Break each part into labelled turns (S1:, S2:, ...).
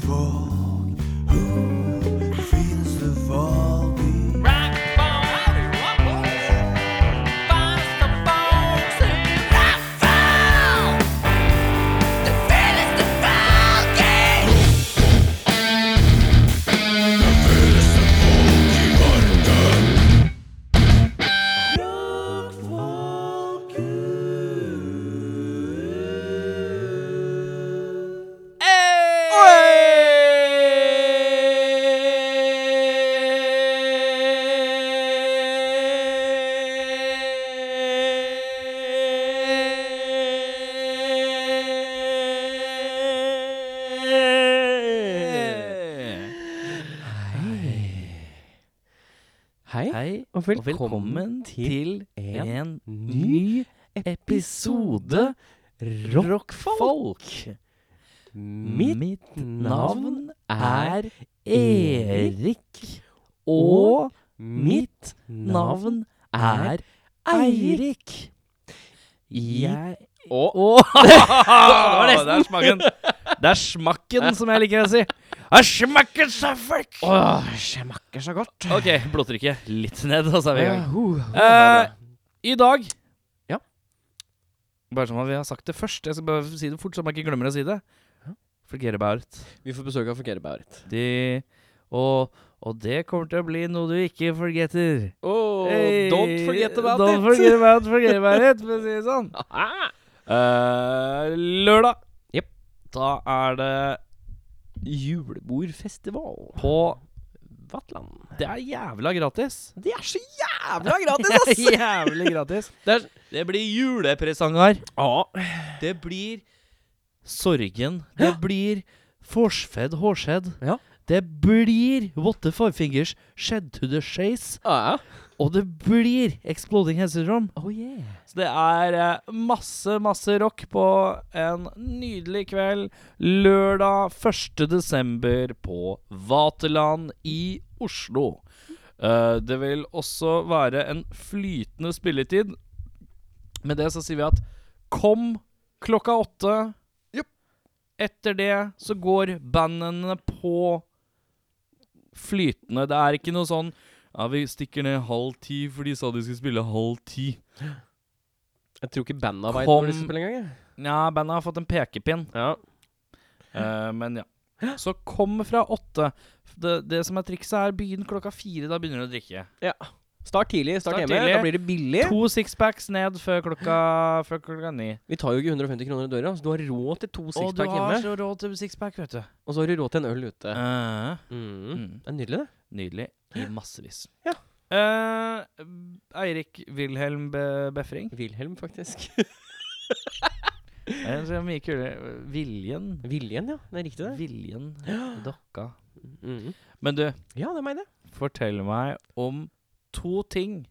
S1: folk? Who feels the fall beat?
S2: Hei,
S3: Hei,
S2: og
S3: og
S2: velkommen,
S3: velkommen
S2: til
S3: til
S2: en
S3: en ny
S2: ny
S3: episode
S2: episode Rockfolk. Mitt
S3: Mitt
S2: navn
S3: navn
S2: er
S3: er Erik, og mitt navn er Eirik. I
S2: Jeg-
S3: Åh, det er smakken. Det er smakken, som jeg liker å si. Det er smakken så fuck!
S2: Åh, smaker så godt.
S3: Ok, blodtrykket litt ned, og så er vi i gang.
S2: Eh,
S3: I dag
S2: Ja.
S3: Bare sånn at vi har sagt det først. Jeg skal bare si det fort, så man ikke glemmer å si det. Flekerebaut.
S2: vi får besøk av Fungerer Baurit.
S3: De og, og det kommer til å bli noe du ikke forgetter.
S2: Oh,
S3: Hey,
S2: don't forget about
S3: don't
S2: it.
S3: forget about, forget about it, for å si det sånn. Eh, lørdag.
S2: Jep.
S3: Da er det
S2: Julebordfestival.
S3: på
S2: Vatland.
S3: Det er jævla gratis.
S2: Det er så jævla gratis,
S3: Det
S2: ass!
S3: er jævlig gratis.
S2: Det er,
S3: Det blir julepresanger.
S2: ja.
S3: Det blir sorgen. Det blir forsfedd hårskjedd.
S2: Ja.
S3: Det blir what the five fingers shed to the chase.
S2: ja.
S3: Og det blir exploding head syndrome.
S2: Oh yeah.
S3: Så det er eh, masse, masse rock på en nydelig kveld lørdag 1. desember på Vaterland i Oslo. Eh, det vil også være en flytende spilletid. Med det så sier vi at kom klokka åtte.
S2: Jupp.
S3: Etter det så går bandene på flytende. Det er ikke noe sånn ja, vi stikker ned halv ti, for de sa de skulle spille halv ti.
S2: Jeg tror ikke banda veit
S3: Kom.
S2: hvor de skal spille engang. jeg.
S3: Ja, bandet har fått en pekepinn.
S2: Ja.
S3: Eh, men ja. Så kom fra åtte. Det, det som er trikset, er begynn klokka fire. Da begynner du å drikke.
S2: Start tidlig, start,
S3: Start
S2: hjemme.
S3: tidlig.
S2: Da blir det billig.
S3: To sixpacks ned før klokka, før klokka ni.
S2: Vi tar jo ikke 150 kroner i døra, så du har råd til to
S3: Og du
S2: sixpack
S3: har
S2: hjemme.
S3: så råd til sixpack, vet du.
S2: Og så har du råd til en øl ute.
S3: Eh,
S2: Mm.
S3: mm.
S2: Det er nydelig, det.
S3: Nydelig. I massevis.
S2: Ja.
S3: Eh, Eirik Wilhelm Be Befring.
S2: Wilhelm, faktisk.
S3: Eh, så Mye kulere. Viljen.
S2: Viljen, ja. Det er riktig, det.
S3: Viljen. Dokka.
S2: Mm.
S3: Men du,
S2: Ja, det er meg, det.
S3: Fortell meg om to ting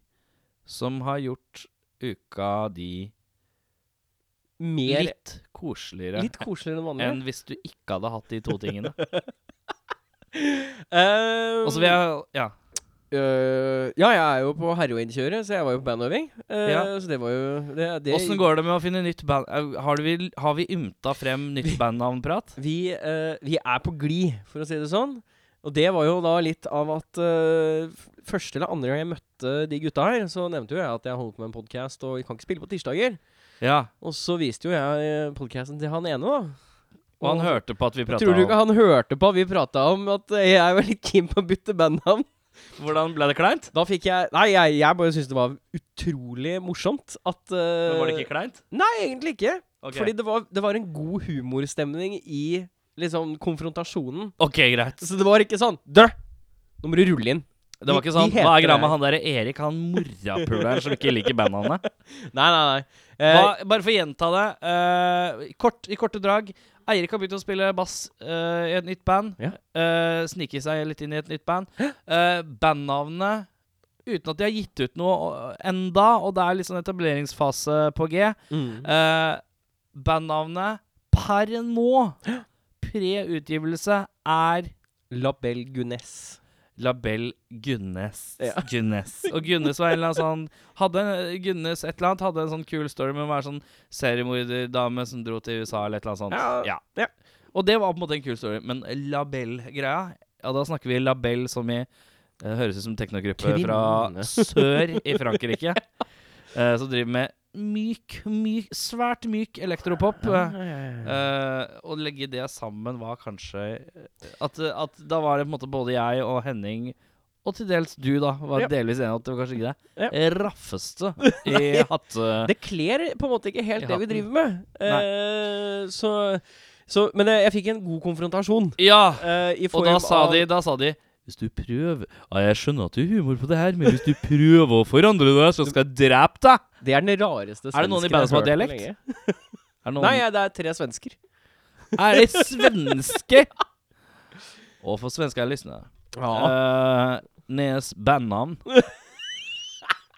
S3: som har gjort uka di
S2: Mer
S3: litt koseligere
S2: litt koseligere enn vanlig.
S3: enn hvis du ikke hadde hatt de to tingene.
S2: Um, Eh,
S3: Og så vil jeg Ja.
S2: øh, ja, jeg er jo på heroinkjøret, så jeg var jo på bandøving. Øh,
S3: Ja.
S2: Så det var jo det, det,
S3: Åssen går det med å finne nytt band? Au, Har vi, har vi ymta frem nytt bandnavnprat?
S2: Vi, eh, vi er på glid, for å si det sånn. Og det var jo da litt av at eh, f- første eller andre gang jeg møtte de gutta her, så nevnte jo jeg at jeg holdt på med en podkast og vi kan ikke spille på tirsdager.
S3: Ja.
S2: Og så viste jo jeg podkasten til han ene, da.
S3: Og han hørte på at vi prata
S2: Tror du
S3: om
S2: ikke han hørte på at vi prata om at eh, jeg var litt keen på å bytte bandnavn?
S3: Hvordan ble det kleint?
S2: Da fikk jeg Nei, jeg, jeg bare syntes det var utrolig morsomt at
S3: Men
S2: eh,
S3: var det ikke kleint?
S2: Nei, egentlig ikke.
S3: Ok,
S2: Fordi det var, det var en god humorstemning i liksom konfrontasjonen.
S3: Ok, greit.
S2: Så det var ikke sånn Dø! Nå må du rulle inn.
S3: Det var
S2: De-
S3: ikke sånn
S2: de
S3: Hva er
S2: heter
S3: greia med
S2: det.
S3: han derre Erik, han morapuleren som ikke liker bandnavnet?
S2: Nei, nei, nei. Eh,
S3: Hva, bare for å gjenta det. eh, i kort, I korte drag. Eirik har begynt å spille bass eh, i et nytt band.
S2: Ja.
S3: Eh, snike seg litt inn i et nytt band. Uh, bandnavnet uten at de har gitt ut noe eh, enda, og det er litt sånn etableringsfase på G.
S2: mm.
S3: Eh, bandnavnet per nå, pre-utgivelse, er
S2: Label Gunes.
S3: Label Gunnes.
S2: Ja.
S3: Gunnes. Og Gunnes var en eller annen sånn hadde, en- Gunnes et eller annet hadde en sånn kul story med å være sånn seriemorderdame som dro til USA eller et eller annet sånt.
S2: Ja, ja.
S3: Og det var på en måte en kul story. Men Labell-greia Ja, da snakker vi Labell som i eh, Høres ut som teknogruppe fra
S2: Kvinne.
S3: sør i Frankrike. eh, som driver med myk, myk, svært myk elektropop. eh,
S2: Mm.
S3: eh, og legge det sammen var kanskje eh, at, at da var det på en måte både jeg og Henning og til dels du, da, var
S2: Ja.
S3: delvis enig at det var kanskje ikke det raffeste i hatte...
S2: Det kler på en måte ikke helt det
S3: I
S2: vi
S3: hatten.
S2: driver med. Eh, så, så Men eh, jeg fikk en god konfrontasjon.
S3: Ja!
S2: eh, i
S3: Og da
S2: form
S3: sa,
S2: av-
S3: de, da sa de Hvis du prøver Ja, jeg skjønner at du har humor på det her, men hvis du prøver å forandre det, så skal jeg drepe deg!
S2: Det er den rareste svensken
S3: Er det noen i bandet som har
S2: jeg hørt på
S3: dialekt?
S2: lenge.
S3: Er det noen
S2: Nei, ja, det er tre svensker.
S3: Er det svenske? Og for svenske lyssnare.
S2: Ja.
S3: Eh, Nes bandnamn.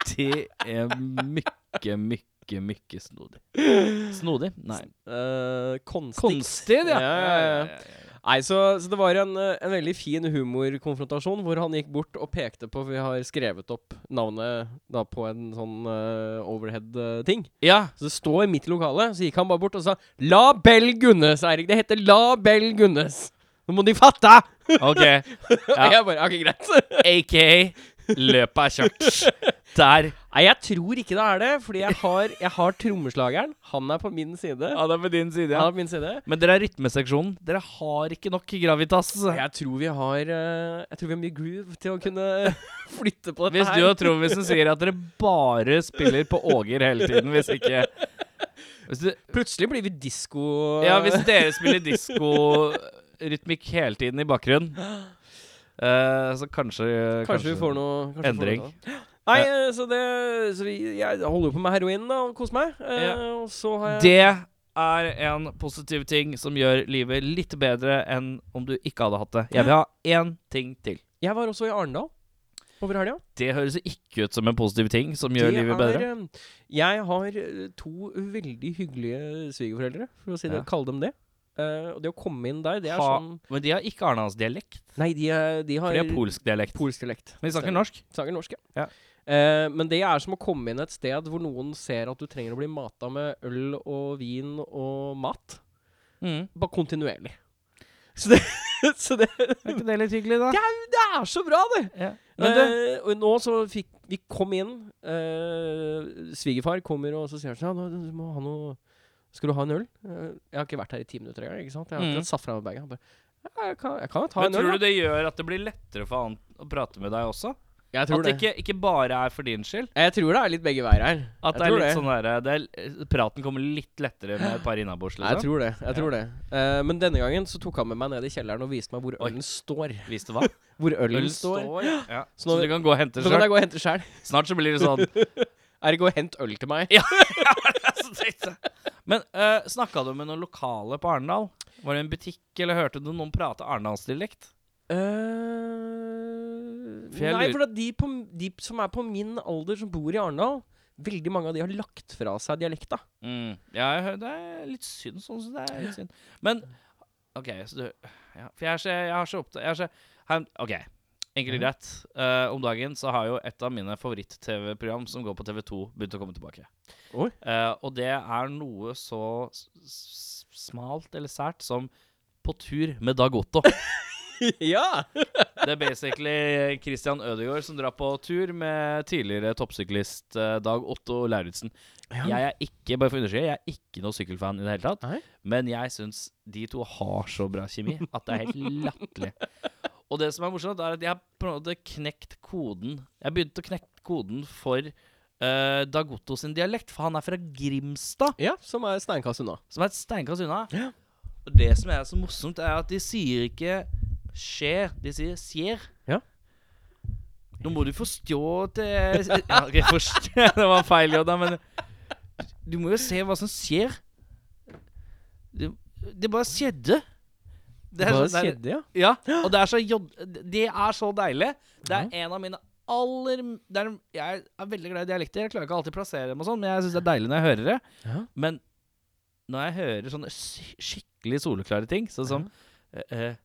S3: Det er mycket, mycket, mycket snodig. Snodig? Nei.
S2: Eh, konstigt.
S3: Konstig, ja.
S2: Ja, ja, ja. Nei, så, så det var en, eh, en veldig fin humorkonfrontasjon hvor han gikk bort og pekte på Vi har skrevet opp navnet da på en sånn overhead-ting.
S3: ja.
S2: Så det står midt i lokalet, så gikk han bare bort og sa La Bell Gunnes, Eirik. Det heter La Bell Gunnes. Nå må de fatte!
S3: OK. Ja.
S2: Og jeg bare OK, greit.
S3: Aka løpet er kjørt. Der.
S2: Nei, jeg tror ikke det er det, fordi jeg har, jeg har trommeslageren. Han er på min side.
S3: det er på din side,
S2: Han er på min side.
S3: Men dere er rytmeseksjonen. Dere har ikke nok gravitas.
S2: Jeg tror vi har eh, Jeg tror vi har mye groove til å kunne flytte på dette
S3: Hvis du
S2: her.
S3: og trommisen sier at dere bare spiller på Åger hele tiden, hvis ikke Hvis, du,
S2: Plutselig blir vi eh, disko
S3: ja, hvis dere spiller diskorytmikk hele tiden i bakgrunnen, eh, så kanskje
S2: Kanskje vi får noe kanskje vi får
S3: Endring.
S2: noe sånt. Nei, eh, så det Så vi, jeg holder jo på med heroin da, og koser meg. eh,
S3: Ja.
S2: Og så har jeg
S3: Det er en positiv ting som gjør livet litt bedre enn om du ikke hadde hatt det. Jeg vil ha én ting til.
S2: Jeg var også i Arendal over helga.
S3: Det høres ikke ut som en positiv ting som gjør livet bedre.
S2: eh, Jeg har eh, to veldig hyggelige svigerforeldre, for å si det,
S3: Ja.
S2: kalle dem det. Eh, og det å komme inn der, det er
S3: Ha-
S2: sånn
S3: Men de har ikke Arendalsdialekt.
S2: Nei, de, er- de har
S3: De har polsk dialekt.
S2: polsk dialekt.
S3: Men de snakker norsk.
S2: Sanger norsk,
S3: Ja.
S2: Eh, men det er som å komme inn et sted hvor noen ser at du trenger å bli mata med øl og vin og mat.
S3: Mm.
S2: Bare kontinuerlig. Så det, så det,
S3: Er ikke det litt hyggelig, da?
S2: det er så bra, det!
S3: Men du,
S2: Eh, og nå så fikk Vi kom inn. Eh, svigerfar kommer og så sier han sånn Ja, nå- du må ha noe Skal du ha en øl? Eh, jeg har ikke vært her i ti minutter engang. ikke sant? Jeg har
S3: Mm.
S2: akkurat satt fra meg bagen. Han bare, «Ja, Jeg kan, jeg kan jo ta
S3: men
S2: en øl,
S3: tror
S2: da.
S3: du det gjør at det blir lettere for han å prate med deg også?
S2: Jeg
S3: At
S2: tror
S3: det
S2: det.
S3: ikke, ikke bare er for din skyld?
S2: Jeg tror det er litt begge veier her. Jeg
S3: At det er
S2: tror
S3: litt sånn der, det er, Praten kommer litt lettere med et par innabords,
S2: Nei, jeg
S3: liksom?
S2: tror det. jeg tror det Eh, Men denne gangen så tok han med meg ned i kjelleren og viste meg hvor
S3: Oi.
S2: ølen står.
S3: Hvis det var.
S2: Hvor ølen
S3: Øl
S2: står.
S3: står. Ja. Så,
S2: nå-
S3: du kan gå og hente
S2: Så kan
S3: sjøl.
S2: jeg gå og hente sjæl.
S3: Snart så blir det sånn.
S2: Ergo, hent øl til meg.
S3: Så tenkte jeg. Men uh, snakka du med noen lokale på Arendal? Var det en butikk, eller hørte du noen prate arendalsdialekt?
S2: Eh,
S3: For jeg
S2: nei,
S3: lurer-
S2: for at de, på, de som er på min alder, som bor i Arendal Veldig mange av de har lagt fra seg dialekta.
S3: Mm. Ja, jeg hø- det er litt synd sånn som det er litt synd. Men OK, så du ja, For jeg er så, jeg er så opptatt Jeg er så han- OK, enkelt og greit. Eh, om dagen så har jo et av mine favoritt-TV-program som går på TV2, begynt å komme tilbake.
S2: Oi.
S3: Eh, og det er noe så s- s- smalt eller sært som På tur med Dag Otto.
S2: ja!
S3: Det er basically Christian Ødegaard som drar på tur med tidligere toppsyklist eh, Dag Otto Lauritzen. Jeg er ikke bare for å understreke, jeg er ikke noe sykkelfan i det hele tatt.
S2: Nei.
S3: Men jeg syns de to har så bra kjemi at det er helt latterlig. Og det som er morsomt, er at jeg har på en måte knekt koden Jeg begynte å knekke koden for eh, Dag Otto sin dialekt, for han er fra Grimstad,
S2: ja, som er steinkast unna.
S3: som er et steinkast unna.
S2: Ja.
S3: Og det som er så morsomt, er at de sier ikke 'skjer', de sier 'skjer'.
S2: Ja.
S3: Nå må du forstå at det ja, ok, forst- Det var feil, Jodda, men Du må jo se hva som skjer. Det, det bare skjedde. Det
S2: Hva
S3: sånn der-
S2: skjedde, ja?
S3: ja, og det er så jod... Det er så deilig. Det er en av mine aller det er, Jeg er veldig glad i dialekter. Jeg klarer ikke alltid å plassere dem, og sånn, men jeg syns det er deilig når jeg hører det.
S2: Ja.
S3: Men når jeg hører sånne sk- skikkelig soleklare ting, sånn som eh, eh,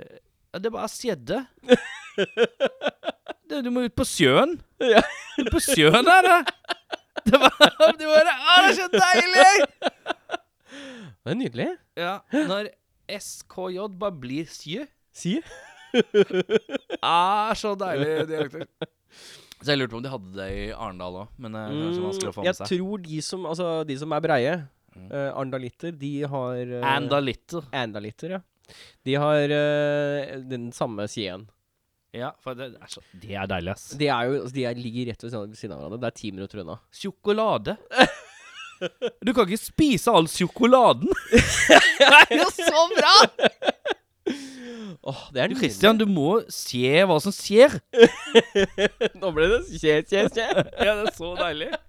S3: eh, Det bare skjedde. du, du må ut på sjøen.
S2: Ja.
S3: Ut på sjøen er det. Det bare, det bare Å, det er så deilig!
S2: Det er nydelig.
S3: Ja, når SKJ bare blir sjø.
S2: Si?
S3: Ah, så deilig dialekter. Så jeg lurte på om de hadde det i Arendal òg, men eh, det er kanskje vanskelig å få med
S2: Mm, jeg
S3: seg. Mm.
S2: tror de som, altså, de som er breie, eh, arendalitter, de har eh,
S3: Andalitter.
S2: Andalitter, ja. De har eh, den samme siden.
S3: Ja, for det er, så, det er deilig, ass.
S2: De, er jo, altså, de er, ligger rett ved siden ved siden av hverandre. Det er ti minutter unna.
S3: Sjokolade. Du kan ikke spise all sjokoladen! det er jo så bra!
S2: Åh, det er
S3: Du,
S2: nydelig.
S3: Christian, du må se hva som skjer.
S2: Nå ble det skje, skje, skje.
S3: Ja, det er så deilig. Ja,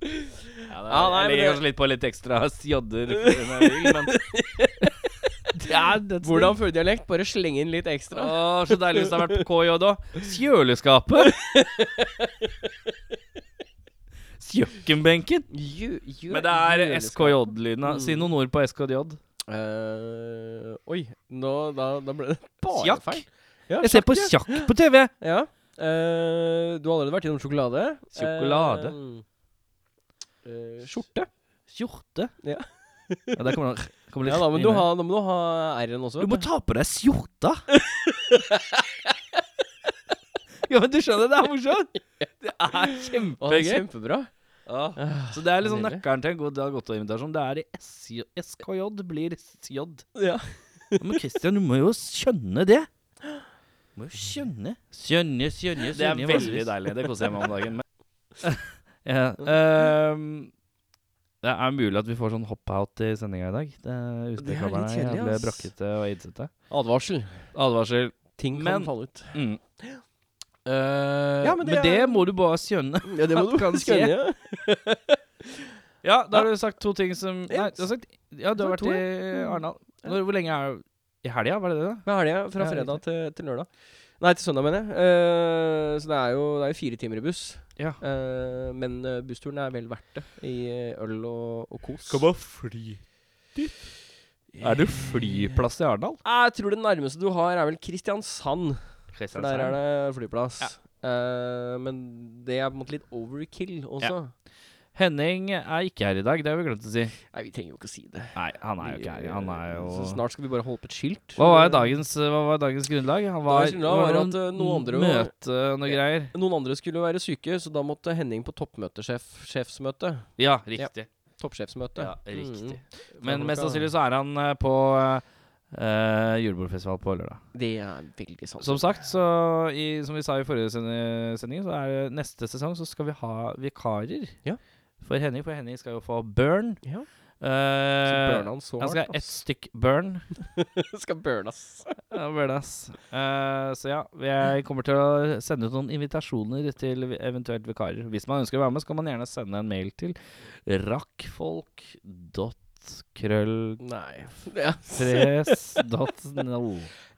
S3: det er,
S2: Ja, nei,
S3: jeg
S2: men
S3: legger
S2: det-
S3: kanskje litt på litt ekstra jodder, enn jeg vil, men det er, det
S2: Hvordan føre dialekt? Bare slenge inn litt ekstra.
S3: Å, så deilig hvis det har vært på KJ òg. Kjøleskapet. Kjøkkenbenken.
S2: Jø- jø-
S3: Men det er
S2: jøleskap.
S3: SKJ-lyden. da. Si noen ord på SKJ.
S2: Eh, oi, nå da, da ble det bare
S3: Sjakk.
S2: feil. Ja,
S3: Jeg ser på
S2: ja.
S3: sjakk på TV.
S2: Ja. Eh, du har allerede vært innom sjokolade.
S3: Sjokolade.
S2: Eh, eh, skjorte.
S3: Skjorte.
S2: Ja.
S3: ja der kommer det kommer litt
S2: Ja, da, men
S3: inn
S2: du
S3: her.
S2: har, da må du ha R-en også.
S3: Du må
S2: vet
S3: ta på deg skjorta! ja, men du skjønner, det er morsomt! Det er
S2: Å, det er
S3: kjempegøy.
S2: Kjempebra. Ah,
S3: Ja. Så det er liksom
S2: nydelig.
S3: nøkkelen til en god dag Otto-invitasjon. Det er i SJ SKJ blir SJ.
S2: Ja.
S3: Ja, Men Christian, du må jo skjønne det! Du må jo skjønne. Skjønne, skjønne, skjønne.
S2: Det er veldig
S3: deilig. Det koser jeg meg om dagen med. ja, ehm, det er mulig at vi får sånn hop-out i sendinga i dag. Det er
S2: Det er litt
S3: utekrabberne er
S2: kjedelig,
S3: jævlig
S2: ass.
S3: brakkete og aidsete.
S2: Advarsel.
S3: Advarsel.
S2: Ting kan
S3: Men-
S2: falle ut.
S3: Mm.
S2: Ja, men
S3: men,
S2: det
S3: det,
S2: er-
S3: må du bare skjønne.
S2: Ja, det må du
S3: Kan
S2: skjønne. ja.
S3: Ja, da har du sagt to ting som
S2: Ja.
S3: Nei, du har sagt Ja, du har
S2: Sagt
S3: vært
S2: to,
S3: i
S2: Mm.
S3: Arendal. Når- Hvor lenge er du I helga, var det det? da?
S2: Hva er det? Fra
S3: Ja,
S2: fredag
S3: riktig.
S2: til, til lørdag. Nei, til søndag, mener jeg. Eh, så det er, jo, det er jo fire timer i buss.
S3: Ja.
S2: Eh, men eh, bussturen er vel verdt det, i eh, øl og, og kos.
S3: bare fly Er det flyplass i Arendal?
S2: Jeg tror det nærmeste du har, er vel Kristiansand. For der er det flyplass.
S3: Ja.
S2: Eh, men det er på en måte litt overkill også.
S3: Henning er ikke her i dag, det har vi glemt å si.
S2: Nei, vi trenger jo ikke å si det. eh,
S3: Nei, han er jo ikke her. Han er
S2: Så
S3: jo
S2: snart skal vi bare holde opp et skilt.
S3: hva var, dagens, hva var dagens grunnlag? Han var,
S2: Dagens grunnlag var at, eh, noen andre var-
S3: Møte og noe greier.
S2: Noen andre skulle være syke, så da måtte Henning på toppmøtesjefsmøte.
S3: Ja, riktig.
S2: Toppsjefsmøte.
S3: Ja, riktig.
S2: Mm.
S3: Men
S2: Fra
S3: mest
S2: klokka-
S3: sannsynlig så er han eh, på eh, julebordfestival på lørdag.
S2: Det er veldig sant.
S3: Som sagt, så i, som vi sa i forrige sende- sending, så er det neste sesong så skal vi ha vikarer.
S2: Ja.
S3: For Henning, for Henning skal jo få burn.
S2: ja. Så
S3: Eh,
S2: burna han så
S3: han skal
S2: hardt.
S3: ha ett stykk burn.
S2: ass. skal burna, ass.
S3: Ja, burn ass. Eh, så ja, jeg kommer til å sende ut noen invitasjoner til vi- eventuelt vikarer. Hvis man ønsker å være med, så kan man gjerne sende en mail til rakkfolk.krøll...
S2: Nei. Ja.
S3: Fres.no.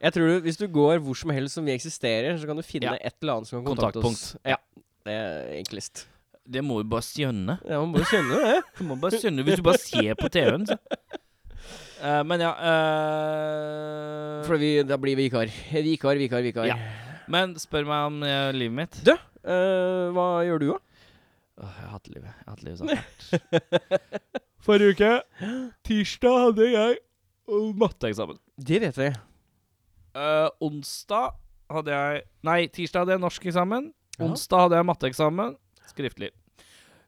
S2: Jeg tror du, Hvis du går hvor som helst som vi eksisterer, så kan du finne
S3: Ja.
S2: et eller annet som kan kontakte oss. Ja, Det er enklest.
S3: Det må jo bare skjønne.
S2: Ja, Man må jo skjønne det.
S3: Du må bare skjønne hvis du bare ser på TV-en, så. Eh, men ja eh,
S2: For vi, da blir vi vikar. Vikar, vikar, vikar.
S3: Ja. Men spør meg om eh, livet mitt.
S2: Du- Eh, hva gjør du, da?
S3: Åh, jeg har hatt livet. Jeg har hatt livet så hardt. Forrige uke, tirsdag, hadde jeg eh, matteeksamen.
S2: Det vet vi.
S3: Eh, onsdag hadde jeg Nei, tirsdag hadde jeg norskeksamen.
S2: Ja.
S3: Onsdag hadde jeg matteeksamen skriftlig.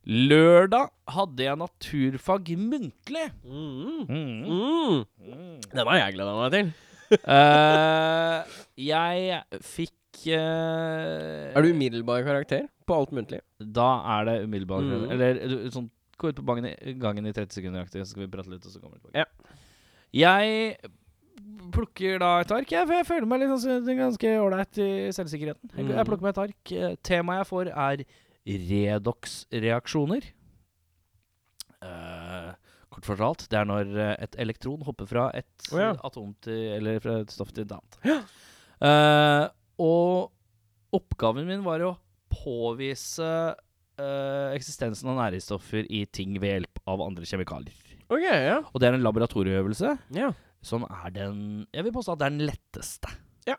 S3: Lørdag hadde jeg naturfag muntlig.
S2: Mm.
S3: Mm.
S2: Mm. Den har jeg gleda meg til.
S3: Eh, jeg fikk eh,
S2: Er du umiddelbar karakter på alt muntlig?
S3: Da er det umiddelbar
S2: Mm.
S3: Eller du- sånn Gå ut på gangen i, gangen i 30 sekunder aktig, så skal vi prate litt, og så kommer vi tilbake.
S2: Ja.
S3: Jeg plukker da et ark, jeg, for jeg føler meg litt sånn- ganske ålreit i selvsikkerheten. Jeg, jeg
S2: Mm.
S3: plukker meg et ark. Eh, Temaet jeg får, er redox-reaksjoner. Eh, kort fortalt, det er når eh, et elektron hopper fra et
S2: Å ja.
S3: atom til Eller fra et stoff til et annet. Eh, og oppgaven min var å påvise eh, eksistensen av næringsstoffer i ting ved hjelp av andre kjemikalier.
S2: OK, ja.
S3: Og det er en laboratorieøvelse
S2: ja.
S3: som Sånn er den Jeg vil påstå at det er den letteste.
S2: Ja.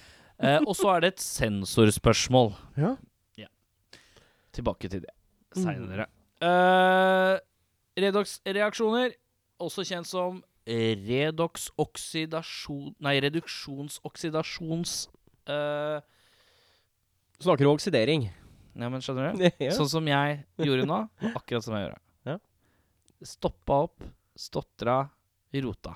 S3: Eh, og så er det et sensorspørsmål.
S2: Ja. Mm.
S3: Ja. Tilbake til det seinere. Eh, Redox-reaksjoner, også kjent som redox-oksidasjon... Nei, reduksjons-oksidasjons... eh,
S2: Snakker om oksidering.
S3: ja, men skjønner du?
S2: Ja.
S3: Sånn som jeg gjorde nå. Akkurat som jeg gjorde.
S2: Ja.
S3: Stoppa opp, stotra, rota.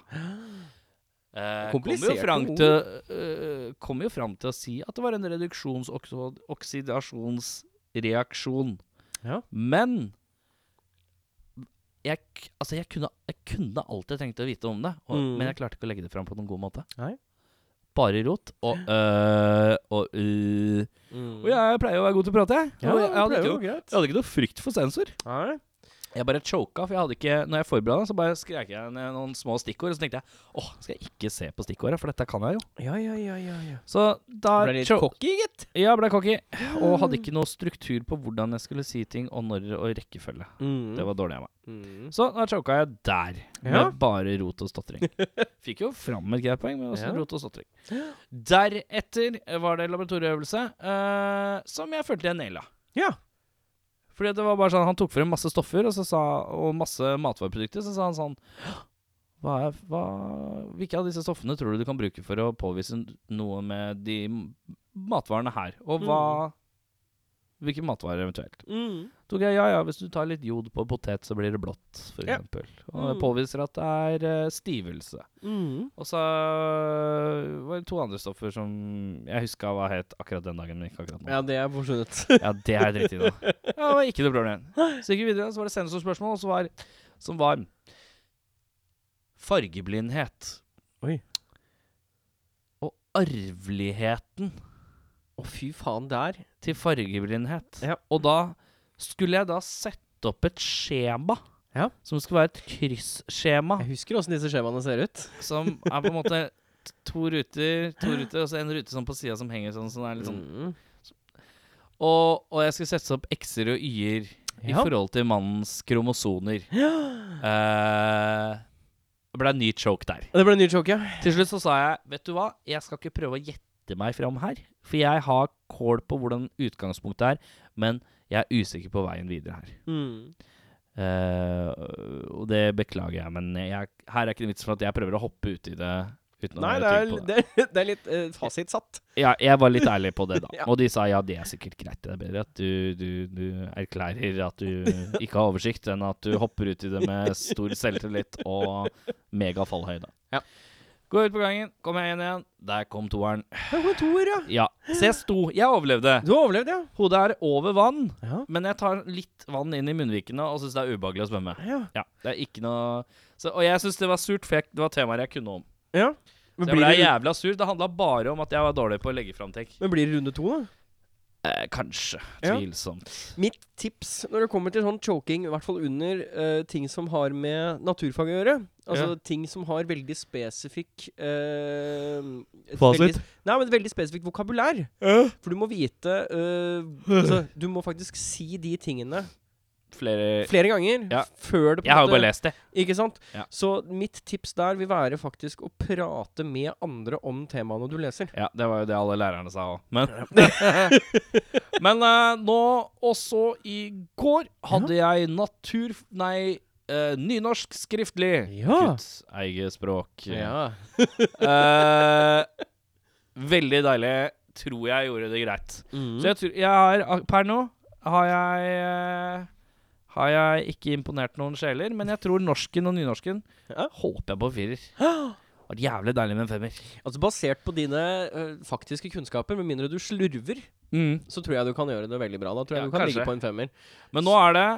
S3: Eh,
S2: Kompliserte ord.
S3: kom jo, fram til, eh, kom jo fram til å si at det var en reduksjons-oksidasjonsreaksjon.
S2: Ja.
S3: Men jeg, k- altså jeg, kunne, jeg kunne alltid tenkt å vite om det, og,
S2: Mm.
S3: men jeg klarte ikke å legge det fram på noen god måte.
S2: Nei.
S3: Bare rot og øh, og øh.
S2: Mm.
S3: Og jeg pleier å være god til å prate, jeg.
S2: Ja,
S3: og jeg, jeg,
S2: det er
S3: hadde ikke,
S2: jo
S3: noe-
S2: greit.
S3: jeg hadde ikke noe frykt for sensor.
S2: Nei.
S3: Jeg bare choka, for jeg hadde ikke Når jeg forberedte, så bare skrek jeg ned noen små stikkord. Og så tenkte jeg åh, skal jeg ikke se på stikkordet, for dette kan jeg jo.
S2: Ja, ja, ja, ja, ja.
S3: Så da
S2: Ble litt
S3: cho-
S2: cocky, gitt.
S3: Ja, ble cocky. Og hadde ikke noe struktur på hvordan jeg skulle si ting, og når og rekkefølge.
S2: Mm.
S3: Det var dårlig av meg.
S2: Mm.
S3: Så da choka jeg der, med
S2: Ja.
S3: bare rot og stotring. Fikk jo fram et greit poeng, men også
S2: Ja.
S3: rot og stotring. Deretter var det laboratorieøvelse eh, som jeg følte jeg naila.
S2: Ja.
S3: Fordi det var bare sånn, Han tok frem masse stoffer og, så sa, og masse matvareprodukter. Så sa han sånn hva er, hva, Hvilke av disse stoffene tror du du kan bruke for å påvise noe med de m- matvarene her? Og hva Hvilke matvarer eventuelt?
S2: Mm.
S3: Tok jeg, ja, ja, Hvis du tar litt jod på potet, så blir det blått, f.eks.
S2: Ja.
S3: eksempel Og det
S2: Mm.
S3: påviser at det er eh, stivelse.
S2: Mm.
S3: Og så øh, var det to andre stoffer som jeg huska hva het akkurat den dagen. men ikke akkurat nå.
S2: Ja, det er forsvunnet.
S3: Ja, det er riktig nå. Ja, det var ikke noe problem. Så gikk vi videre, så var det sensorspørsmål, og så var, som var fargeblindhet.
S2: Oi.
S3: Og arveligheten
S2: Å, fy faen, der.
S3: til fargeblindhet.
S2: Ja.
S3: Og da skulle jeg da sette opp et skjema.
S2: Ja.
S3: Som skulle være et kryssskjema.
S2: Jeg husker åssen disse skjemaene ser ut.
S3: Som er på en måte t- to ruter, to ruter, og så en rute sånn på sida som henger sånn. sånn er litt sånn.
S2: Mm.
S3: Og, og jeg skulle sette opp x-er og y-er i
S2: Ja.
S3: forhold til mannens kromosoner. Eh, Det ble en ny choke der.
S2: Det ble en ny choke, ja.
S3: Til slutt så sa jeg Vet du hva, jeg skal ikke prøve å gjette meg fram her. For jeg har kål på hvordan utgangspunktet er, men jeg er usikker på veien videre her.
S2: Mm.
S3: Eh, og det beklager jeg, men jeg, her er ikke det vits for at jeg prøver å hoppe uti det. Uten
S2: Nei,
S3: å
S2: det er,
S3: tenke på det.
S2: det er, det er litt eh, fasitsatt.
S3: Ja, jeg var litt ærlig på det, da.
S2: Ja.
S3: Og de sa ja, det er sikkert greit. Det er bedre at du, du, du erklærer at du ikke har oversikt, enn at du hopper uti det med stor selvtillit og mega fallhøyde.
S2: Ja.
S3: Går ut på gangen, kommer jeg inn igjen. Der kom toeren.
S2: Det var to ord, ja.
S3: Ja. Så jeg sto. Jeg overlevde.
S2: Du overlevde, ja.
S3: Hodet er over vann,
S2: Ja.
S3: men jeg tar litt vann inn i munnvikene og syns det er ubehagelig å svømme.
S2: ja.
S3: Ja, det er ikke noe så, Og jeg syns det var surt, for jeg, det var temaer jeg kunne om.
S2: ja.
S3: Så
S2: Men,
S3: jeg
S2: blir
S3: ble
S2: det,
S3: jævla sur. Det handla bare om at jeg var dårlig på å legge fram ting.
S2: men blir det runde to, da?
S3: Eh, kanskje.
S2: Ja.
S3: Tvilsomt.
S2: Mitt tips når det kommer til sånn choking, i hvert fall under eh, ting som har med naturfag å gjøre Altså
S3: Ja.
S2: ting som har veldig spesifikk eh, et
S3: Fasit?
S2: veldig- Nei, men et veldig spesifikt vokabulær. For du må vite eh, altså, Du må faktisk si de tingene
S3: Flere
S2: flere ganger
S3: Ja.
S2: før det på en
S3: Jeg har jo
S2: måte-
S3: bare lest det.
S2: Ikke sant?
S3: Ja.
S2: Så mitt tips der vil være faktisk å prate med andre om temaene du leser.
S3: Ja, Det var jo det alle lærerne sa òg. Men, men eh, nå, også i går, hadde jeg natur... Nei, eh, nynorsk skriftlig.
S2: Ja.
S3: Guds eget språk. Eh, veldig deilig. Tror jeg gjorde det greit.
S2: Mm.
S3: Så jeg tror jeg har, ak- Per nå har jeg eh, har jeg ikke imponert noen sjeler, men jeg tror norsken og nynorsken
S2: Ja.
S3: håper jeg på firer. Var jævlig deilig med en femmer.
S2: Altså Basert på dine eh, faktiske kunnskaper, med mindre du slurver, så tror jeg du kan gjøre det veldig bra. Da tror jeg
S3: Ja,
S2: du kan
S3: kanskje.
S2: ligge på en femmer.
S3: Men nå er det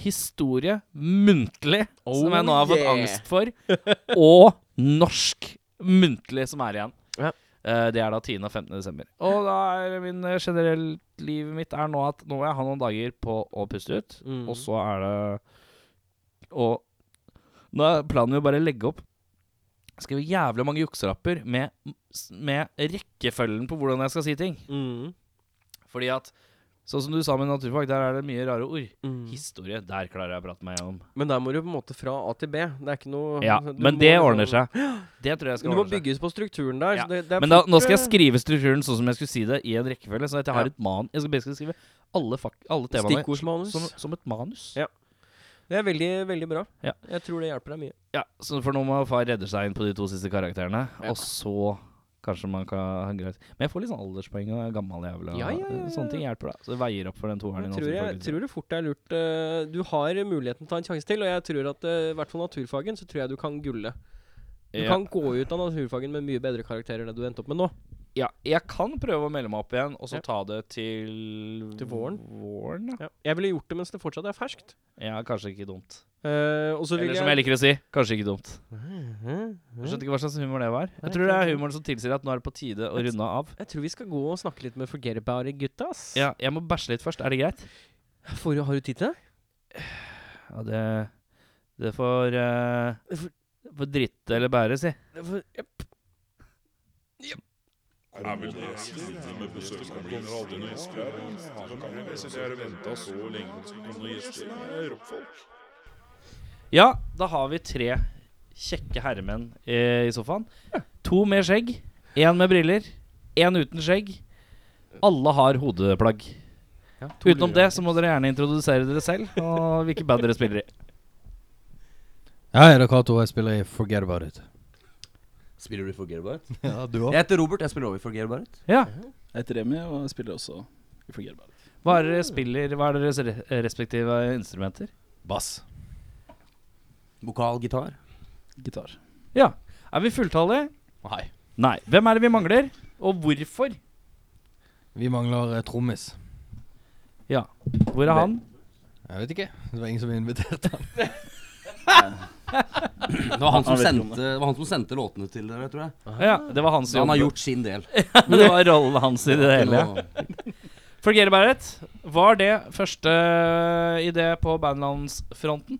S3: historie muntlig, som jeg nå har fått
S2: Oh, yeah.
S3: angst for, og norsk muntlig som er igjen.
S2: Ja.
S3: Eh, Det er da 10. og 15. desember. Og da er min eh, generelt livet mitt er nå at nå må jeg ha noen dager på å puste ut.
S2: Mm.
S3: Og så er det Og nå er planen jo bare å legge opp Skrive jævlig mange jukselapper med, med rekkefølgen på hvordan jeg skal si ting.
S2: Mm.
S3: Fordi at Sånn som du sa med naturfag, der er det mye rare ord.
S2: Mm.
S3: Historie, der klarer jeg å prate meg gjennom.
S2: Men der må du på en måte fra A til B. Det er ikke noe
S3: Ja,
S2: du
S3: Men
S2: må
S3: det
S2: liksom-
S3: ordner seg. Det tror jeg
S2: Du
S3: skal
S2: må
S3: ordne seg.
S2: bygges på strukturen der.
S3: Ja,
S2: Så det, det er
S3: Men da,
S2: fort,
S3: nå skal jeg
S2: eh,
S3: skrive strukturen sånn som jeg skulle si det, i en rekkefølge. Sånn at jeg har
S2: Ja.
S3: et man Jeg skal bare skrive alle, fak alle temaene
S2: Stikkordsmanus.
S3: som, som et manus.
S2: Ja. Det er veldig, veldig bra.
S3: Sånn- Ja.
S2: Jeg tror det hjelper deg mye.
S3: Ja, så for nå må far redde seg inn på de to siste karakterene,
S2: Ja.
S3: og så Kanskje man kan greit. Men jeg får litt sånn alderspoeng og er gammel jævel. og
S2: Ja, ja, ja, ja.
S3: Sånne ting hjelper, da. Så det veier opp for den toeren.
S2: Jeg
S3: din
S2: tror,
S3: også,
S2: jeg,
S3: faktisk.
S2: tror det fort er lurt eh, Du har muligheten til å ta en sjanse til, og jeg tror at eh, i hvert fall naturfagen, så tror jeg du kan gulle. Du
S3: Ja.
S2: kan gå ut av naturfagen med mye bedre karakterer enn det du endte opp med nå.
S3: Ja, jeg kan prøve å melde meg opp igjen, og
S2: Ja.
S3: så ta det til
S2: Til våren.
S3: våren ja.
S2: Jeg ville gjort det mens det fortsatt er ferskt.
S3: ja, kanskje ikke dumt.
S2: Eh, og så vil
S3: Eller som jeg liker å si, kanskje ikke dumt. Jeg
S2: jeg
S3: skjønte ikke hva slags humor det var.
S2: Nei,
S3: Jeg tror det
S2: kanskje
S3: er humoren som tilsier at nå er det på tide å
S2: Jeg
S3: runde av.
S2: Jeg tror vi skal gå og snakke litt med Forget About It-gutta. ass.
S3: Ja, jeg må bæsje litt først. Er det greit?
S2: Får du- Har du tid til det?
S3: Ja, det Det får eh,
S2: Det får-
S3: det får dritte eller bære, si.
S2: Det får- Jepp.
S3: Ja, da har vi tre kjekke herremenn eh, i sofaen. To med skjegg, én med briller, én uten skjegg. Alle har hodeplagg.
S2: Ja, to
S3: Utenom
S2: luer.
S3: det så må dere gjerne introdusere dere selv og hvilke band dere spiller i.
S4: Jeg heter Cato, og jeg spiller i Forget About It.
S5: Spiller du Forget About It?
S4: Ja, du
S5: Jeg heter Robert, jeg spiller over i Forget About It.
S3: Ja,
S6: Jeg heter Remi og jeg spiller også i Forget About It.
S3: Hva er, dere spiller, hva er deres re- respektive instrumenter?
S5: Bass. Vokal, gitar.
S6: Gitar.
S3: Ja, Er vi fulltallige?
S5: Nei.
S3: Nei. Hvem er det vi mangler, og hvorfor?
S4: Vi mangler eh, trommis.
S3: Ja, Hvor er han?
S4: Jeg vet ikke. Det var ingen som inviterte.
S5: Det var han som
S6: Han vet ikke om
S5: sendte, det var han som sendte låtene til dere, tror jeg.
S3: Ja, Det var hans
S5: Så han har
S3: jobb.
S5: gjort sin del.
S3: Det var rollen hans i det hele.
S5: Nå-
S3: Forget about it. Var det første eh, idé på bandlandsfronten?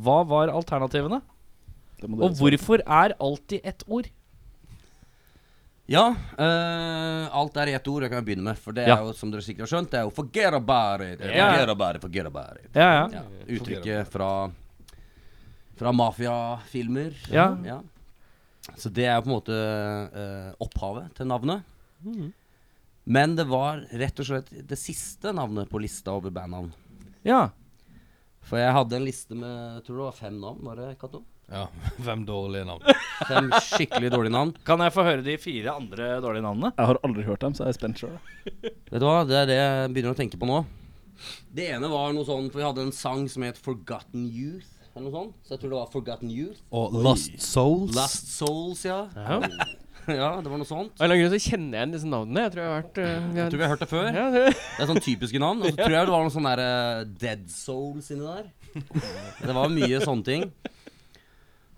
S3: Hva var alternativene?
S6: Det må dere
S3: Og hvorfor er alltid ett ord?
S5: Ja, eh, alt er i ett ord. Jeg kan begynne med For det er
S3: Ja.
S5: jo, som dere sikkert har skjønt, det er jo 'forget about it'.
S3: Ja.
S5: Forget about it, forget about it.
S3: Ja, ja.
S5: Ja, uttrykket fra Fra mafiafilmer.
S3: Ja.
S5: Så det er jo på en måte eh, opphavet til navnet.
S3: Mm.
S5: Men det var rett og slett det siste navnet på lista over bandnavn.
S3: ja.
S5: For jeg hadde en liste med jeg tror det var fem navn. var det Kato?
S4: Ja, Fem dårlige navn.
S5: Fem skikkelig dårlige navn.
S3: Kan jeg få høre de fire andre dårlige navnene?
S6: Jeg har aldri hørt dem, så jeg er spent sjøl.
S5: Vet du hva, Det er det jeg begynner å tenke på nå. Det ene var noe sånn, for vi hadde en sang som het 'Forgotten Youth'. eller noe sånt. Så jeg tror det var 'Forgotten Youth'.
S4: Og Lost Souls.
S5: Last Souls, ja.
S2: Ja.
S5: ja, det var noe sånt.
S2: Av en eller annen grunn så kjenner jeg igjen disse navnene. Jeg tror jeg har vært eh, vi har-
S5: Jeg tror vi har hørt det før.
S2: ja, det-
S5: Det er sånn typiske navn. Og så tror jeg det var noen sånne der, eh, Dead Souls inni der. Det var mye sånne ting.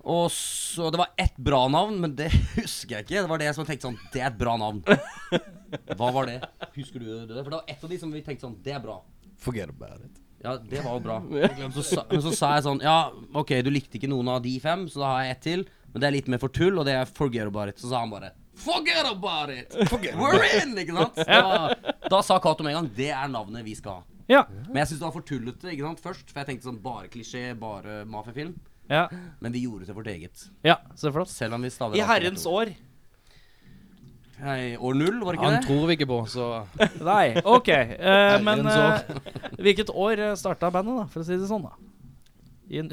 S5: Og så Det var ett bra navn, men det husker jeg ikke. Det var det som jeg tenkte sånn Det er et bra navn. Hva var det? Husker du det? For det var ett av de som vi tenkte sånn Det er bra.
S4: Forget About It.
S5: Ja, det var jo bra. Men så, sa, men så sa jeg sånn Ja, OK, du likte ikke noen av de fem, så da har jeg ett til. Men det er litt mer for tull, og det er forget about it. Så sa han bare Forget about it! We're in! Ikke sant? Da, da sa Cato med en gang det er navnet vi skal ha.
S3: Ja.
S5: Men jeg syns det var for tullete ikke sant, først, for jeg tenkte sånn bare klisjé, bare mafiafilm.
S3: Ja,
S5: Men vi gjorde det til vårt eget.
S3: ja så flott.
S5: Selv om vi stadig
S3: I herrens år.
S5: Nei, år null, var det
S4: Han
S5: ikke det?
S4: tror vi ikke på, så
S3: Nei, OK. Eh, men
S4: Herrens
S3: eh, hvilket år starta bandet, da, for å si det sånn? da? I en-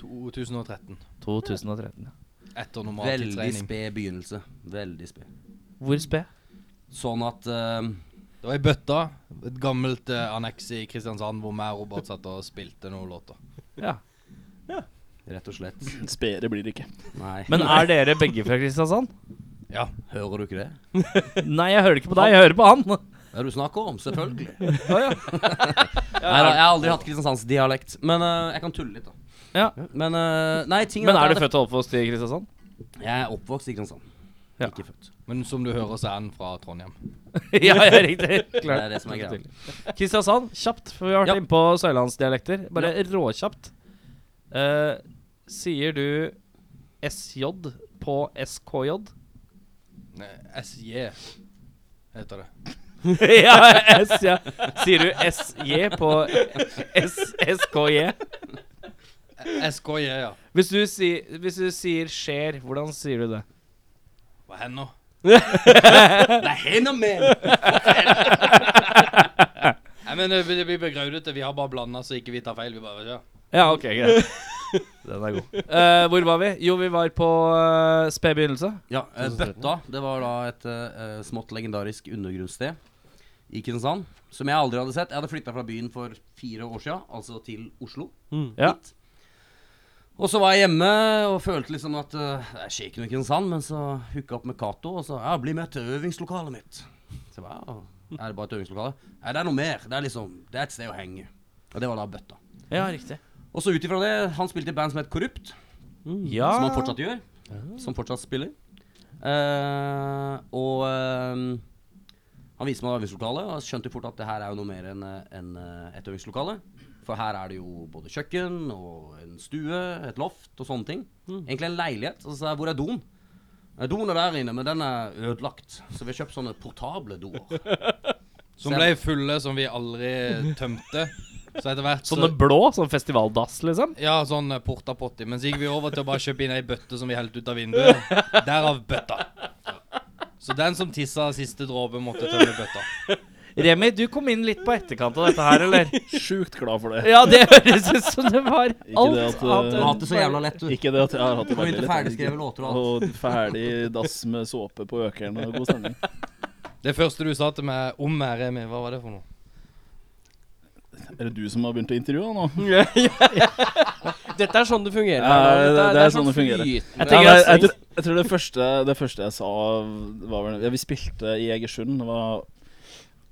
S4: 2013.
S3: 2013. ja.
S4: Etter normal
S5: Veldig
S4: tidstrening.
S5: sped begynnelse. Veldig sped.
S3: Hvor sped?
S5: Sånn at eh,
S4: Det var i Bøtta, et gammelt eh, anneks i Kristiansand, hvor meg og Robert satt og spilte noen låter.
S3: Ja.
S5: Rett og slett.
S6: Spedere blir det ikke.
S5: Nei.
S3: Men er dere begge fra Kristiansand?
S4: Ja.
S5: Hører du ikke det?
S3: Nei, jeg hører ikke på deg, jeg hører på han.
S5: Det er du snakker om, selvfølgelig. Nei,
S3: Å, ja.
S5: da, jeg har aldri hatt kristiansandsdialekt, men øh, jeg kan tulle litt, da.
S3: Ja.
S5: Men øh, nei, ting
S3: Men er
S5: at
S3: du født og oppvokst i Kristiansand?
S5: Jeg er oppvokst i Kristiansand.
S3: Ja.
S5: Ikke født.
S4: Men som du hører, så er han fra Trondheim.
S3: ja, ja, riktig.
S5: Det er det som er greia.
S3: Kristiansand, kjapt, for vi har vært
S5: Ja.
S3: inne på sørlandsdialekter. Bare råkjapt. Eh, sier du SJ på SKJ?
S4: Nei, SJ heter det.
S3: ja, S, ja. Sier du SJ på S SKJ?
S4: SKJ, ja.
S3: Hvis du, si, hvis du sier skjer, hvordan sier du det?
S4: Hva hender nå?
S5: Det er henne med!
S4: eh, Nei, men det, det blir begraudete. Vi har bare blanda så ikke vi tar feil. Vi bare ja.
S3: Ja, ok, greit. Den er god. Eh, hvor var vi? Jo, vi var på eh, sped begynnelse.
S5: Ja, eh, Bøtta det var da et eh, smått legendarisk undergrunnssted i Kristiansand. Som jeg aldri hadde sett. Jeg hadde flytta fra byen for fire år sia, altså til Oslo.
S2: Mm.
S3: Ja.
S5: Hit. Og så var jeg hjemme og følte liksom at eh, det skjer ikke noe i Kristiansand. Men så hooka jeg opp med Cato og så ja, 'Bli med til øvingslokalet mitt'. Så jeg bare, ja, Er det bare et øvingslokale? Nei, det er noe mer. Det er liksom, det er et sted å henge. Og det var da Bøtta.
S3: Ja, riktig.
S5: Og så ut ifra det, han spilte i band som het Korrupt.
S2: Mm.
S3: Ja.
S5: Som han fortsatt gjør. Som fortsatt spiller. Eh, og eh, han viste meg øvingslokalet, og jeg skjønte jo fort at det her er jo noe mer enn enn, eh, et øvingslokale. For her er det jo både kjøkken og en stue, et loft og sånne ting.
S4: Mm.
S5: Egentlig en leilighet. Og så sa jeg hvor er doen? «Nei, Doen er der inne, men den er ødelagt. Så vi har kjøpt sånne portable doer.
S4: Som ble fulle, som vi aldri tømte. Så etter hvert så
S3: Sånne blå? Sånn festivaldass, liksom?
S4: Ja, sånn eh, porta potti. Men så gikk vi over til å bare kjøpe inn ei bøtte som vi helte ut av vinduet. Derav bøtta. Så den som tissa siste dråpe, måtte tømme bøtta.
S3: Remi, du kom inn litt på etterkant av dette her, eller?
S6: Sjukt glad for det.
S3: Ja, det høres ut som det var
S6: det
S3: alt
S6: at, eh,
S3: annet
S5: Du har hatt
S3: enn
S5: det så jævla lett, du.
S6: Ikke det at jeg har hatt
S5: Og
S6: det veldig
S5: ikke
S6: lett, egentlig.
S5: ferdigskrevet låter og alt.
S6: Og ferdig dass med såpe på økeren og god stemning.
S4: Det første du sa til meg om meg, Remi, hva var det for noe?
S6: Er det du som har begynt å intervjue han nå?
S2: Dette er sånn det fungerer.
S6: Ja,
S2: Erlend.
S6: det-
S2: Dette
S6: det er sånn det fungerer.
S2: flytende-
S6: Ja,
S2: Ja, det er
S6: nei, jeg, tror- jeg tror det første, det første jeg sa var vel ja, Vi spilte i Egersund. Det var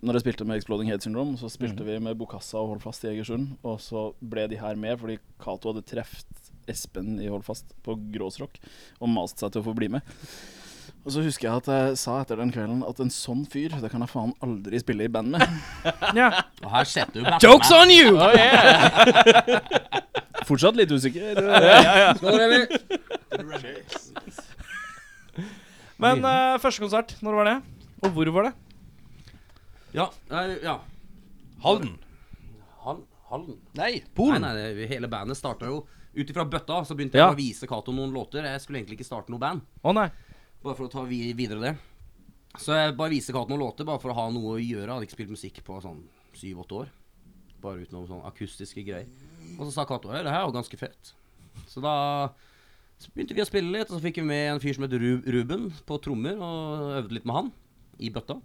S6: Når jeg spilte med Exploding Head Syndrome, så spilte vi med Bokassa og Holdfast i Egersund. Og så ble de her med fordi Cato hadde truffet Espen i Holdfast på Gråsrock og mast seg til å få bli med. Og så husker jeg at jeg sa etter den kvelden at en sånn fyr, det kan jeg faen aldri spille i band med.
S5: Og her setter du
S4: Jokes on you!
S3: Oh,
S6: Fortsatt litt usikker.
S5: Skål, Remi.
S3: Men eh, første konsert, når var det? Og hvor var det?
S5: Ja, nei, ja.
S4: Halden.
S5: Hal Halden?
S4: Nei,
S5: Nei,
S4: Polen.
S5: nei, det, hele bandet starta jo Ut ifra bøtta så begynte
S3: Ja.
S5: jeg å vise Cato noen låter. Jeg skulle egentlig ikke starte noe band.
S3: Å nei.
S5: Bare for å ta vi videre det. Så jeg bare viste Cato noen låter bare for å ha noe å gjøre. Jeg hadde ikke spilt musikk på sånn syv-åtte år. Bare utenom sånn akustiske greier. Og så sa Cato at det her er jo ganske fett. Så da så begynte vi å spille litt, og så fikk vi med en fyr som het Ru Ruben på trommer, og øvde litt med han i bøtta.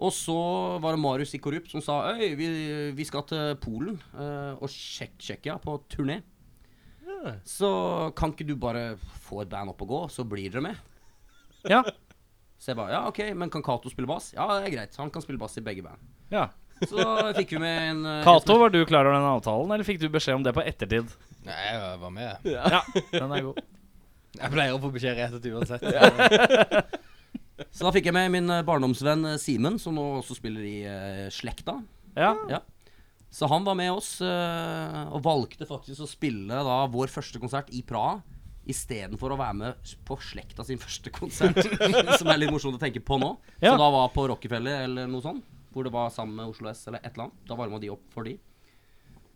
S5: Og så var det Marius i Korrupt som sa Øy, vi, vi skal til Polen eh, og Tsjek- Tsjekkia på turné. Så kan ikke du bare få et band opp og gå, så blir dere med?
S3: Ja.
S5: Så jeg bare ja, ok, men kan Cato spille bass? Ja, det er greit. Han kan spille bass i begge band.
S3: ja.
S5: Så fikk vi med en eh,
S3: Cato, var du klar over den avtalen, eller fikk du beskjed om det på ettertid?
S4: Nei, jeg var med.
S3: Ja, den er god.
S4: Jeg pleier å få beskjed rett etter uansett.
S5: en som- Så da fikk jeg med min eh, barndomsvenn eh, Simen, som nå også spiller i eh, Slekta.
S3: Ja.
S5: Så han var med oss eh, og valgte faktisk å spille da vår første konsert i Praha. Istedenfor å være med på slekta sin første konsert, som er litt morsomt å tenke på nå.
S3: Ja.
S5: Så da var på Rockefeller eller noe sånt, hvor det var sammen med Oslo S eller et eller annet. Da varma de opp for de.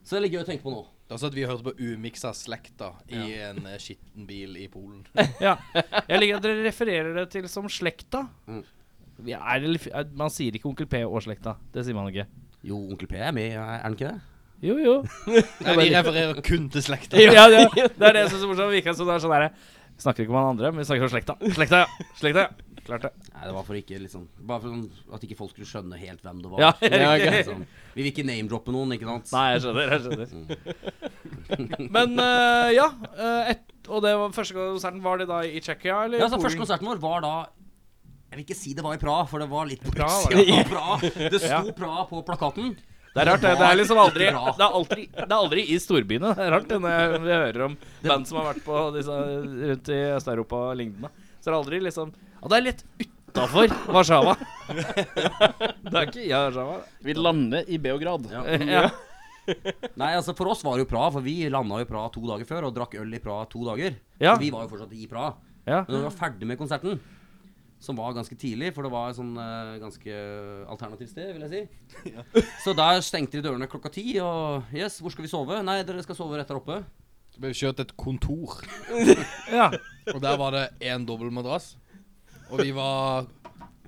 S5: Så det er litt gøy å tenke på nå.
S4: Det er også at vi hørte på umiksa slekta i en eh, skitten bil i Polen.
S3: ja. Jeg liker at dere refererer det til som slekta.
S5: Mm.
S3: Vi er, litt- er- man sier ikke Onkel P og slekta. Det sier man ikke.
S5: Jo, Onkel P er med, er han ikke det?
S3: Jo, jo.
S4: Nei, vi refererer kun til slekta.
S3: Ja, ja. Det er det jeg syns er morsomt. Det virker som det er sånn herre Vi snakker ikke om han andre, men vi snakker om slekta. Slekta, ja. Slekta, ja. Klart det.
S5: Nei, det var for ikke liksom Bare for sånn at ikke folk skulle skjønne helt hvem det var.
S3: Ja, riktig.
S5: Sånn, Vi vil ikke name-droppe noen, ikke sant?
S3: Nei, jeg skjønner. jeg skjønner
S5: Mm.
S3: Men eh, ja. eh, et, og det var første konserten. Var det da i Tsjekkia, eller?
S5: Ja, så
S3: Polen?
S5: Første konserten vår var da Jeg vil ikke si det var i Praha, for det var litt på
S3: Praha var
S5: utsida
S3: det.
S5: av Praha. Det sto
S3: Ja.
S5: Praha på plakaten.
S3: Det er rart, det. Det er liksom aldri
S5: Bra.
S3: Det er aldri, det er aldri i storbyene. Det er rart det når jeg, når jeg hører om band som har vært på disse rundt i Øst-Europa og lignende. Så er det aldri liksom Ja, det er litt utafor Warszawa. Det er ikke i Warszawa.
S6: Vi lander i Beograd.
S3: Ja.
S5: Nei, altså For oss var det jo Praha, for vi landa jo i Praha to dager før og drakk øl i Praha to dager.
S3: Ja.
S5: Så vi var jo fortsatt i Praha.
S3: ja.
S5: Men når vi var ferdig med konserten, som var ganske tidlig, for det var et sånn eh, ganske alternativt sted, vil jeg si. Så der stengte de dørene klokka ti, og yes, hvor skal vi sove? Nei, dere skal sove rett der oppe.
S4: Så ble vi kjørt til et kontor,
S3: ja.
S4: og der var det én dobbeltmadrass. Og vi var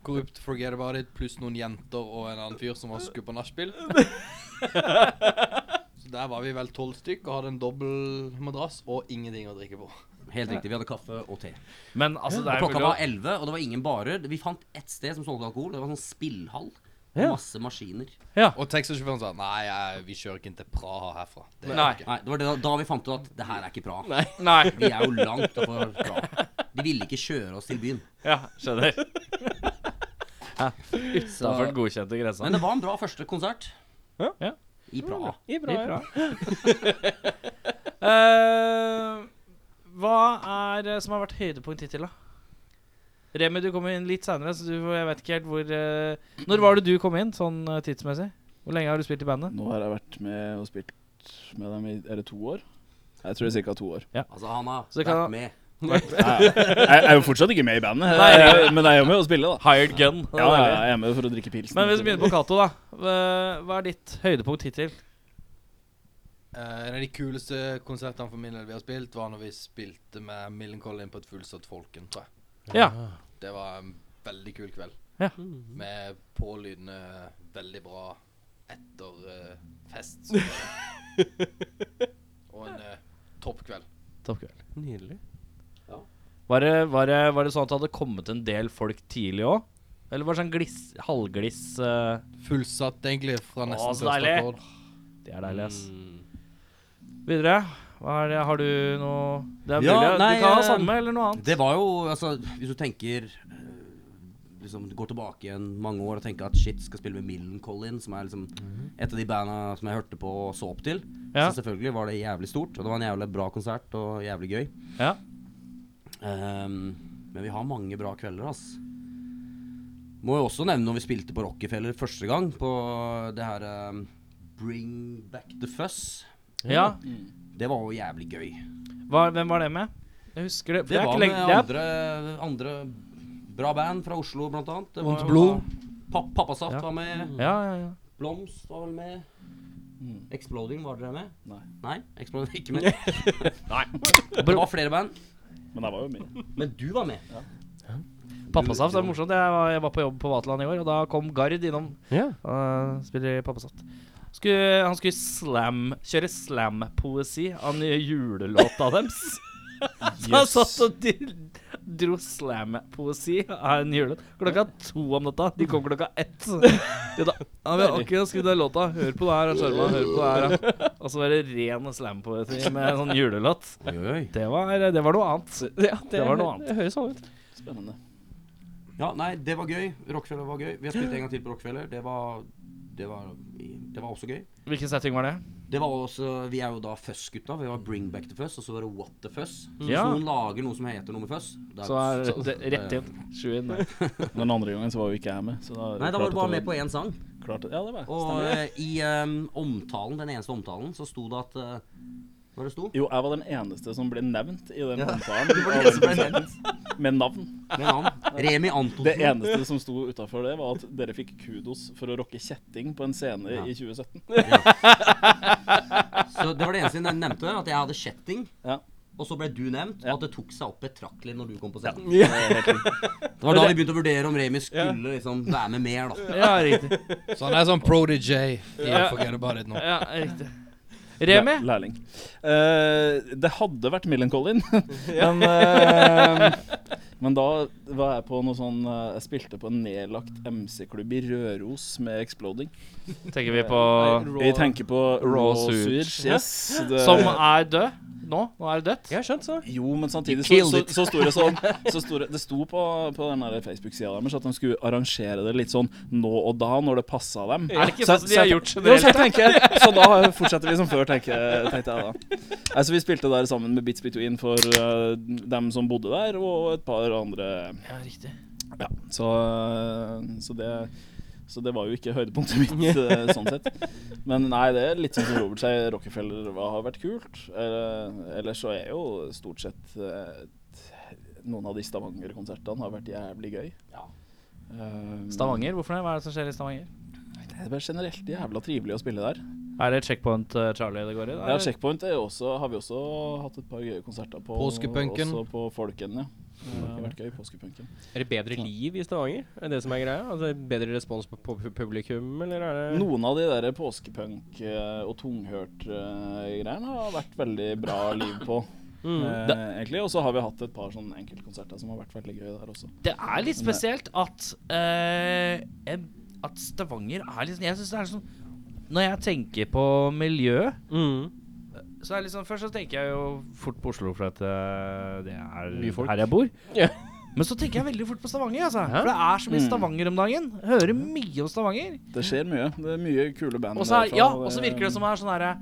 S4: korrupt forget about it, pluss noen jenter og en annen fyr som var skutt på nachspiel. Så Der var vi vel tolv stykk og hadde en dobbel madrass og ingenting å drikke på.
S5: Helt riktig. Vi hadde kaffe og te.
S3: Men altså, det er
S5: Og klokka
S3: mulig å-
S5: var 11, og det var ingen barer. Vi fant ett sted som solgte alkohol. Det var en sånn spillhall.
S2: Ja.
S5: Masse maskiner.
S4: Og taxisjåføren sa nei, jeg, vi kjører ikke til Praha herfra. Det
S3: Nei.
S5: Nei, Det var det, da vi fant ut at det her er ikke bra.
S3: Nei.
S5: Vi er jo langt oppe bra. De ville ikke kjøre oss til byen.
S3: Ja, skjønner.
S5: Så,
S3: Utafor den godkjente grensa.
S5: men det var en bra første konsert.
S2: Ja.
S3: Ja.
S5: I Praha.
S2: I bra, ja.
S3: Eh, hva er det som har vært høydepunkt hittil, da? Remi, du kom inn litt seinere, så du, jeg vet ikke helt hvor eh, Når var det du kom inn, sånn eh, tidsmessig? Hvor lenge har du spilt i bandet?
S6: Nå har jeg vært med og spilt med dem i Er det to år? Jeg tror det er ca. to år.
S5: Altså, han har
S3: Så kan-
S5: vært med.
S6: Jeg, jeg er jo fortsatt ikke med i bandet, jeg, men jeg er jo med å spille, da.
S3: Hired gun.
S6: Ja, ja, jeg er med for å drikke pilsen.
S3: Men hvis vi begynner på Cato, da. Hva- Hva er ditt høydepunkt hittil?
S4: Eh, en av de kuleste konsertene for min del vi har spilt, var når vi spilte med Millencolin på et fullsatt Folken, tror jeg.
S3: Ja.
S4: Det var en veldig kul kveld.
S3: Ja.
S4: Med pålydende veldig bra etter eh, fest. som det var. Og en eh, toppkveld.
S3: Toppkveld.
S2: Nydelig.
S3: Var det, var, det, var det sånn at det hadde kommet en del folk tidlig òg? Eller var det sånn gliss, halvgliss eh,
S4: Fullsatt, egentlig, fra
S3: Å,
S4: nesten
S3: så deilig.
S4: første akkord.
S3: Det er deilig, ass.
S2: Mm.
S3: Videre. Hva er det, har du noe Det er mulig.
S5: Ja, nei,
S3: du kan ha
S5: eh,
S3: samme eller noe annet.
S5: Det var jo Altså, hvis du tenker eh, Liksom Går tilbake igjen mange år og tenker at shit, skal spille med Millencolin, som er liksom et av de banda som jeg hørte på og så opp til.
S3: Mhm. Ja.
S5: Så selvfølgelig var det jævlig stort, og det var en jævlig bra konsert og jævlig gøy.
S3: Ja.
S5: Ehm, men vi har mange bra kvelder, ass. Må jo også nevne når vi spilte på Rockefeller første gang, på det her ehm, Bring Back The Fuss.
S3: ja.
S5: Det var jo jævlig gøy.
S3: Hva, hvem var det med? Jeg husker det. for
S5: Det
S3: er
S5: var
S3: ikke
S5: med
S3: lenge- det er-
S5: andre, andre bra band fra Oslo, blant annet. Det var
S2: Ondt
S5: jo
S2: blod.
S5: da- Papp, Pappasaft
S3: Ja.
S5: var med.
S3: Ja, ja, ja.
S5: Blomst var vel med. Exploding, var dere med?
S6: Nei.
S5: Nei, Exploding var ikke med. Det var flere band,
S6: Men jeg var jo med.
S5: men du var med.
S3: Pappasaft er morsomt. Jeg var, jeg var på jobb på Vaterland i år, og da kom Gard innom.
S2: Ja.
S3: Han eh, spiller i Pappasaft. Skulle, han skulle slam, kjøre slam-poesi av den nye julelåta deres. Så han satt og dil- dro slam-poesi av en julelåt klokka to om natta. De kom klokka ett. De da, ja, vi har akkurat skrevet den låta. Hør på det her, Sjarma. Hør på det her. ja. Og så var det ren slam-poesi med en sånn julelåt.
S5: Oi, oi.
S3: Det var, det var noe annet.
S2: Ja, det,
S3: Det var noe annet.
S2: Det høres sånn ut.
S6: Spennende.
S5: Ja, nei, det var gøy. Rockefeller var gøy. Vi har spilt en gang til på Rockefeller. Det var, det var, det var også gøy.
S3: Hvilken setting var det?
S5: Det var også, Vi er jo da Fuss-gutta. Vi var Bring Back the Fuss, og så var det What the Fuss. Så
S3: Ja.
S5: Hvis noen lager noe som heter noe med Fuss da-
S3: Så er det rett inn. Sju inn. der.
S6: Den andre gangen så var jo ikke jeg med. Så da
S5: Nei, da var
S6: klart
S5: du
S6: at
S5: bare med på én sang.
S6: klart at, Ja, det var jeg.
S5: Og
S6: Stemmer det.
S5: eh, i eh, omtalen, den eneste omtalen, så sto det at eh, Hva det sto?
S6: Jo, jeg var den eneste som ble nevnt i den
S5: var det som ble
S6: omtalen. av den- Med navn.
S5: Med navn. Remi Antonsen.
S6: Det eneste som sto utafor det, var at dere fikk kudos for å rocke kjetting på en scene
S5: Ja.
S6: i 2017.
S5: Så det var det eneste jeg nevnte, at jeg hadde kjetting.
S6: Ja.
S5: Og så ble du nevnt,
S6: Ja.
S5: og at det tok seg opp betraktelig når du kom på scenen.
S6: Det er helt riktig.
S5: Det var da vi begynte å vurdere om Remi skulle liksom være med mer, da.
S3: Ja, riktig.
S4: Så han er sånn protégé. Yeah, forget about it nå.
S3: Ja, riktig. Remi?
S6: Læ- Lærling. Eh, det hadde vært Millencolin, men, eh, men da var jeg på noe sånn eh, Jeg spilte på en nedlagt MC-klubb i Røros med Exploding.
S3: Tenker
S2: Eh,
S3: vi på
S6: Vi tenker på
S3: Raw
S6: Raw
S3: Sewage.
S6: Sewage. Yes. Det,
S3: Som er død? Nå? Nå er det dødt?
S2: Jeg har skjønt så.
S6: Jo, men samtidig så,
S3: You
S6: så,
S3: killed
S6: så sto det sånn så sto det, det sto på, på den der Facebook-sida deres at de skulle arrangere det litt sånn nå og da, når det passa dem.
S3: Er det ikke
S6: Så-
S3: sånn som
S6: så
S3: de har
S6: jeg-
S3: gjort
S6: Jo, så, jeg
S3: generelt?
S6: tenker, så da fortsetter vi som før, tenker, tenkte jeg da. Nei, så vi spilte der sammen med Bits Between for eh, dem som bodde der, og et par andre
S3: Ja, riktig.
S6: Ja, så, eh, så det så det var jo ikke høydepunktet mitt, eh, sånn sett. Men nei, det er litt sånn som Robert sier, Rockefeller hva har vært kult. Eh, Ellers så er jo stort sett eh, noen av de Stavanger-konsertene har vært jævlig gøy.
S5: Ja.
S6: Eh,
S3: Stavanger? Hvorfor det? Hva er det som skjer i Stavanger?
S6: Det er bare generelt jævla trivelig å spille der.
S3: Er det Checkpoint eh, Charlie det går i? da,
S6: Ja,
S3: eller?
S6: Checkpoint er jo også, har vi også hatt et par gøye konserter på.
S4: Påskepunken.
S6: Også på Folken, ja. Det har vært gøy, påskepunken.
S2: Er det bedre liv i Stavanger? Er det det som er greia? Altså, er det bedre respons på, på pu- publikum, eller er det
S6: Noen av de der påskepunk- eh, og tunghørt-greiene har vært veldig bra liv på.
S3: Mm.
S6: eh, egentlig, Og så har vi hatt et par sånne enkeltkonserter som har vært veldig gøy der også.
S3: Det er litt spesielt at eh, en- At Stavanger er liksom Jeg synes det er sånn Når jeg tenker på miljø
S2: Mm.
S3: Så er det liksom Først så tenker jeg jo fort på Oslo For at eh, det er
S2: Mye folk.
S3: her jeg bor
S2: Ja.
S3: Men så tenker jeg veldig fort på Stavanger altså.
S2: Hæ?
S3: For det er så mye
S6: Mm.
S3: Stavanger om dagen Hører mye om Stavanger
S6: Det skjer mye. Det er mye kule
S3: Og
S6: band.
S3: så er-
S6: derfra,
S3: ja,
S6: det-
S3: og så virker det som det er sånn herre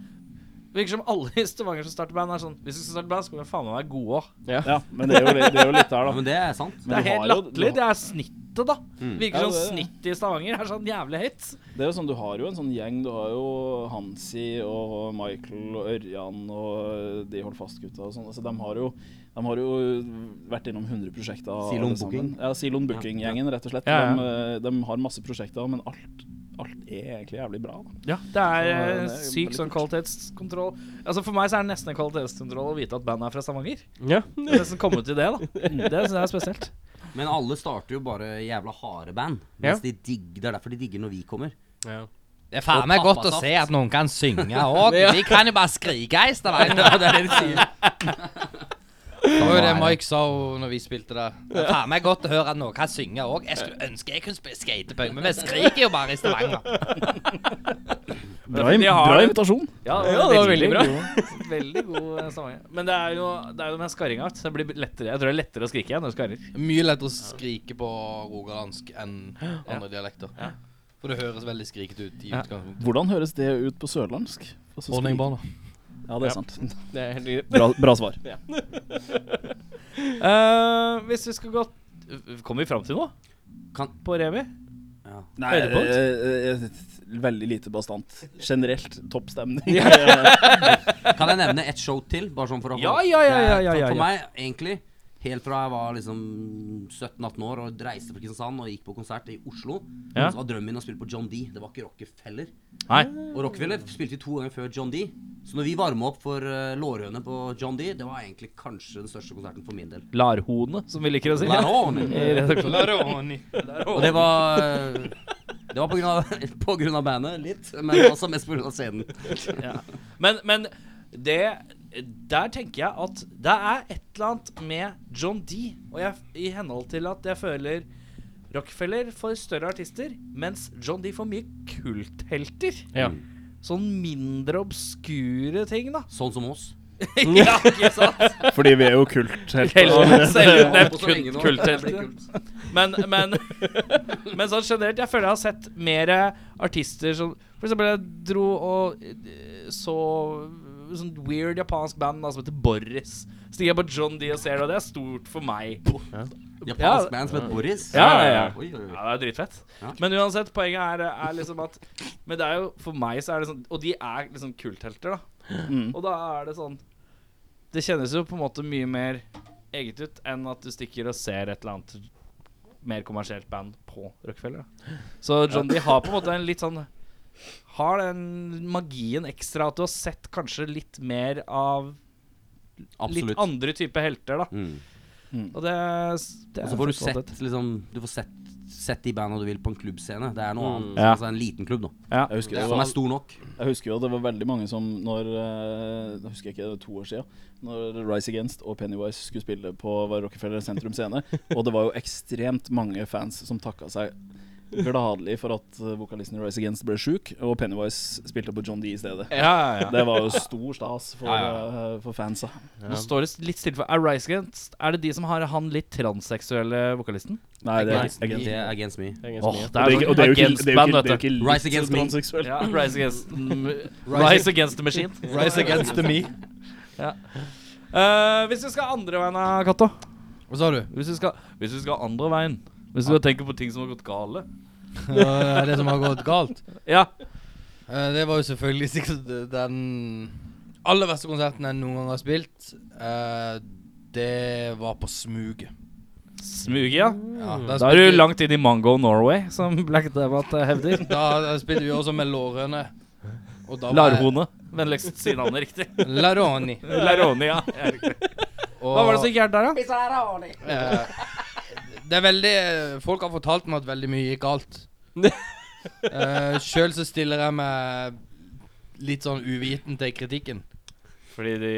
S3: Virker som alle i Stavanger som starter band er sånn Hvis du skal starte band så skal vi faen meg være gode også
S6: Ja, men det er jo, litt- det er jo litt der, da.
S5: Men det er sant.
S3: Det
S6: Men
S3: er
S6: du har
S3: helt
S6: jo-
S3: latterlig.
S6: du
S3: Det er snittet, da. Virker
S6: Ja,
S3: som
S6: det er det.
S3: snittet i Stavanger er sånn jævlig høyt.
S6: Det er jo sånn, Du har jo en sånn gjeng. Du har jo Hansi og Michael og Ørjan og eh, de Hold Fast-gutta og sånn. Altså, de, har jo- de har jo vært innom 100 prosjekter. alle
S5: Silon
S6: sammen.
S5: Booking.
S6: Ja, Silon Booking-gjengen, rett og slett.
S3: Ja, ja.
S6: De, eh, de har masse prosjekter, men alt, alt er egentlig jævlig bra. Da.
S3: Det er
S6: Ja,
S3: eh,
S6: det er jo
S3: syk
S6: veldig
S3: sånn
S6: kult.
S3: kvalitetskontroll. Altså For meg så er det nesten en kvalitetskontroll å vite at bandet er fra Stavanger.
S2: Ja.
S3: Det er nesten kommet til det, da. Det synes jeg er spesielt.
S5: Men alle starter jo bare jævla harde band.
S2: Ja.
S5: Mens de digg, det er derfor de digger når vi kommer.
S2: ja.
S4: Det er faen meg
S5: Og
S4: godt å
S5: pappasaft.
S4: se at noen kan synge òg. De kan jo bare skrike i Stavanger.
S5: Ja, det er det de sier.
S4: Det var jo det Mike sa når vi spilte der. Det er faen meg godt å høre at noen kan synge òg. Jeg skulle ønske jeg kunne spille skatepunk, men vi skriker jo bare i Stavanger.
S6: Bra,
S3: de har
S6: bra
S3: det.
S6: invitasjon.
S3: Ja,
S2: Ja, det var veldig bra.
S3: Veldig god eh, Stavanger. Men det er jo det er jo med skarringa. vet du. Det blir lettere Jeg tror det er lettere å skrike igjen når du skarrer.
S4: Mye lettere å skrike på rogalandsk enn andre dialekter. For det høres veldig skrikete ut i
S3: Ja.
S4: utgangspunktet.
S6: Hvordan høres det ut på sørlandsk? Altså, skrik- Ja, det er sant.
S2: Det er helt riktig.
S6: Bra, bra svar.
S3: Eh, hvis vi skal gå Kommer vi fram til noe?
S5: Kan-
S3: På Remi?
S5: Ja.
S6: Nei,
S3: Høydepunkt?
S6: eh, eh, eh, veldig lite bastant. Generelt topp stemning.
S5: Kan jeg nevne et show til? Bare sånn for å
S3: Ja, ja, ja, ja, ja,
S5: Det er-
S3: ja,
S5: For
S3: ja.
S5: meg, egentlig, helt fra jeg var liksom 17-18 år og reiste fra Kristiansand og gikk på konsert i Oslo,
S3: Ja.
S5: så var drømmen min å spille på John D. Det var ikke Rockefeller.
S3: Nei.
S5: Og Rockefeller spilte vi to ganger før John D. Så når vi varma opp for eh, Lårhøne på John D, det var egentlig kanskje den største konserten for min del.
S3: Larhone, som vi liker å si.
S5: Lærhånd.
S3: I redaksjonen.
S5: Og det var eh, Det var på grunn av, på grunn av bandet, litt, men også mest på grunn av scenen.
S3: Men, men det Der tenker jeg at det er et eller annet med John D. Og jeg, i henhold til at jeg føler Rockefeller får større artister, mens John D får mye kulthelter.
S2: Ja.
S3: Sånn mindre obskure ting, da.
S5: Sånn som oss.
S3: ja, ikke sant?
S6: Fordi vi er jo kult helt
S3: Helter,
S5: Holdt
S3: selvutnevnt
S5: på så lenge nå.
S3: kult- kulthelter. Men, men, men sånn generelt, jeg føler jeg har sett mer artister som For eksempel, jeg dro og eh, så sånn weird japansk band da, som heter Boris. Stiger jeg på John D og ser det, og det er stort for meg. Ja.
S5: Japansk band som het Boris.
S3: Ja, ja, ja.
S5: Oi, oi, oi.
S3: Ja, det er dritfett.
S5: Ja.
S3: Men uansett, poenget er, er liksom at Men det er jo for meg så er det sånn Og de er liksom kulthelter, da.
S6: Mm.
S3: Og da er det sånn Det kjennes jo på en måte mye mer eget ut enn at du stikker og ser et eller annet mer kommersielt band på Rockefeller. Da. Så John D har på en måte en litt sånn Har den magien ekstra at du har sett kanskje litt mer av litt
S5: Absolutt.
S3: andre typer helter, da.
S5: Mm.
S3: Og det, det er
S5: Og så får du
S3: fett å ha
S5: sett, liksom, du får sett, sett de bandene du vil på en klubbscene. Det er noe annet.
S3: Mm. Ja.
S5: Altså en liten klubb, da.
S6: Jeg husker, det
S5: Som
S6: var,
S5: er stor nok.
S6: jeg husker jo at det var veldig mange som når eh, Jeg husker ikke, det var to år siden. Når Rise Against og Pennywise skulle spille på var Rockefeller Sentrum Scene. Og det var jo ekstremt mange fans som takka seg gladelig for at eh, vokalisten i Rise Against ble sjuk, og Pennywise spilte på John D i stedet.
S3: Ja, ja, ja.
S6: Det var jo stor stas for, eh, for fansa.
S3: Nå står det litt stille for Er Rise Against Er det de som har han litt transseksuelle vokalisten?
S6: Nei, det er
S5: Against, det er against me.
S2: Det er ganske
S3: Åh,
S2: mye.
S3: det er sånn
S6: Og det er jo ikke, det er jo ikke, det er jo ikke, det er jo
S3: vet du.
S6: ikke litt
S5: Rise Against Me.
S6: transseksuelt.
S3: Ja, Rise Against Rise
S4: Rise
S3: Against the Machine.
S4: Rise against the me.
S3: Eh, hvis vi skal andre veien, da, Cato
S4: Hva sa du?
S3: hvis, vi skal- hvis vi skal andre veien Hvis du tenker på ting som har gått gale
S4: Det som har gått galt?
S3: Ja.
S4: Eh, det var jo selvfølgelig sikkert den aller verste konserten jeg noen gang har spilt. Eh, det var på smuget.
S3: Smuget, ja.
S4: Ja,
S3: Mm. Da er du langt inn i Mango Norway, som Black Debatt eh, hevder.
S4: Da, da spilte vi også med lårhøne. Og da var jeg-
S3: Larhone. Vennligst si navnet riktig.
S4: Laroni.
S3: Laroni, ja. Ja, riktig.
S4: Og,
S3: Hva var det som gikk gærent der, da?
S4: eh, det er veldig Folk har fortalt meg at veldig mye gikk galt.
S6: Eh,
S4: uh, Sjøl så stiller jeg meg litt sånn uviten til kritikken.
S3: Fordi du,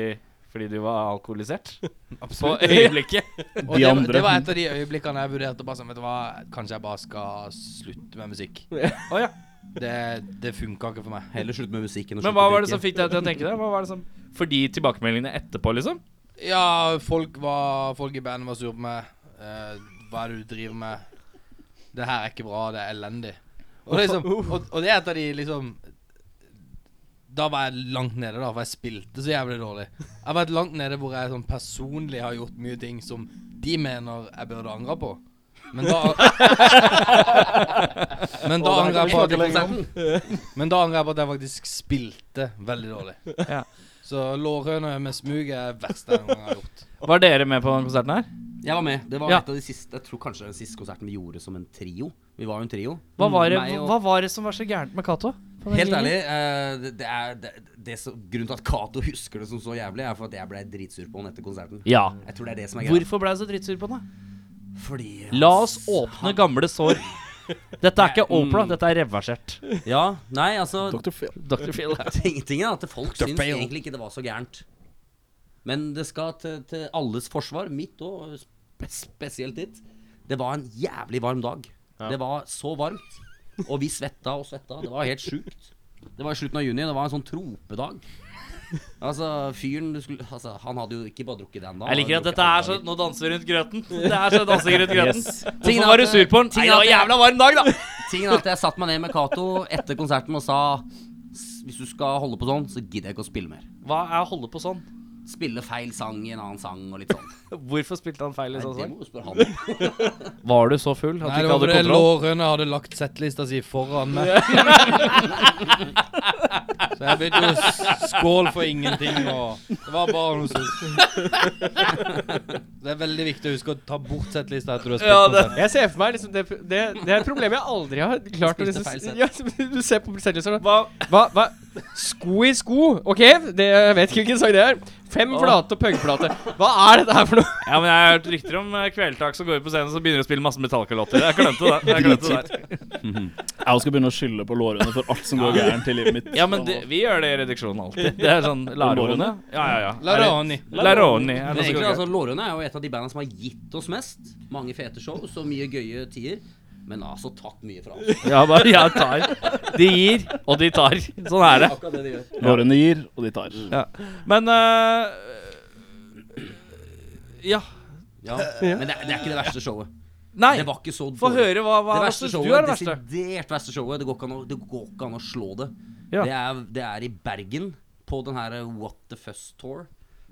S3: fordi du var alkoholisert? På
S4: Absolutt.
S3: øyeblikket.
S4: Og
S6: De
S4: det,
S6: andre.
S4: det var et av de øyeblikkene jeg vurderte bare sånn, vet du hva, kanskje jeg bare skal slutte med musikk.
S3: Å, ja.
S4: Det, det funka ikke for meg.
S5: Heller slutt med musikken. og
S3: Men
S5: slutt
S3: hva
S5: å
S3: var det
S5: drikke.
S3: som fikk deg til å tenke det? Hva var det som Fordi tilbakemeldingene etterpå, liksom?
S4: Ja, folk, var, folk i bandet var sure på meg. Eh, hva er det du driver med? Det her er ikke bra, det er elendig. Og det, er liksom, og, og det er et av de liksom Da var jeg langt nede, da, for jeg spilte så jævlig dårlig. Jeg har vært langt nede hvor jeg sånn personlig har gjort mye ting som de mener jeg burde angra på. Men da Men da angrer jeg på at Men da angrer jeg på at jeg faktisk spilte veldig dårlig.
S3: Ja.
S4: Så lårhøne med smug er det verste jeg noen gang har gjort.
S3: Var dere med på den konserten her?
S5: Jeg var med. Det var
S3: Ja.
S5: et av de siste Jeg tror kanskje den siste konserten vi gjorde som en trio. Vi var jo en trio.
S3: Hva var det,
S5: Meg og-
S3: hva var det som var så gærent med Cato? på den
S5: Helt
S3: gjengen?
S5: ærlig, eh, det, det er det, det som, Grunnen til at Cato husker det som så jævlig, er for at jeg ble dritsur på han etter konserten.
S3: Ja.
S5: Jeg tror det er det som er greia.
S3: Hvorfor ble jeg så drittsur på den? da?
S5: Fordi
S3: La oss åpne gamle sår. Dette er ikke Opera, dette er reversert.
S5: Ja, nei, altså
S6: Dr. Phil.
S3: Dr. Phil.
S5: ting- Tingen er at folk
S4: Dr.
S5: syns
S4: Phil.
S5: egentlig ikke det var så gærent. Men det skal til, til alles forsvar, mitt og spe spesielt ditt. Det var en jævlig varm dag. Det var så varmt. Og vi svetta og svetta. Det var helt sjukt. Det var i slutten av juni. Det var en sånn tropedag. Altså, fyren du skulle Altså, han hadde jo ikke bare drukket den da.
S3: Jeg liker at
S5: han hadde
S3: dette er så
S5: drukket alle
S3: Nå danser vi rundt grøten. Det er så dansing rundt grøten.
S5: Tingen
S3: Hvorfor
S5: er
S3: var du
S5: at-
S3: sur på den? Nei, det
S5: tingen er
S3: var
S5: at-
S3: jævla varm dag, da!
S5: dager. Tingen er at jeg satte meg ned med Cato etter konserten og sa "S- Hvis du skal holde på sånn, så gidder jeg ikke å spille mer.
S3: Hva er å holde på sånn?
S5: Spille feil sang i en annen sang og litt sånn.
S3: Hvorfor spilte han feil i
S5: Nei,
S3: sånn
S5: det
S3: sang?
S5: må du spørre han om.
S3: Var du så full at du
S4: Nei, det
S3: ikke
S4: var
S3: hadde
S4: fordi
S3: kontroll?
S4: lårhøne hadde lagt settlista si foran meg. Så jeg begynte jo s- skål for ingenting. Og det var bare noe sånt. Det er veldig viktig å huske å ta bort settlista etter du har spilt.
S3: Ja,
S4: konsert.
S2: Jeg ser for meg liksom, det, det, det er et problem jeg aldri har klart å
S5: Spilte
S2: liksom,
S5: feil sett.
S2: ja, Du ser på settlista hva, hva, hva? Sko i sko? OK, det, jeg vet ikke hvilken sang det er. Fem flate og punkplate. Hva er dette her for noe?
S3: Ja, men Jeg har hørt rykter om eh, Kvelertak som går ut på scenen og så begynner de å spille masse Metallica-låter. Jeg glemte det. Jeg glemte det. der.
S6: Jeg skal begynne å skylde på lårene for alt som går gærent i livet mitt.
S3: Ja, men det, vi gjør det i reduksjonen alltid. Det er sånn Larone. Ja, ja, ja.
S4: La det an i.
S3: Larone. Er det,
S5: Men egentlig,
S3: det,
S5: altså, Lårhøne er jo et av de bandene som har gitt oss mest. Mange fete show, så mye gøye tider. Men altså tatt mye fra oss.
S3: Ja, bare ja, tar. De gir, og de tar. Sånn er det.
S5: Akkurat det de gjør.
S6: Lårene gir, og de tar.
S3: Men eh, Ja.
S5: Ja. Men det, er- det er ikke det verste showet.
S3: Nei,
S5: Det var ikke så
S3: få
S5: dårlig.
S3: høre hva, hva
S5: Det
S3: hva
S5: verste
S3: synes du er
S5: showet,
S3: det verste.
S5: desidert verste showet, det går ikke an å, det går ikke an å slå det.
S3: Ja.
S5: Det, er, det er i Bergen, på den her eh, What the Fuss Tour.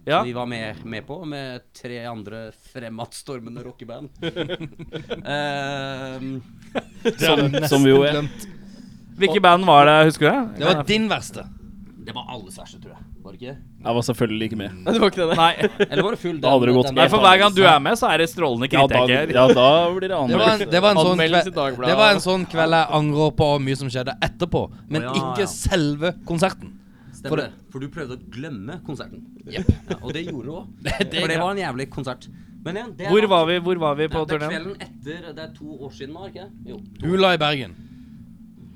S3: Ja.
S5: Som vi var med, med på, med tre andre fremadstormende rockeband. Eh, Ehm,
S6: Som, som vi jo er.
S3: Hvilke band var det, husker du?
S4: Det var din verste.
S5: det var alles verste, tror jeg. Var det ikke det?
S6: Jeg var selvfølgelig ikke med.
S2: Det var ikke det,
S3: Nei.
S5: Eller var det full?
S6: Da hadde det gått
S3: Nei, for hver gang du er med, så er det strålende
S6: Ja, da,
S3: kritiker.
S6: ja, da blir det
S4: Det var, en,
S6: annerledes.
S4: det, var en sånn
S2: Anmeldelse i
S4: kveld,
S2: Dagbladet.
S4: det var en sånn kveld jeg angrer på mye som skjedde etterpå, men
S5: Å, ja, ja.
S4: ikke selve konserten.
S5: Stemmer
S4: For
S5: det.
S4: det-
S5: For du prøvde å glemme konserten.
S4: Jepp.
S5: Ja, og det gjorde du òg. For det var en jævlig konsert. Men igjen, det
S3: Hvor var vi, hvor var vi på
S5: det er
S3: turneen?
S5: kvelden etter Det er to år siden nå, er det ikke det? Jo.
S4: Hula i Bergen.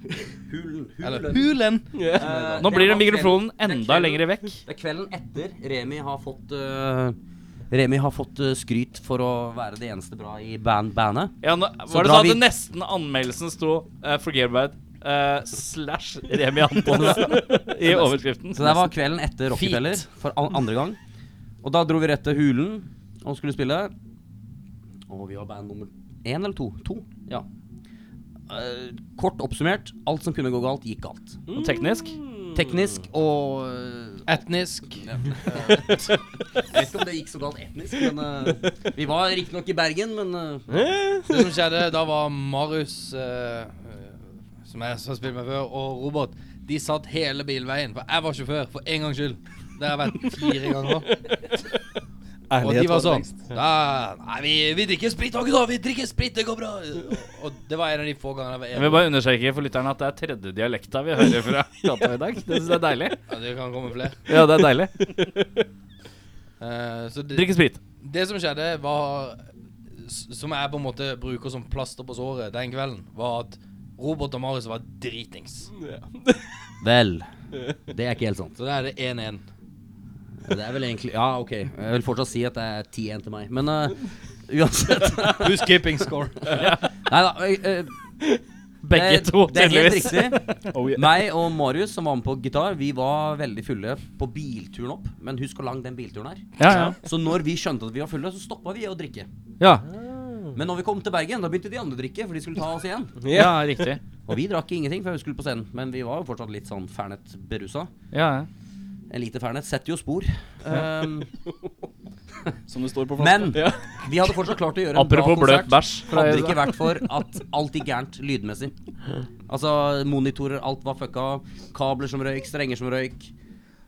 S5: Hulen. hulen.
S4: Eller Hulen.
S5: Eh,
S3: Nå blir
S5: det
S3: det
S5: var
S3: mikrofonen
S5: kvelden- det er
S3: enda
S5: kvelden-
S3: lenger vekk.
S5: Det er kvelden etter Remi har fått eh, Remi har fått eh, skryt for å være det eneste bra i band bandet.
S3: Ja, nå,
S5: Så
S3: var det
S5: drar
S3: sånn at
S5: vi-
S3: nesten anmeldelsen sto uh, 'Forget about eh, slash Remi Antonsen i overskriften.
S5: Så det var kvelden etter Rockefeller for an andre gang. Og da dro vi rett til Hulen og skulle spille. Og vi var band nummer én eller to? To, ja. Eh, kort oppsummert, alt som kunne gå galt, gikk galt.
S3: Og teknisk.
S2: Mm.
S5: Teknisk og eh,
S4: Etnisk.
S5: Jeg vet ikke om det gikk så galt etnisk, men eh, Vi var riktignok i Bergen, men eh,
S4: Det som skjedde, da var Marius, eh, eh, som jeg har spilt med før, og Robert De satt hele bilveien, for jeg var sjåfør, for en gangs skyld. Det har jeg vært fire ganger. Og de var sånn da, Nei, vi, vi drikker sprit, dere, da. Vi drikker sprit, det går bra. Og det var en av de få gangene jeg var
S3: Jeg vil
S4: enig.
S3: bare understreke for lytterne at det er tredje dialekta vi hører fra Cato i dag. Det syns jeg er deilig.
S4: Ja, det kan komme flere.
S3: Ja, det er deilig.
S4: Eh, Eh, så det,
S3: Drikke sprit.
S4: det som skjedde, var s- Som jeg på en måte bruker som plaster på såret den kvelden, var at Robert og Marius var dritings.
S5: Vel. Det er ikke helt sant.
S4: Så da er det 1-1.
S5: Det er vel egentlig Ja, OK. Jeg vil fortsatt si at det er 10-1 til meg. Men eh, uansett.
S4: Who's keeping score?
S5: Nei da. eh, eh,
S3: Begge
S5: det-
S3: to,
S5: Det er helt
S3: tydeligvis.
S5: riktig.
S6: Oh, yeah.
S5: Meg og Marius, som var med på gitar, vi var veldig fulle på bilturen opp. Men husk hvor lang den bilturen er.
S3: Ja, ja.
S5: Så når vi skjønte at vi var fulle, så stoppa vi å drikke.
S3: Ja,
S5: Men når vi kom til Bergen, da begynte de andre å drikke, for de skulle ta oss igjen.
S3: ja riktig.
S5: Og vi drakk ingenting før vi skulle på scenen, men vi var jo fortsatt litt sånn fernet berusa.
S3: Ja, ja.
S5: En liter fernet setter jo spor. Um,
S6: Som det står på flaska.
S5: men vi hadde fortsatt klart å gjøre en bra
S3: Apropos bløt
S5: konsert.
S3: bæsj. fra-
S5: Hadde det ikke vært for at alt gikk gærent lydmessig. Altså, monitorer, alt var fucka. Kabler som røyk, strenger som røyk.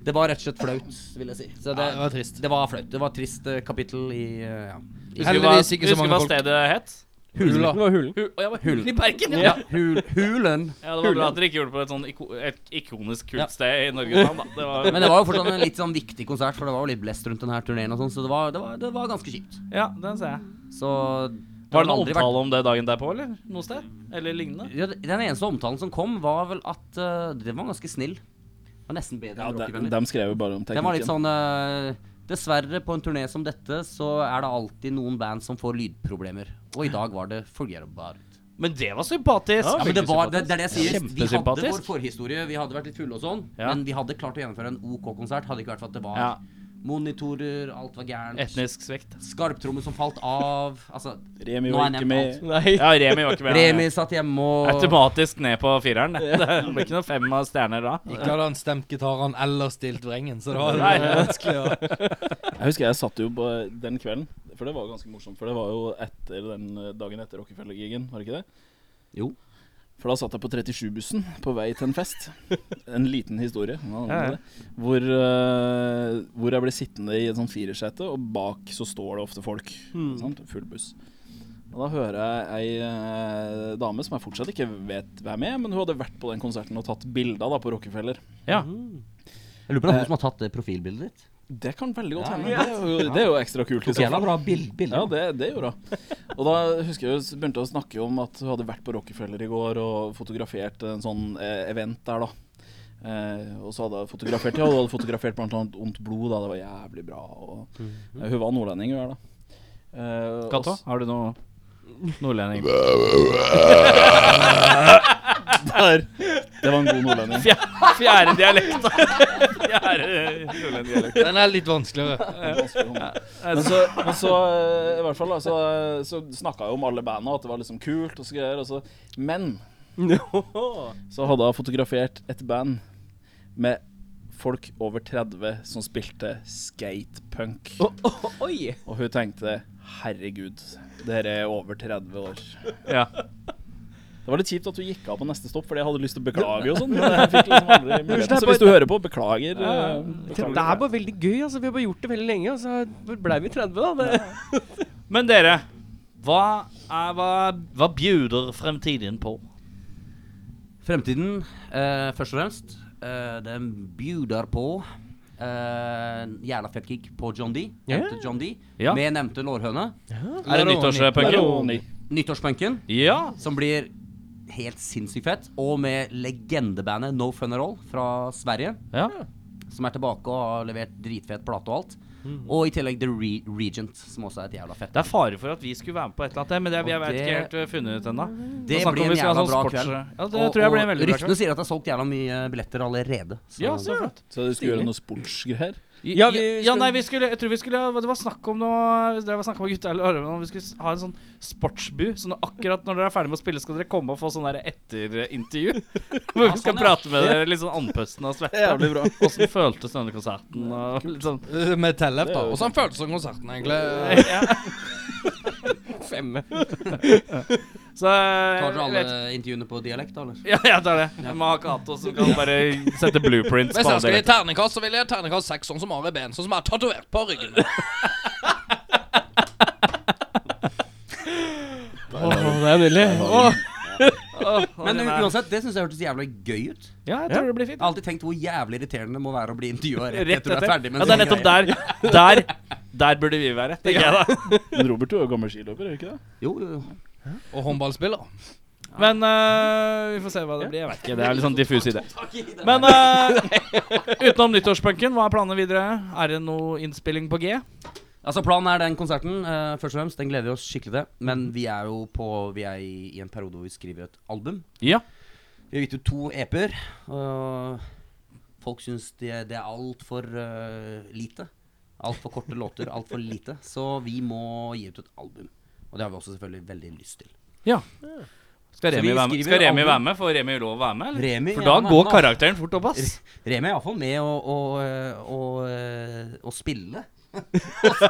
S5: Det var rett og slett flaut, vil jeg si. Så det,
S4: Ja, det var trist.
S5: det var flaut. Det var et trist eh, kapittel i eh, ja.
S3: Husker du hva-
S4: Heldigvis ikke
S3: Husker du
S4: så mange
S3: hva
S4: folk.
S3: stedet het?
S2: Hula. Det var hulen.
S3: Hu å, ja, var
S5: Hulen.
S3: Hulen i Bergen, ja.
S5: ja. Hul, hulen.
S3: Ja, det var bra at dere ikke gjorde det på et sånn iko et ikonisk kult
S5: Ja.
S3: sted i Norges land, da. Det var,
S5: Men det var jo fortsatt en litt sånn viktig konsert, for det var jo litt blest rundt den her turneen og sånn, så det var, det, var, det var ganske kjipt.
S3: ja, den ser jeg.
S5: Så
S3: Var det
S5: har
S3: noen
S5: aldri vært-
S3: omtale om det dagen derpå, eller? Noe sted? Eller lignende?
S5: Ja, den eneste omtalen som kom, var vel at eh, den var ganske snill. Det var nesten bedre
S6: Ja,
S5: enn
S6: de,
S5: Rockefeller.
S6: de skrev jo bare om teknikken.
S5: Den var litt sånn eh, Dessverre, på en turné som dette, så er det alltid noen band som får lydproblemer. Og i dag var det forgerbart.
S3: Men det var sympatisk.
S5: Ja, men det, var, det, det er det jeg sier. Vi hadde vår
S3: Kjempesympatisk.
S5: forhistorie, vi hadde vært litt fulle og sånn,
S3: Ja.
S5: men vi hadde klart å gjennomføre en OK konsert. Hadde ikke vært for at det var
S3: Ja.
S5: monitorer, alt var gærent,
S3: Etnisk svekt.
S5: skarptrommer som falt av Altså,
S6: Remi
S5: Nå
S6: var
S5: er
S6: ikke
S5: nevnt
S6: med.
S2: Nei.
S3: Ja, Remi var ikke med.
S5: Remi satt hjemme og
S3: Automatisk ned på fireren. Det Det blir ikke noe fem av stjerner da.
S4: Ikke hadde han stemt gitaren eller stilt vrengen, så det var
S3: Nei.
S4: vanskelig å
S6: Jeg husker jeg satt jo på den kvelden, for det var jo ganske morsomt. For det var jo etter den eh, dagen etter Rockefeller-gigen, var det ikke det?
S5: Jo.
S6: For da satt jeg på 37-bussen på vei til en fest. En liten historie. nå
S3: Ja, ja.
S6: handler det. Hvor, eh, hvor jeg ble sittende i en sånn firersete, og bak så står det ofte folk.
S5: Hmm.
S6: Sant? Full buss. Og da hører jeg ei eh, dame som jeg fortsatt ikke vet hvem er, men hun hadde vært på den konserten og tatt bilder da, på Rockefeller.
S3: Ja.
S5: Jeg lurer på om det er hun som har tatt det profilbildet ditt.
S6: Det kan veldig godt
S5: Ja,
S6: hende. Det er jo, det er jo ekstra kult.
S5: Tok
S6: liksom. i så fall.
S5: jævla bra bild, bilder.
S6: Ja, det, det gjorde hun. Og da husker jeg hun begynte å snakke om at hun hadde vært på Rockefeller i går og fotografert en sånn eh, event der, da. Eh, og så hadde hun fotografert ja, hun hadde fotografert blant annet Ondt blod, da. Det var jævlig bra. Og, eh, hun var nordlending, hun her, da. Eh, og
S3: Katta,
S6: s-
S3: har du noe nordlending?
S6: Der. Det var en god nordlending.
S3: Fjerde dialekt, da. Fjerde nordlendingdialekt.
S4: Den er litt vanskeligere.
S6: Men så, men så eh, i hvert fall da, så, så snakka hun om alle banda, at det var liksom kult og så greier. Og så. Men så hadde hun fotografert et band med folk over 30 som spilte skatepunk.
S2: Oi!
S6: Og hun tenkte herregud, dere er over 30 år.
S3: Ja.
S6: Det var litt kjipt at hun gikk av på neste stopp, fordi jeg hadde lyst til å beklage og sånn. men jeg fikk liksom aldri muligheten. Så hvis du hører på, beklager. eh,
S2: Det er
S6: beklager.
S2: bare veldig gøy. altså Vi har bare gjort det veldig lenge, og så blei vi 30, da. Det.
S3: Men dere, hva, er, hva, hva bjuder fremtiden på?
S5: Fremtiden, eh, først og fremst, eh, den bjuder på eh, en jævla fett gig på John D. Nevnte John D.
S3: Ja.
S5: Med nevnte lårhøne.
S3: Er det nyttårspunken?
S6: Baroni.
S5: Nyttårspunken,
S3: Ja.
S5: som blir helt sinnssykt fett. Og med legendebandet No Fun At All fra Sverige,
S3: ja.
S5: som er tilbake og har levert dritfet plate og alt.
S3: Hmm.
S5: Og i tillegg The Re Regent, som også er et jævla fett.
S3: Det er fare for at vi skulle være med på et eller annet, men det, jeg
S5: Og
S3: vet
S5: det-
S3: ikke helt uh, funnet ut ennå.
S5: Det
S3: Da snakker vi
S5: blir
S3: om
S5: en
S3: vi skal ha sånn
S5: jævla bra
S3: sports-
S5: kveld.
S3: Ja, det tror jeg blir en veldig bra
S5: ryktene
S3: kveld.
S5: sier at det er solgt jævla mye billetter allerede. så-
S3: Ja, så flott.
S6: Så du skulle gjøre noe sportsgreier?
S3: Ja,
S2: vi
S3: ja,
S2: skulle-
S3: nei, vi skulle Jeg tror vi skulle Det var snakk om noe Det var snakk om gutta eller Arve, om Vi skulle ha en sånn sportsbu. Sånn at akkurat når dere er ferdig med å spille, skal dere komme og få sånn der etterintervju. Hvor vi skal
S5: sånn, ja.
S3: prate med dere litt sånn andpusten og svette.
S6: Jævlig bra.
S3: Åssen føltes denne konserten? Og litt sånn
S4: Med tellef,
S6: Det
S4: da.
S6: er jo
S4: Og sånn føltes som konserten, egentlig.
S3: ja.
S2: Fem.
S3: Så eh,
S5: Tar dere
S3: jeg vet,
S5: alle intervjuene på dialekt, da, eller?
S3: ja, jeg tar det. Jeg må ha Cato som kan bare sette blueprints
S4: Hvis
S3: på
S4: jeg skulle
S3: alle.
S4: gi terningkast, så ville jeg terningkast seks, sånn som Ari Behn. Sånn som jeg er tatovert på ryggen.
S2: Åh, det er nydelig. Åh.
S5: Men uansett, det syns jeg hørtes jævlig gøy ut.
S3: Ja, jeg tror det blir
S5: Jeg
S3: fint.
S5: har alltid tenkt hvor jævlig irriterende det må være å bli intervjua rett,
S3: Rett
S5: etter du er
S3: etter.
S5: ferdig med
S3: Ja, det er nettopp der. Der Der burde vi være, tenker jeg da.
S6: Men Robert du er jo gammel skiløper, er du ikke det?
S5: Jo, jo, jo.
S4: Og håndballspiller.
S3: Men eh, vi får se hva det blir. Jeg vet ikke. Det er litt sånn diffus idé.
S5: Men,
S3: Men eh, utenom nyttårspunken, hva er planene videre? Er det noe innspilling på G?
S5: altså Planen er den konserten. eh, først og fremst, Den gleder vi oss skikkelig til.
S3: Mhm.
S5: Men vi er jo på Vi er i, i en periode hvor vi skriver et album.
S3: Ja.
S5: Vi har gitt ut to EP-er. Og folk syns det, det er altfor uh, lite. Altfor korte låter, altfor lite. Så vi må gi ut et album. Og det har vi også selvfølgelig veldig lyst til.
S3: Skal
S5: Så
S3: Remi,
S5: vi
S3: være med?
S5: skriver
S3: Skal Remi
S5: album.
S3: være med? Får Remi lov å være med? Eller?
S5: Remi,
S3: For
S5: ja,
S3: da
S5: han er
S3: går
S5: med,
S3: karakteren fort opp, ass.
S5: Remi er iallfall med å, å, eh, å, eh, å spille.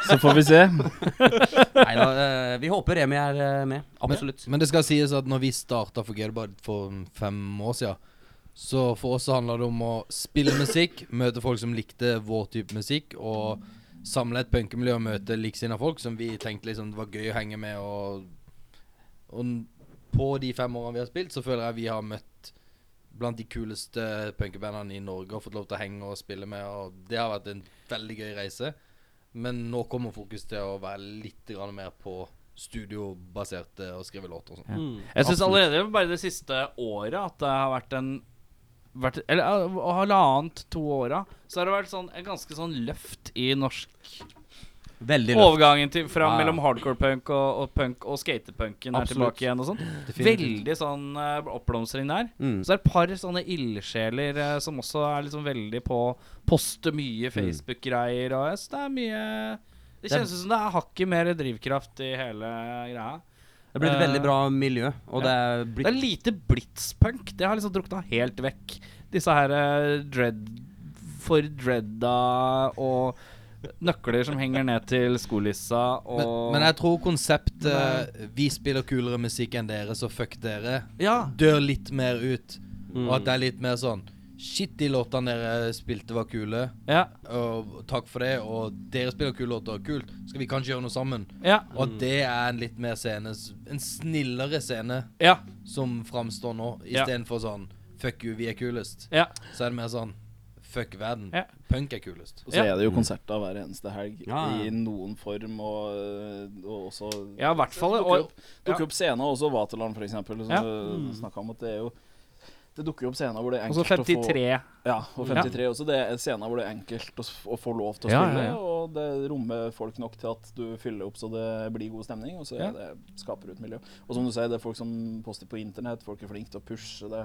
S6: Så får vi se.
S5: Nei da, eh, vi håper Remi er eh, med. Absolutt.
S4: Men det skal sies at når vi starta for Gudbad for fem år siden, så for oss så handla det om å spille musikk, møte folk som likte vår type musikk, og samle et punkemiljø og møte likesinnede folk som vi tenkte liksom det var gøy å henge med. Og, og på de fem årene vi har spilt, så føler jeg vi har møtt blant de kuleste punkebandene i Norge og fått lov til å henge og spille med, og det har vært en veldig gøy reise. Men nå kommer fokus til å være litt grann mer på studiobaserte og skrive låter og sånn.
S2: Mm.
S3: Jeg syns allerede bare det siste året at det har vært en vært, Eller eh, halvannet, to åra, så har det vært sånn, en ganske sånn løft i norsk
S5: Veldig løft.
S3: Overgangen til, fra
S5: Ja, ja.
S3: mellom hardcore punk og, og punk og skatepunken er
S5: Absolutt.
S3: tilbake igjen og sånn.
S4: Definitivt.
S3: Veldig sånn eh, oppblomstring der.
S5: Mm.
S3: Så er det et par sånne ildsjeler eh, som også er liksom veldig på poste mye Facebook-greier. Og jeg synes det er mye Det kjennes ut som det er hakket mer drivkraft i hele greia.
S5: Det er blitt et
S3: Eh,
S5: veldig bra miljø. Og det er
S3: Det er
S5: blitt
S3: lite blitspunk. Det har liksom drukna helt vekk. Disse her eh, dread for dreada og nøkler som henger ned til skolissa og
S4: Men, men jeg tror konseptet 'vi spiller kulere musikk enn dere, så fuck dere'
S3: Ja.
S4: dør litt mer ut.
S2: Mm.
S4: Og at det er litt mer sånn 'shit, de låtene dere spilte, var kule'.
S3: Ja.
S4: Og takk for det, og dere spiller kule låter, kult. Skal vi kanskje gjøre noe sammen?
S3: Ja.
S4: Og at det er en litt mer scene En snillere scene
S3: Ja.
S4: som framstår nå,
S3: Ja.
S4: istedenfor sånn 'fuck you, vi er kulest'.
S3: ja.
S4: Så er det mer sånn Fuck verden.
S3: Ja.
S4: Punk er kulest.
S6: Og så er det jo konserter hver eneste helg
S5: Ja, ja.
S6: i noen form, og, og også
S3: Ja, i hvert fall.
S6: Det dukker
S3: Og,
S6: opp, dukker opp scener også, Vaterland f.eks., som
S3: Ja. Mm.
S6: du snakka om. At det er jo Det dukker opp scener hvor det er
S3: og så
S6: enkelt å få
S3: 53.
S6: Ja, og 53 også. Det er scener hvor det er enkelt å, s- å få lov til å
S3: Ja,
S6: spille,
S3: ja, ja.
S6: og det rommer folk nok til at du fyller opp så det blir god stemning, og så
S3: Ja.
S6: er det, skaper du et miljø. Og som du sier, det er folk som poster på internett, folk er flinke til å pushe det.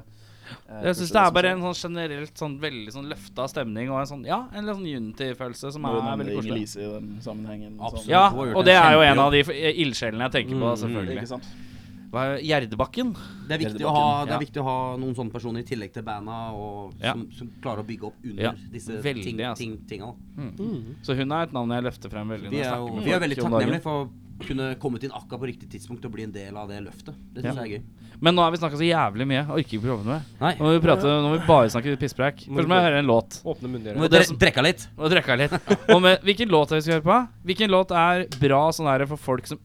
S6: eh,
S3: Jeg syns
S6: pushe
S3: det er
S6: som
S3: bare
S6: skjer.
S3: en sånn generelt sånn veldig sånn løfta stemning og en sånn ja, en litt sånn unity-følelse som
S6: Må jo
S3: er
S6: nevne
S3: veldig koselig.
S6: Inger-Lise i den sammenhengen. sånn.
S5: Absolutt.
S3: Ja,
S5: Hun har gjort
S3: og det
S5: en
S3: er jo en
S5: kjempejobb.
S3: av de f- ildsjelene jeg tenker på,
S2: Mm, mm.
S6: Ikke
S3: selvfølgelig.
S6: sant?
S3: Hva er Gjerdebakken?
S5: Det er, viktig å, ha,
S3: Gjerdebakken,
S5: det
S3: ja.
S5: er viktig å ha noen sånne personer i tillegg til banda, og,
S3: Ja.
S5: som, som klarer å bygge opp under
S3: Ja,
S5: disse
S3: veldig,
S5: ting,
S3: altså.
S5: ting, tinga.
S3: Så hun er et navn jeg løfter frem veldig. når
S5: Vi
S3: jeg
S5: er
S3: snakker
S5: jo
S3: med
S5: vi er
S3: folk
S5: veldig
S3: om dagen.
S5: takknemlige for å kunne kommet inn akkurat på riktig tidspunkt og bli en del av det løftet. Det syns
S3: Ja.
S5: jeg er gøy.
S3: Men nå har vi snakka så jævlig mye. Jeg orker ikke prøve noe mer.
S5: Nei,
S3: Nå må vi, prate, nå må vi bare snakke pisspreik. Først må jeg høre en låt.
S2: Åpne
S5: må
S2: munndøra.
S5: dere drikke litt.
S3: Og drikke litt. Og med, hvilken låt er det vi skal høre på? Hvilken låt er bra sånn her for folk som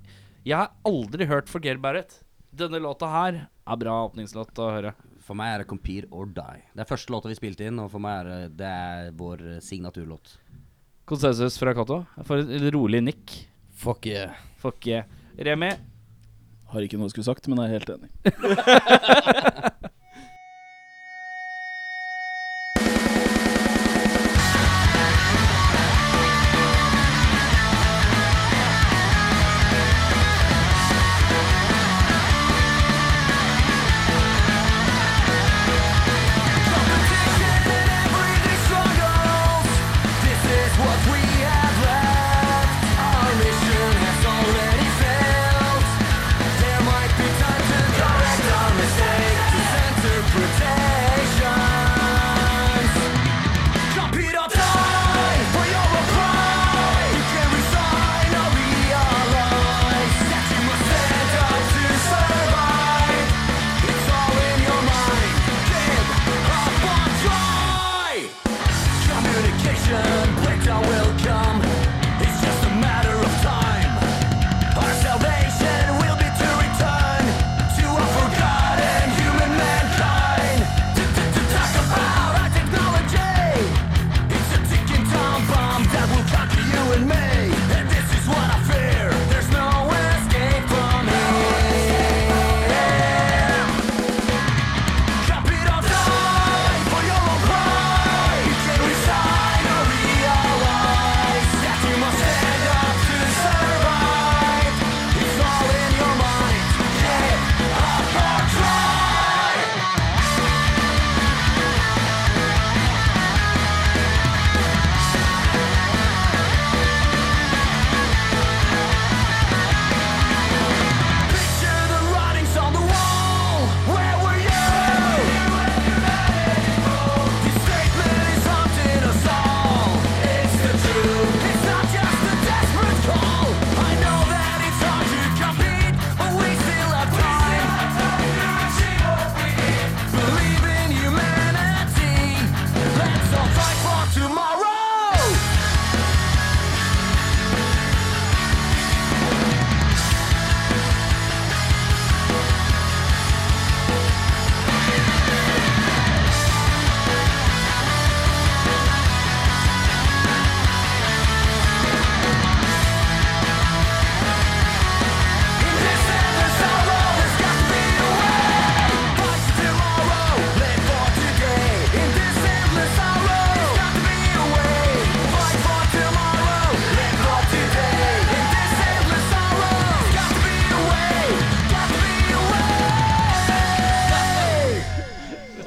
S3: Jeg har aldri hørt for Geir Barrett. Denne låta her er bra åpningslåt å høre.
S5: For meg er det 'Compete or Die'. Det er første låta vi spilte inn, og for meg er det, det er vår signaturlåt.
S3: Konsensus fra Cato. Jeg får et rolig nikk.
S4: Fuck yeah.
S3: Fuck yeah. Remi,
S6: Har ikke noe jeg skulle sagt, men jeg er helt enig.
S1: Mistakes to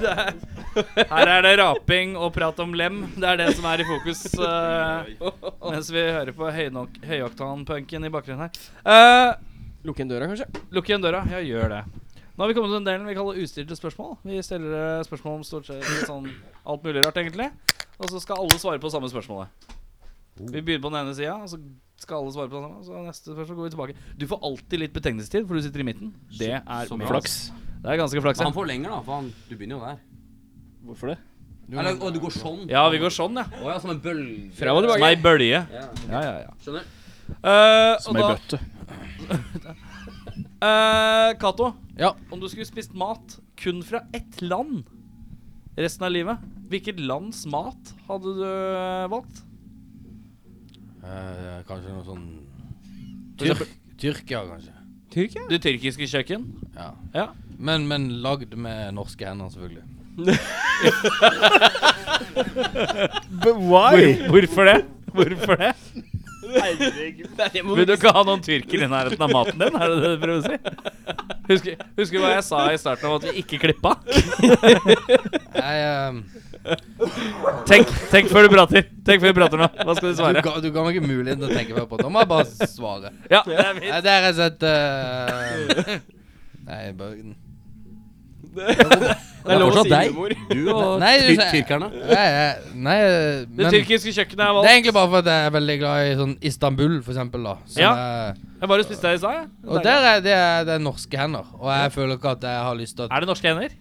S3: Her er det raping og prat om lem. Det er det som er i fokus. eh, mens vi hører på høynok- høyoktan-punken i bakgrunnen her. Eh,
S2: Lukke igjen døra, kanskje?
S3: Lukk igjen døra. Ja, gjør det. Nå har vi kommet til den delen vi kaller ustilte spørsmål. Vi stiller eh, spørsmål om stort sett sånn alt mulig rart, egentlig. Og så skal alle svare på samme spørsmålet. Vi begynner på den ene sida, og så skal alle svare på den samme. Så neste spørsmål går vi tilbake. Du får alltid litt betenkningstid, for du sitter i midten. Det er
S5: som
S3: med
S5: flaks.
S3: oss. Det er ganske flaks.
S5: Han
S3: Ja.
S5: forlenger, da. For han, du begynner jo der.
S6: Hvorfor det?
S5: Eller, og du går sånn.
S3: ja, vi går sånn, ja.
S5: Å ja, som en bølge.
S2: Frem og tilbake.
S3: Som ei bølge.
S5: Ja,
S3: Ja, ja, ja.
S5: skjønner.
S3: Eh, og
S6: Som ei
S3: da
S6: bøtte.
S3: eh, Cato,
S4: Ja.
S3: om du skulle spist mat kun fra ett land resten av livet, hvilket lands mat hadde du valgt?
S4: Eh, kanskje noe sånn
S3: Tyrk-
S4: Tyrk Tyrkia, kanskje.
S2: Tyrkia?
S3: Det tyrkiske kjøkken.
S4: Ja.
S3: Ja.
S4: Men, men lagd med norske hender, selvfølgelig.
S3: Hvorfor det? Hvorfor det? Vil du ikke ha noen tyrker i nærheten av maten din? Er det det du prøver å si? Husker, husker du hva jeg sa i starten om at vi ikke klippa?
S4: Jeg, eh,
S3: Tenk, tenk før du prater. Tenk før du prater nå. Hva skal du
S4: du,
S3: svare?
S4: ga, du ga meg ikke muligheten til å tenke meg på det. Da må jeg bare svare.
S3: Ja, det er
S4: Nei,
S3: fint.
S4: det er rett og slett eh, Nei, Børgen.
S5: Det er fortsatt deg. Du og
S4: Nei, du
S5: tyr
S4: sier-
S5: tyrkerne.
S4: Nei, eh, nei eh,
S3: Det
S4: men det
S3: tyrkiske kjøkkenet er
S4: er
S3: valgt.
S4: egentlig bare for at jeg er veldig glad i sånn Istanbul, for eksempel. Da, som er-
S3: Jeg bare spiste det i stad. jeg.
S4: og der er det, er det er norske hender. Og jeg føler ikke at jeg har lyst til at
S3: Er det norske hender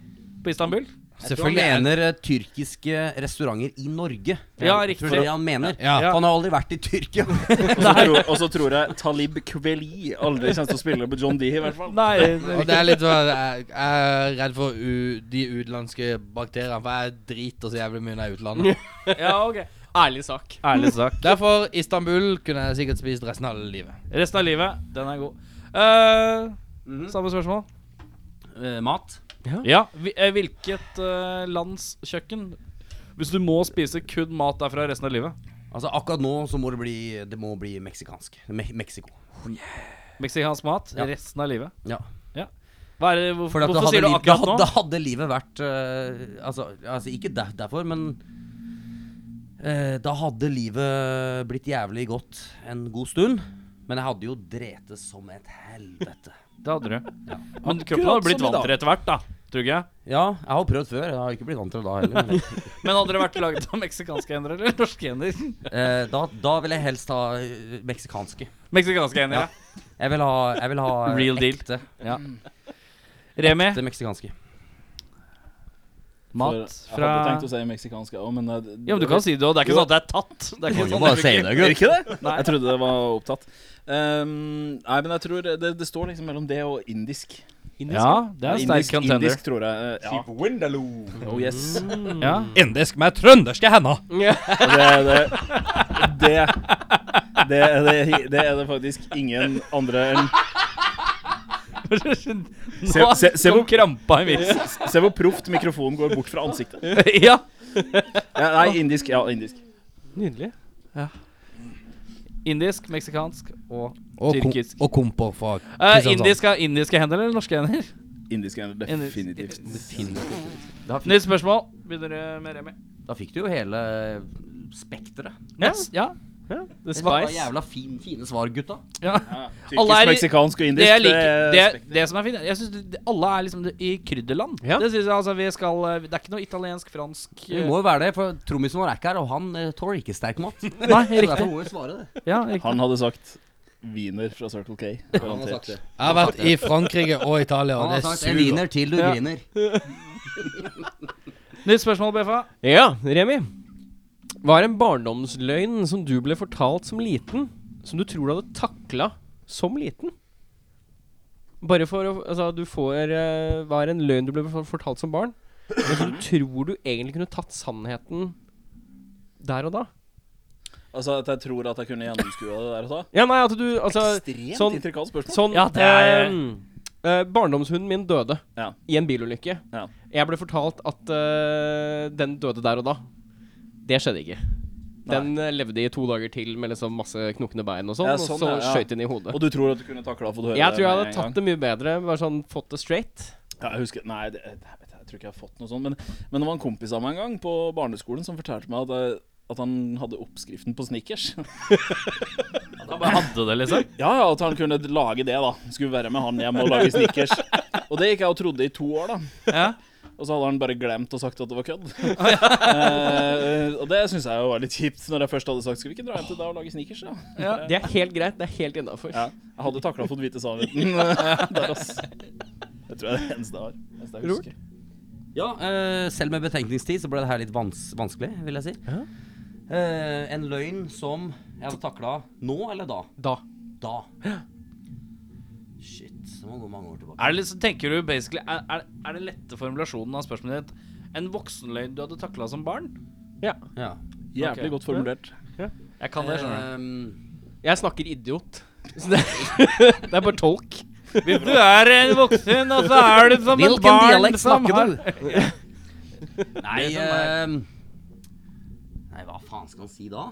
S3: på Istanbul?
S5: Selvfølgelig han mener eh, tyrkiske restauranter i Norge.
S3: Ja,
S5: Jeg
S3: riktig.
S5: Tror det er det han mener.
S4: Ja.
S5: Han har aldri vært i Tyrkia.
S6: Og så tror- Og så tror jeg Talib Kveli aldri kommer til å spille på John D, i hvert fall.
S4: Og det er litt sånn at jeg, jeg er redd for u, de utenlandske bakteriene, for jeg driter så jævlig mye når jeg er i utlandet.
S3: Ja, ok.
S2: Ærlig sak.
S3: Ærlig sak.
S4: Derfor Istanbul kunne jeg sikkert spist resten av livet.
S3: Resten av livet, den er god. Eh, Samme spørsmål.
S5: Eh, mat.
S3: Ja, hvi- eh, hvilket eh, lands kjøkken Hvis du må spise kun mat derfra resten av livet
S5: Altså Akkurat nå så må det bli Det må bli meksikansk. Me Mexico.
S3: Meksikansk mat
S5: Ja.
S3: resten av livet
S5: Ja.
S3: Hva er det, hvor,
S5: For da
S3: Hvorfor
S5: hadde
S3: sier du
S5: li-
S3: akkurat
S5: da,
S3: nå?
S5: da hadde livet vært eh, altså, altså, ikke der, derfor, men eh, Da hadde livet blitt jævlig godt en god stund. Men jeg hadde jo dretes som et helvete.
S3: Det hadde du Men kroppen hadde blitt
S5: som i
S3: vant til etter hvert da Tror ikke jeg
S5: Ja, jeg har prøvd før. Jeg har ikke blitt vant til det da heller. Men,
S3: Men hadde det vært laget av meksikanske hender eller norske hender?
S5: eh, da, da vil jeg helst ha eh, meksikanske.
S3: Meksikanske hender, ja,
S5: Jeg vil ha, jeg vil ha eh,
S3: Real deal.
S5: ekte,
S3: Remi,
S5: ekte meksikanske.
S3: mat
S6: For Jeg
S3: fra
S6: hadde tenkt å si meksikansk òg, men jeg,
S3: Ja, men du kan si det også Det er ikke sånn at det er tatt Det er ikke sånn at du-
S5: det, gutt.
S6: Jeg trodde det var opptatt. Ehm, nei, men jeg tror det, det står liksom mellom det og indisk.
S3: Ja, det er en sterk
S6: indisk,
S3: contender
S6: indisk, tror jeg. eh, Ja. Oh yes.
S3: Ja
S4: Indisk med trønderske hender.
S6: Og Det, det, det, det, er det, det er det faktisk ingen andre enn Se,
S3: Nå
S6: se, se,
S3: kom
S6: hvor,
S3: krampa i vitsen
S6: se hvor proft mikrofonen går bort fra ansiktet.
S3: Ja
S6: Ja, nei, indisk. Ja, indisk.
S2: Nydelig.
S3: Indisk, meksikansk og
S4: Og, kom,
S3: Tyrkisk.
S4: og komper fra
S3: Eh,
S4: Kristiansand.
S3: indisk har indiske hender eller norske hender?
S6: Indisk er det
S3: Indisk.
S6: definitivt.
S5: Da, fikk,
S3: Nytt spørsmål. Begynner eh, med Remi.
S5: da fikk du jo hele spekteret.
S3: Yes, ja.
S2: Ja, The
S5: Det var
S2: Spice.
S5: jævla fin, fine svar, gutta.
S3: ja. Alle
S6: Ja,
S3: er i-
S6: Tyrkisk, meksikansk og indisk.
S3: Det jeg liker
S6: er
S3: Det,
S6: spekt-
S3: det som er fint, jeg synes det- alle er liksom det, i krydderland.
S2: Ja.
S3: Det synes jeg altså vi skal eh, Det er ikke noe italiensk, fransk
S5: Det må jo være det, for trommisen vår er ikke her, og han eh, tåler ikke sterk mat. Så
S3: Nei,
S5: derfor
S3: riktig.
S5: må vi svare det.
S3: Ja, riktig.
S6: Han hadde sagt wiener fra Circle K.
S5: Han har
S6: garantert.
S5: sagt det.
S4: Jeg har vært i Frankrike og Italia,
S5: Han
S4: og
S5: har
S4: det
S5: sagt en
S4: suger.
S5: wiener til du
S3: Ja.
S5: griner.
S3: eh. Nytt spørsmål, BFA.
S2: Ja, Remi. Hva er en barndomsløgn som du ble fortalt som liten, som du tror du hadde takla som liten? Bare for å Altså, du får eh, Hva er en løgn du ble for- fortalt som barn, men som du tror du egentlig kunne tatt sannheten der og da?
S6: Altså at jeg tror at jeg kunne gjennomskua det der og da.
S2: Ja, nei, at du Altså
S6: Ekstremt
S2: sånn-
S6: intrikat spørsmål.
S2: Sånn
S3: Ja, det er-
S2: ehm, eh, Barndomshunden min døde
S6: Ja.
S2: i en bilulykke.
S6: Ja.
S2: Jeg ble fortalt at eh, den døde der og da. Det skjedde ikke. Den eh, levde i to dager til med liksom masse knokende bein og sånn,
S6: Ja, sånn,
S2: og så
S6: ja, ja.
S2: skjøt den i hodet.
S6: Og du tror at du kunne takla å få høre
S2: Jeg tror jeg
S6: med
S2: hadde
S6: en
S2: tatt
S6: gang.
S2: det mye bedre, bare sånn fått det straight.
S6: Ja, jeg husker Nei, det, jeg, vet, jeg tror ikke jeg har fått noe sånt. Men, men det var en kompis av meg en gang på barneskolen som fortalte meg at, eh, at han hadde oppskriften på Snickers.
S3: Han bare hadde det, liksom.
S6: Ja, ja, at han kunne lage det, da. Skulle være med han hjem og lage Snickers. Og det gikk jeg og trodde i to år, da.
S3: Ja.
S6: Og så hadde han bare glemt og sagt at det var kødd. eh, og det syns jeg jo var litt kjipt, når jeg først hadde sagt Skal vi ikke dra hjem til deg og lage sneakers, da?
S2: Det er helt greit. Det er helt innafor.
S6: Ja. Jeg hadde takla å fått vite sannheten eh, der, ass. Det tror jeg er det eneste jeg har. Eneste jeg husker.
S5: Ja, eh, selv med betenkningstid så ble det her litt vans vanskelig, vil jeg si. Eh, en løgn som jeg hadde takla nå eller da?
S2: Da.
S5: Da. Shit, det må gå mange år tilbake.
S3: Er det liksom, tenker du basically er, er, er det lette formulasjonen av spørsmålet ditt en voksenløgn du hadde takla som barn?
S5: Ja.
S6: Jævlig
S3: Ok.
S6: godt formulert.
S3: Jeg kan det, skjønner du.
S5: Ehm,
S2: Jeg snakker idiot. Så det, det er bare tolk.
S3: Hvis du er en voksen, og så er du som et
S5: Hvilken
S3: barn
S5: dialekt
S3: som
S5: snakker
S3: har
S5: du? nei,
S3: Det som er-
S5: ehm, nei, hva faen skal han si da?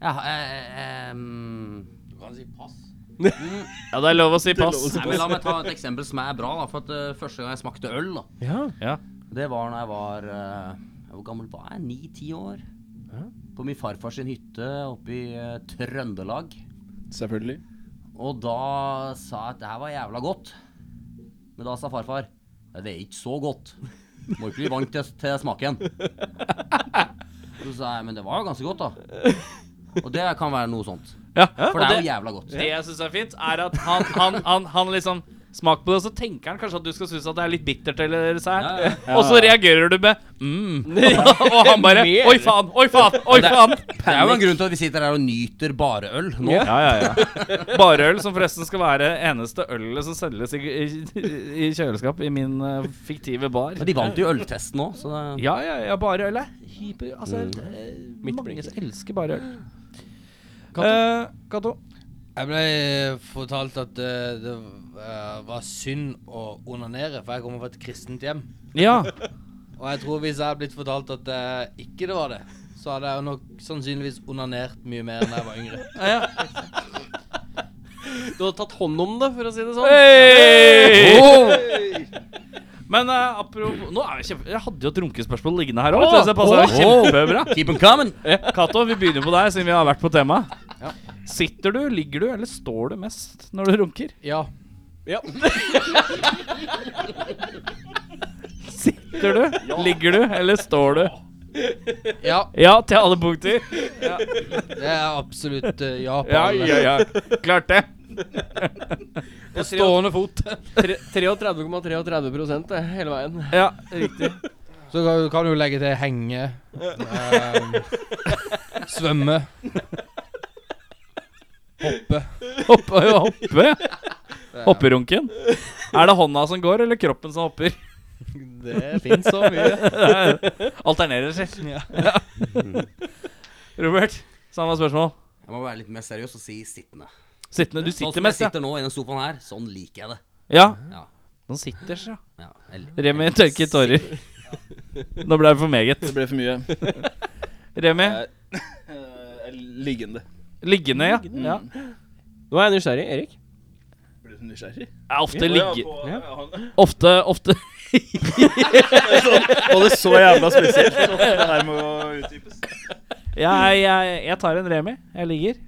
S5: Ja, eh, ehm,
S4: Du kan si pass.
S3: Ja, det er lov å si pass.
S5: nei, men la meg ta et eksempel som er bra, da. For at eh, første gang jeg smakte øl, da.
S2: Ja.
S3: Ja.
S5: Det var når jeg var eh, Hvor gammel var jeg? Ni-ti år. På min farfars sin hytte oppe i eh, Trøndelag.
S6: Selvfølgelig.
S5: Og da sa jeg at det her var jævla godt. Men da sa farfar "Nei, det er ikke så godt. Må ikke bli vant til, til smaken. Så sa jeg men det var jo ganske godt, da. Og det kan være noe sånt.
S3: Ja.
S5: For
S3: og
S5: det er
S3: det-
S5: jo jævla godt.
S3: Det jeg syns er fint, er at han, han, han, han liksom Smak på det, og så tenker han kanskje at du skal synes at det er litt bittert eller sært.
S5: Ja, ja,
S3: Og så reagerer du med mm. og han bare Oi faen, oi faen, oi
S5: det-
S3: faen.
S5: Det er jo en grunn til at vi sitter her og nyter bare øl nå.
S2: Ja.
S3: Ja, ja, ja. Barøl, som forresten skal være eneste ølet som selges i, i, i kjøleskap i min eh, fiktive bar.
S5: Men de vant jo øltesten òg, så det
S3: Ja, ja, ja, bare øl er hyper... Altså, eh, mange
S2: blinker.
S3: som elsker bare øl.
S2: Kato?
S3: Eh, Kato?
S4: Jeg ble fortalt at eh, det eh, var synd å onanere, for jeg kommer fra et kristent hjem.
S3: Ja.
S4: Og jeg tror hvis jeg hadde blitt fortalt at eh, ikke det var det, så hadde jeg jo nok sannsynligvis onanert mye mer enn da jeg var yngre.
S2: Du hadde tatt hånd om det, for å si det sånn.
S3: Hey! Men eh, apropos Nå er jeg, kjempe, jeg hadde jo et runkespørsmål liggende her òg.
S5: Åh,
S3: det passer jo
S5: åh.
S3: kjempebra.
S5: Keep 'em coming!
S3: Eh, Cato, vi begynner på deg, siden vi har vært på temaet. Sitter du, ligger du, eller står du mest når du runker?
S4: Ja.
S3: Sitter du, ligger du, eller står du?
S4: Ja.
S3: Ja til alle punkter.
S4: Det er absolutt eh, ja på
S3: Ja,
S4: alle.
S3: ja, ja. Klart det.
S4: På stående fot.
S2: Tre- 33,33 det, hele veien.
S3: Ja, riktig.
S4: Så kan, kan du jo legge til henge. eh, svømme. Hoppe.
S3: Hoppe, hoppe. Hopperunken. Er det hånda som går, eller kroppen som hopper?
S4: Det fins så mye.
S3: Alternerer seg. Ja. Robert, samme spørsmål.
S5: Jeg må være litt mer seriøs og si sittende.
S3: Sittende, Du
S5: Sånn
S3: sitter
S5: som jeg
S3: mest, ja.
S5: sitter nå i den sofaen her, sånn liker jeg det.
S3: Ja.
S5: Ja.
S3: Den sitter, ja.
S5: ja eller-
S3: Remi tørker tårer. Nå ble det for meget.
S6: Det ble for mye.
S3: Remi,
S6: Eh, liggende.
S3: liggende, ja. ja.
S2: Nå er jeg nysgjerrig. Erik?
S6: Ble du nysgjerrig?
S3: Jeg er ofte ligge...
S6: Å, ja, på- ja, han-
S3: Ofte, ofte
S6: Var det så jævla spesielt? Så Det her må utdypes.
S3: jeg, jeg, jeg tar en Remi. Jeg ligger.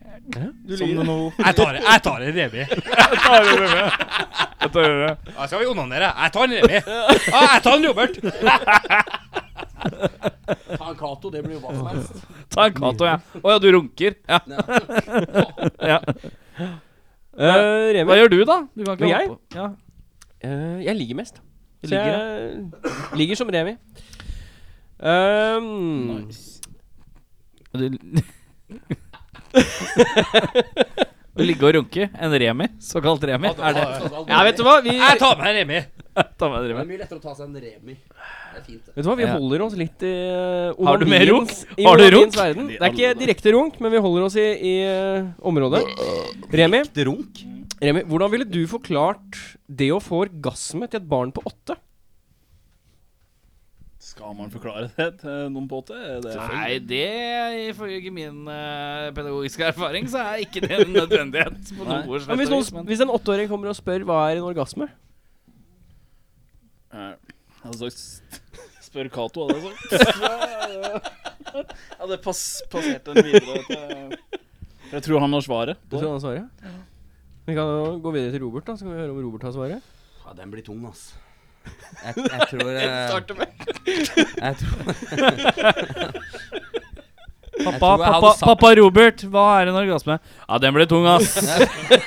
S6: Som det nå
S4: Jeg tar det. Jeg tar det, Remi.
S3: Jeg tar det.
S4: Da skal vi onanere. Jeg tar en Remi. Ja, jeg tar en Robert.
S5: Ta en Cato, det blir jo hva som helst.
S3: Ta en Cato, ja. Å ja, du runker. Ja. ja.
S2: Eh,
S3: Hva
S2: Remi?
S3: gjør du, da? Du kan
S2: Men jeg?
S3: hoppe. Ja.
S2: Eh, jeg ligger mest.
S3: Du
S2: Så
S3: ligger,
S2: jeg ligger som Remi. Um,
S3: Du- Å ligge og runke. En Remi. Såkalt Remi. Er det
S2: ja, vet du hva? Vi,
S4: Jeg tar med en Remi.
S3: Ta med en
S5: Det er
S3: Remi.
S5: mye lettere å ta seg en Remi. Det er fint, det.
S2: vet du hva? vi
S3: Ja.
S2: holder oss litt i uh,
S3: Har du mer
S2: onaniens-
S3: runk?
S2: i
S3: Har du
S2: onaniens
S3: runk?
S2: verden. Det er ikke direkte runk, men vi holder oss i, i eh, området. Remi,
S5: Ekte runk.
S2: Remi, hvordan ville du forklart det å få orgasme til et barn på åtte?
S6: Skal man forklare det til noen på åtte? Det er-
S3: Nei, det ifølge min eh, pedagogiske erfaring så er ikke det en nødvendighet. På
S6: Nei.
S3: noe
S2: Men
S3: slett
S2: hvis,
S3: og vis,
S2: noen, hvis en åtteåring kommer og spør hva er en orgasme,
S6: hadde sagt s- Spør Cato, hadde jeg sagt. ja, det pass, passerte en videre. vet jeg. For Jeg tror han har svaret.
S2: Du skal ha svaret? Vi kan jo gå videre til Robert, da, så kan vi høre om Robert har svaret.
S5: Ja, den blir tung, ass. Jeg, jeg tror eh, Jeg tror
S3: Pappa,
S5: tror jeg hadde
S3: pappa,
S5: sagt-
S3: pappa Robert, hva er en orgasme? Ja, den ble tung, ass.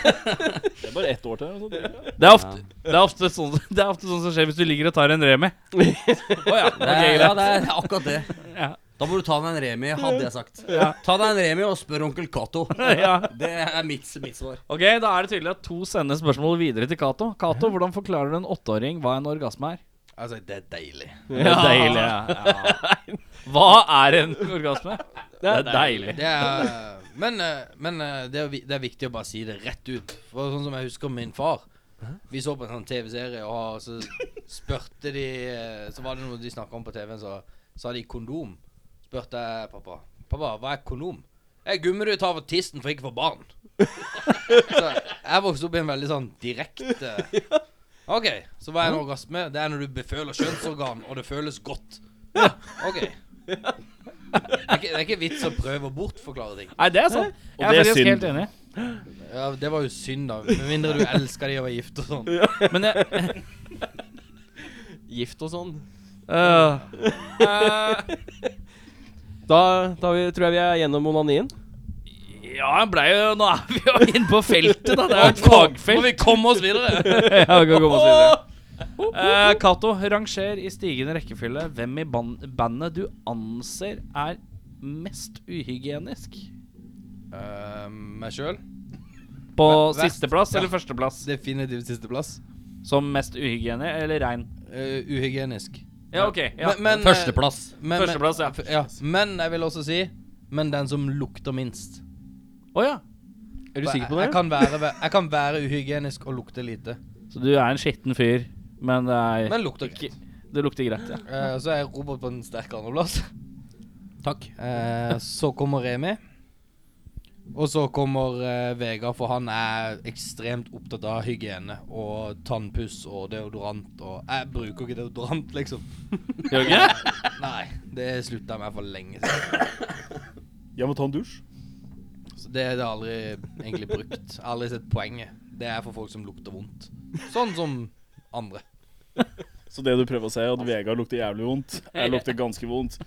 S6: Det er bare ett år til. altså. eller noe sånt.
S3: Det er ofte, det er ofte, sånn, det er ofte sånn som skjer hvis du ligger og tar en remi. Å ja.
S5: det er, ja, det er akkurat det.
S3: Ja.
S5: Da må du ta deg en Remi, hadde jeg sagt. Ta deg en Remi og spør onkel Cato.
S3: Ja.
S5: Det er mitt, mitt svar.
S3: Ok, Da er det tydelig at to sender spørsmål videre til Cato. Cato, hvordan forklarer du en åtteåring hva en orgasme er?
S4: Altså, det er deilig.
S3: Det er deilig. Ja. Hva er en orgasme? Det er deilig.
S4: Det er, men eh, men eh, det, er, vi- det er viktig å bare si det rett ut. For sånn som jeg husker min far Vi så på en sånn TV-serie, og så spurte de eh, Så var det noe de snakka om på TV-en, så sa de kondom. Spurte jeg pappa. Pappa, hva er kondom? Det er gummi du tar for tissen for ikke å få barn. så jeg vokste opp i en veldig sånn direkte OK, så hva er en orgasme? Det er når du beføler kjønnsorgan, og det føles godt. OK. Det er, ikke, det er ikke vits å prøve å bortforklare ting.
S3: Nei, det er sant. Jeg
S6: det
S3: er
S6: er
S3: faktisk
S6: synd.
S3: helt enig.
S4: Ja, Det var jo synd, da. Med mindre du elsker de og var gift og sånn.
S3: Men jeg,
S2: Gift og sånn.
S3: øh, Eh,
S2: Da, da vi, tror jeg vi er gjennom onanien.
S3: Ja, jeg blei jo Nå er vi jo inne på feltet, da. Det er jo et
S4: Må
S3: fagfelt.
S4: vi komme oss videre?
S3: Ja, vi kan komme oss videre. Eh, Cato, ranger i stigende rekkefølge hvem i ban bandet du anser er mest uhygienisk.
S4: Eh, meg sjøl.
S3: På
S4: Hva- hva-
S3: sisteplass
S4: ja.
S3: eller førsteplass?
S4: Definitivt sisteplass.
S3: Som mest uhygiene eller rein?
S4: Uh, uhygienisk.
S3: Ja, OK. Ja.
S4: Men, men, eh,
S5: Førsteplass.
S4: men- men-
S3: Førsteplass, ja.
S4: f- Men jeg vil også si Men den som lukter minst.
S3: Å ja.
S2: Er du sikker på
S4: Jeg, jeg,
S2: det?
S4: kan være, ve- jeg kan være uhygienisk og lukte lite.
S3: Så du er en skitten fyr, men det, er,
S4: Men lukter greit.
S3: det lukter greit. Ja.
S4: Eh, så er Robert på en sterk andreplass.
S5: Takk.
S4: Eh, så kommer Remi. Og så kommer eh, Vegard, for han er ekstremt opptatt av hygiene og tannpuss og deodorant og Jeg bruker ikke deodorant, liksom.
S3: Gjør du ikke det?
S4: Nei, det slutta jeg med for lenge siden.
S6: Jeg må ta en dusj.
S4: Så det har jeg aldri egentlig brukt. Jeg har aldri sett poenget. Det er for folk som lukter vondt. Sånn som andre.
S6: Så det du prøver å si, er at Vegard lukter jævlig vondt. Jeg lukter ganske vondt.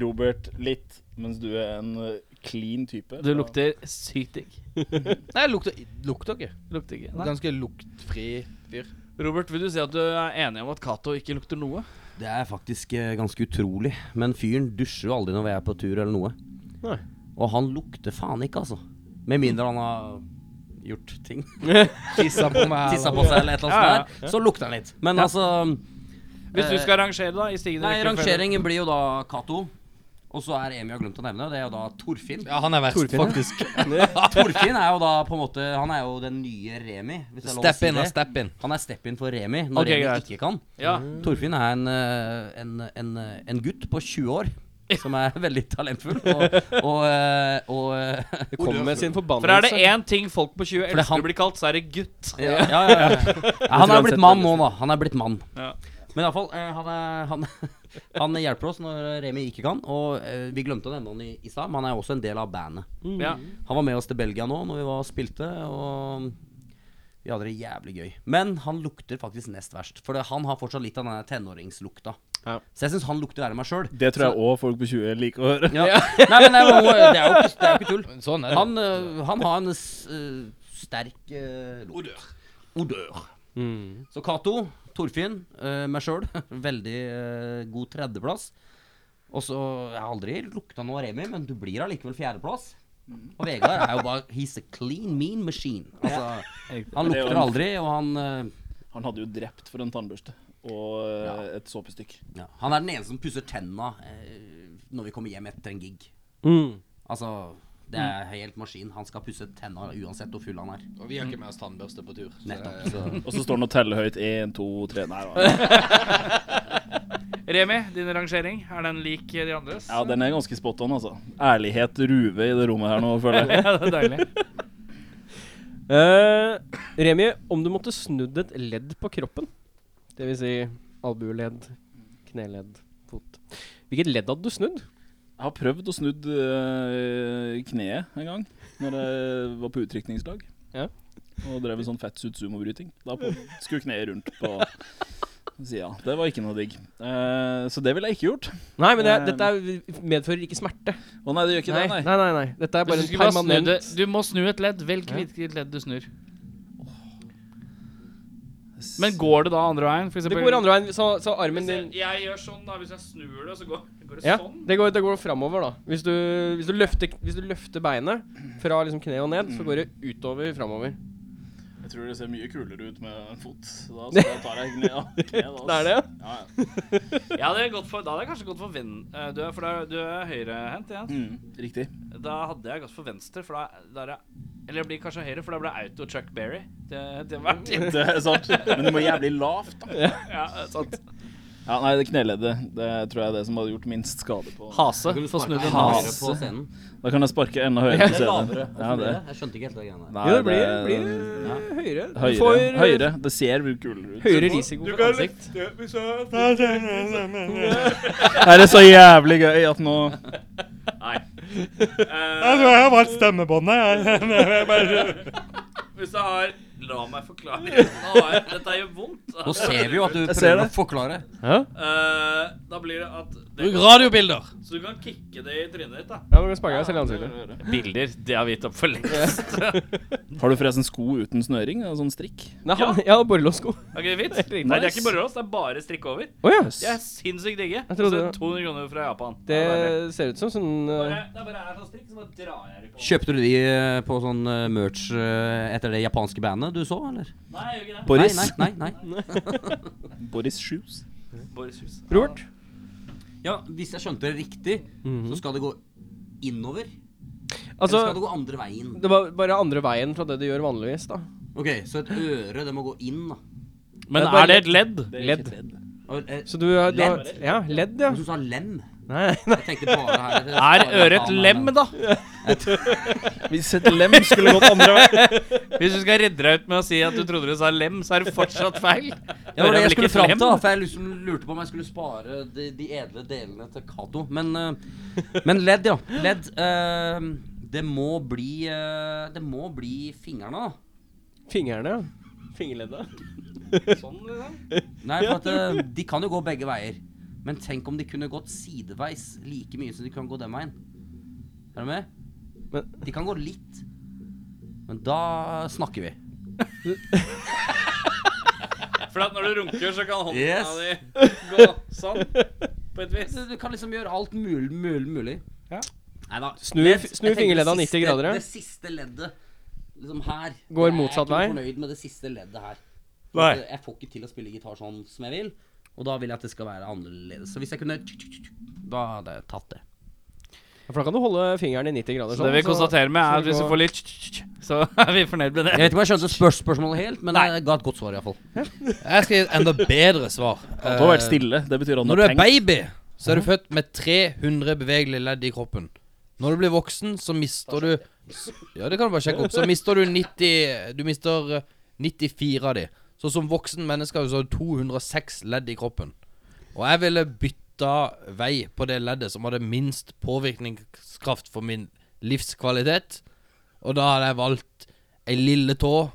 S6: Robert litt, mens du er en eh, clean type.
S3: Du lukter sykt digg.
S4: Nei, jeg lukter, lukter ikke.
S3: Lukter ikke. Nei.
S4: Ganske luktfri fyr.
S3: Robert, vil du si at du er enig om at Cato ikke lukter noe?
S5: Det er faktisk eh, ganske utrolig. Men fyren dusjer jo aldri når vi er på tur eller noe.
S2: Nei.
S5: Og han lukter faen ikke, altså. Med mindre han har gjort ting.
S4: Tissa på meg.
S5: Tissa
S4: eller-
S5: på seg eller et eller
S3: Ja, ja,
S5: annet sånt. der, Så lukter han litt. Men
S3: Ja.
S5: altså
S3: Hvis du
S5: Eh,
S3: skal rangere, da? I stigende
S5: Nei,
S3: rekkefølge.
S5: rangeringen blir jo da Cato. Og så er Emi jeg har glemt å nevne, det er jo da Torfinn.
S4: Ja, han er verst,
S2: Torfinn, ja.
S4: faktisk.
S5: Torfinn er jo da på en måte Han er jo den nye Remi. Hvis det er lov å
S4: Step
S5: si
S4: in og
S5: det.
S4: step in.
S5: Han er step in for Remi når
S3: Ok,
S5: Remi
S3: greit.
S5: ikke kan.
S3: Ja.
S5: Torfinn er en, eh, en, en, en gutt på 20 år som er veldig talentfull. Og, og, eh, og eh,
S2: Det kom med sin
S3: For er
S2: forbannelse.
S3: det én ting folk på 20
S5: For det er
S3: elsker
S5: han-
S3: å bli kalt, så er det gutt.
S5: ja, ja, ja, ja. Ja, Han
S2: tror jeg
S5: er blitt
S2: har
S5: mann
S2: sett
S5: nå, da. Han er blitt mann.
S3: Ja.
S5: Men iallfall, eh, han, er- han, han hjelper oss når Remi ikke kan. Og eh, vi glemte å nevne han i, i stad, men han er også en del av bandet.
S3: Mm. Ja.
S5: Han var med oss til Belgia nå når vi var og spilte, og vi hadde det jævlig gøy. Men han lukter faktisk nest verst, for det, han har fortsatt litt av den der tenåringslukta.
S2: Ja.
S5: Så jeg syns han lukter verre enn meg sjøl.
S6: Det tror jeg òg folk på 20 liker å høre.
S5: Ja. Nei, men det er jo, det er jo, ikke, det er jo ikke tull.
S4: Sånn er det.
S5: Han, øh, han har en s- øh, sterk øh, lukt.
S4: Odør.
S5: Odør.
S2: Mm.
S5: Så Cato, Torfinn, øh, meg sjøl. Veldig øh, god tredjeplass. Og så Jeg har aldri lukta noe av Remi, men du blir allikevel fjerdeplass.
S6: Mm.
S5: Og Vegard er jo bare He's a clean, mean machine. Altså, han
S6: Det er jo
S5: lukter
S6: en-
S5: aldri, og han øh,
S6: Han hadde jo drept for en tannbørste og eh, et såpestykk.
S5: ja, Han er den eneste som pusser tenna øh, når vi kommer hjem etter en gig.
S2: Mm.
S5: Altså, det er helt maskin. Han skal pusse tenna uansett hvor full han er.
S4: Og vi har ikke med oss tannbørste på tur. så-
S5: Nettopp. Så.
S6: Og så står han og teller høyt. Én, to, tre Nei, da.
S3: Remi, din rangering, er den lik de andres?
S6: ja, den er ganske spot on, altså. Ærlighet ruve i det rommet her nå, føler jeg.
S3: Ja, det er deilig.
S2: Eh, Remi, om du måtte snudd et ledd på kroppen, det vil si Albueledd, kneledd, fot. Hvilket ledd hadde du snudd?
S6: Jeg har prøvd å snudd øh, kneet en gang, når jeg var på utrykningslag.
S2: Ja.
S6: Og drev en sånn fettsuit sumobryting. Da på, skulle kneet rundt på sida. Det var ikke noe digg. Eh, så det ville jeg ikke gjort.
S2: Nei, men det,
S6: Eh,
S2: dette er, medfører ikke smerte.
S6: Å nei, det gjør ikke
S2: nei,
S6: det, nei.
S2: nei, nei, nei. Dette er
S3: Hvis
S2: bare
S3: du
S2: en
S3: skulle bare snu
S2: permanent
S3: det, du må snu et ledd. Velg
S2: Ja.
S3: hvilket ledd du snur. Men går det da andre veien? For
S2: Det går andre veien, så, så armen din
S3: Jeg gjør sånn, da. Hvis jeg snur det, så går, det sånn?
S2: Ja, det går, det går framover, da. Hvis du, hvis, du løfter, hvis du løfter beinet fra liksom kneet og ned, så går det utover framover.
S6: Jeg tror det ser mye kulere ut med en fot, da, så da tar jeg knea.
S2: Det er det?
S6: altså. Ja,
S3: Ja, det er godt for, da hadde jeg kanskje gått for venn... eh, Du er, for da- du er høyrehendt igjen.
S6: Mm. Riktig.
S3: Da hadde jeg gått for venstre, for da da er jeg Eller jeg blir kanskje høyre, for da blir jeg auto Chuck Berry. Det, det var
S6: Det er sant. Men det må jævlig lavt, da.
S3: ja, sant.
S6: Ja, nei, det kneleddet det tror jeg er det som hadde gjort minst skade på
S3: Hase.
S5: Da kan du
S3: Få snu
S5: sparke
S3: den
S5: lavere
S3: hase.
S5: på scenen.
S6: Da kan jeg sparke enda høyere på
S5: Eller lavere.
S6: scenen. Ja,
S5: Hvorfor
S6: det.
S5: det? Jeg skjønte ikke helt det greiene der.
S6: Nei,
S2: Jo, det blir, blir
S6: ja.
S2: høyere. Du
S6: høyere.
S2: får
S6: høyere. Det ser kulere ut.
S2: høyere risiko for ansikt.
S6: Er det så jævlig gøy at nå
S3: Hvis jeg har La meg forklare. Nå har jeg, dette gjør vondt.
S5: Nå ser vi jo at du
S6: ser
S5: prøver å
S6: det.
S5: forklare.
S3: Eh, da blir det at det,
S4: Bruk radiobilder.
S3: Så du kan kicke det i trynet ditt, da.
S2: Ja, men du sparker deg selv i ansiktet.
S3: Bilder. Det har vi gitt opp for lengst.
S6: Har du forresten sko uten snøring? En Sånn strikk?
S2: Nei, han, ja, borrelåssko. Å
S3: Ok, fint. Nei, det er ikke borrelås. Det er bare strikk over.
S2: ja.
S3: De er sinnssykt digge.
S2: Jeg trodde
S3: Altså,
S2: det.
S3: 200 kroner fra Japan.
S2: Det
S3: Ja, det er det.
S2: ser ut som sånn eh,
S3: Bare- Det er bare jeg som strikk, så bare drar jeg det på.
S5: Kjøpte du de eh, på sånn eh, merch eh, etter det japanske bandet du så, eller?
S3: Nei, jeg gjør ikke det.
S6: Boris.
S5: Nei, nei, nei, nei.
S6: Boris Shoes.
S3: Boris Hus.
S2: Robert?
S5: Ja, hvis jeg skjønte det riktig, så skal det gå innover.
S2: Altså,
S5: eller skal det gå andre veien?
S2: det var bare andre veien fra det du gjør vanligvis, da.
S5: Ok, så et øre, det må gå inn, da.
S3: Men
S2: Det er bare
S3: er det et ledd?
S2: Ledd.
S5: Og, eh,
S2: Så du, har- du har
S5: Ledd.
S2: Ja, ledd, ja.
S5: Jeg synes du sa lem.
S2: Nei,
S5: Jeg tenkte bare her.
S3: Er øret et lem, da?
S6: Hvis et lem skulle gått andre veien
S3: Hvis du skal redde deg ut med å si at du trodde du sa lem, så er det fortsatt feil.
S5: Ja, det var
S3: Øret
S5: det
S3: er
S5: jeg
S3: vel
S5: skulle
S3: ikke
S5: fram
S3: et
S5: til,
S3: lem?
S5: da, for jeg liksom lurte på om jeg skulle spare de, de edle delene til Cato. Men, eh, men ledd, ja. Ledd. eh, det må bli eh, Det må bli fingrene, da.
S2: fingrene. Fingerledda.
S3: Sånn, liksom.
S5: Nei, for at eh, de kan jo gå begge veier. Men tenk om de kunne gått sideveis like mye som de kan gå den veien. Er du med?
S2: Men-
S5: de kan gå litt. Men da snakker vi.
S3: For at når du runker, så kan hånda
S5: Yes.
S3: di gå sånn, på et vis.
S5: Du, du kan liksom gjøre alt mulig, mulig, mulig.
S3: Ja.
S5: Neida.
S2: Snu-
S5: Men jeg-
S2: snu
S5: jeg tenker
S2: fingerledda
S5: det siste-
S2: 90 grader, ja.
S5: Det siste leddet liksom her
S2: Går
S5: Jeg er
S2: motsatt
S5: ikke
S2: vei.
S5: fornøyd med det siste leddet her. eh,
S3: Nei.
S5: Jeg får ikke til å spille gitar sånn som jeg vil, og da vil jeg at det skal være annerledes. Så hvis jeg kunne Da hadde jeg tatt det.
S2: Ja, For da kan du holde fingeren i 90 grader. sånn,
S3: Så det vi konstaterer med, er at hvis du får litt så er vi fornøyd med
S5: Jeg
S3: det.
S5: vet ikke om jeg skjønte spørs spørsmålet helt, men jeg ga et godt svar iallfall.
S4: Jeg skal gi et enda bedre svar.
S6: Det har vært stille. Det betyr at
S4: Når du
S6: har
S4: er
S6: tenkt.
S4: baby, så er du født med 300 bevegelige ledd i kroppen. Når du blir voksen, så mister du Ja, det kan du bare sjekke opp. Så mister du 90 Du mister eh, 94 av de. Så som voksen menneske har du så 206 ledd i kroppen. Og jeg ville bytta vei på det leddet som hadde minst påvirkningskraft for min livskvalitet. Og da hadde jeg valgt ei lille tå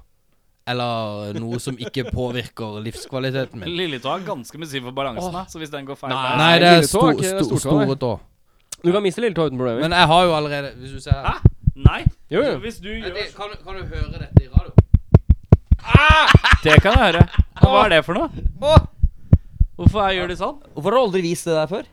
S4: eller noe som ikke påvirker livskvaliteten min.
S3: Lilletå er ganske misunnelig for balansen, da, så hvis den går feil vei
S4: Nei, det er
S2: lille tå
S4: sto,
S2: er ikke
S4: sto,
S2: stortå, nei.
S4: store tå.
S2: Du kan miste lilletå uten problemer.
S4: Men jeg har jo allerede Hvis du ser her
S3: Nei.
S2: Jo, jo.
S3: Så Hvis du gjør
S4: kan, du høre dette i radio?
S3: Det kan jeg høre. Hva er det for noe? Hvorfor jeg gjør de sånn?
S5: Hvorfor har du aldri vist det der før?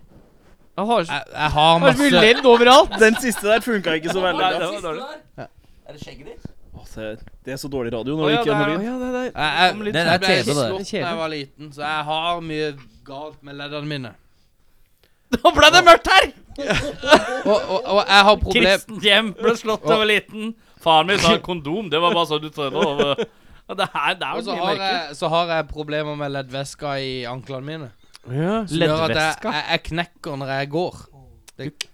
S2: Han har så
S4: Jeg, jeg har
S2: har så mye
S4: masse
S2: ledd overalt.
S6: Den siste der funka ikke så veldig
S3: Nei,
S6: bra.
S3: det var dårlig.
S5: Er det skjegget ditt?
S6: Å, det- Det er så dårlig radio
S3: Å,
S6: når det
S3: ja,
S6: ikke er
S3: det
S6: noe
S3: er-
S6: lyd.
S2: ja, det der.
S4: jeg, jeg,
S3: Kom litt
S4: Det jeg ble
S5: tilbake.
S4: slått
S2: Kjedelig.
S4: da jeg var liten, så jeg har mye galt med leddene mine.
S3: Nå ble det mørkt her!
S4: Og, og, og jeg har problem
S3: Kristent hjem ble slått da jeg var liten. Faren min sa kondom. Det var bare sånn du trodde over Ja, Det her det er
S4: Og
S3: jo
S4: så
S3: mye
S4: har,
S3: mørkere.
S4: jeg, så har jeg problemer med leddvæska i anklene mine.
S2: Ja.
S4: Som gjør at jeg,
S3: Leddvæska?
S4: jeg, jeg knekker når jeg går. Det,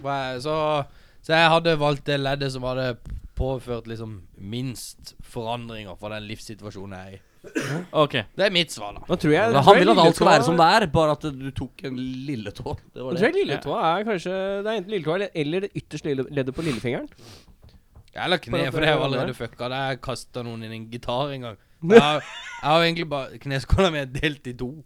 S4: Og jeg- så, så jeg hadde valgt det leddet som hadde påført liksom minst forandringer for den livssituasjonen jeg er i.
S3: OK.
S4: Det er mitt svar, da.
S2: Da tror jeg
S5: Han vil at alt skal være som det er, bare at du tok en lilletå. Det
S2: Jeg
S5: var
S2: tror
S5: det.
S2: jeg lilletåa er kanskje Det er enten lilletåa eller- eller det ytterste lille leddet på lillefingeren.
S4: Eller kne,
S2: Bare
S4: for det er
S2: for
S4: jo
S2: å-
S4: allerede fucka. Det har jeg kasta noen inn i en gitar en gang. Jeg har, jeg har egentlig bare kneskåla mi delt i to.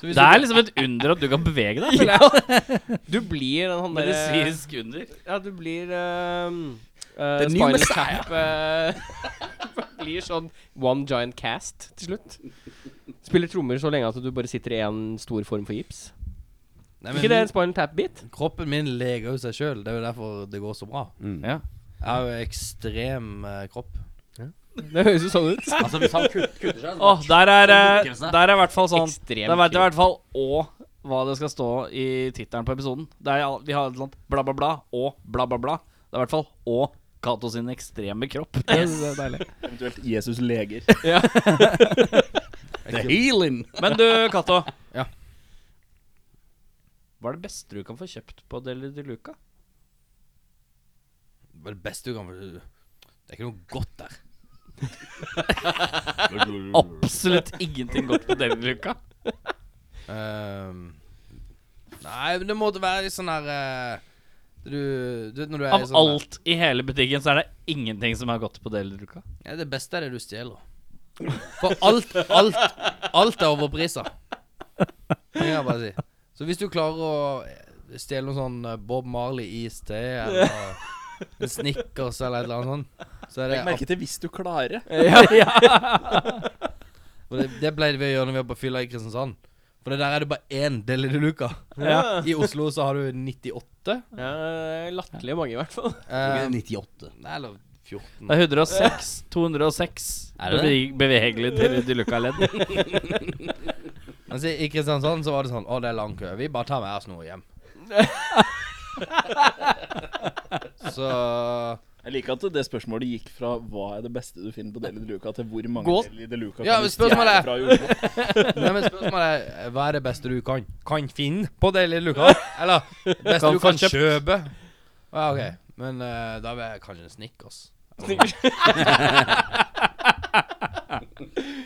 S4: Så hvis
S3: Det
S4: du-
S3: er liksom et under at du kan bevege deg. føler jeg.
S2: Du blir den han derre
S3: Medisinsk under.
S2: Ja, du blir ehm, eh,
S5: The new
S2: Spinal
S5: Messiah.
S2: Tap eh, Blir sånn one giant cast til slutt. Spiller trommer så lenge at du bare sitter i en stor form for gips.
S4: Nei, men
S2: Ikke det en Spinal Tap-bit?
S4: Kroppen min leker jo seg sjøl. Det er jo derfor det går så bra.
S3: Ja.
S4: Jeg har jo ekstrem eh, kropp.
S2: Det høres jo sånn ut.
S5: Altså, hvis han kut- kutter seg, så
S3: Åh, der er eh,
S5: Seg.
S3: Der er i hvert fall sånn
S2: Ekstrem
S3: Da vet jeg i
S2: kul.
S3: hvert fall og hva det skal stå i tittelen på episoden. Det er, al- de har et eller annet bla, bla, bla og bla, bla, bla. Det er i hvert fall og Kato sin ekstreme kropp. Det er- det er deilig.
S6: Eventuelt Jesus leger.
S5: The healing.
S3: Men du, Cato.
S4: Ja.
S3: Hva er det beste du kan få kjøpt på Deli de Luca?
S4: Det er det beste du kan Det er ikke noe godt der.
S3: Absolutt ingenting godt på Deli de Luca.
S4: Ehm, nei, men det måtte være litt sånn her eh, du, du vet når du er i
S3: Av
S4: sånn her-
S3: alt i hele butikken så er det ingenting som er godt på Deli de Luca.
S4: ja, Det beste er det du stjeler. For alt, alt, alt er overprisa. Det kan jeg bare si. Så hvis du klarer å eh, stjele noe sånn eh, Bob Marley-is te eller en Snickers eller et eller annet sånt, så er det
S6: Legg merke til hvis du klarer.
S4: Og det, det pleide vi å gjøre når vi var på fylla i Kristiansand. For det der er det bare én Deli de Luca. I Oslo så har du 98.
S2: Ja, det er Latterlig mange, i hvert fall.
S4: eh,
S5: 98.
S4: nei, eller 14.
S3: Det er 106, 206
S5: Er det
S3: beve- bevegelige Deli de Luca-ledd.
S4: Men så i Kristiansand så var det sånn Å, det er lang kø. Vi bare tar med oss noe hjem. så
S6: Jeg liker at det spørsmålet gikk fra hva er det beste du finner på Deli de Luca, til hvor mange
S2: Gå-
S6: Deli de Luca
S4: Ja, men
S6: kan du stjele
S4: spørsmålet er-
S6: fra jorda.
S4: Nei, men spørsmålet er hva er det beste du kan Kan finne på Deli de Luca? Eller det beste
S3: Kan
S4: du kan
S3: få kjøpt.
S4: kjøpe? Ja, OK. Men eh, da vil jeg kanskje en Snickers.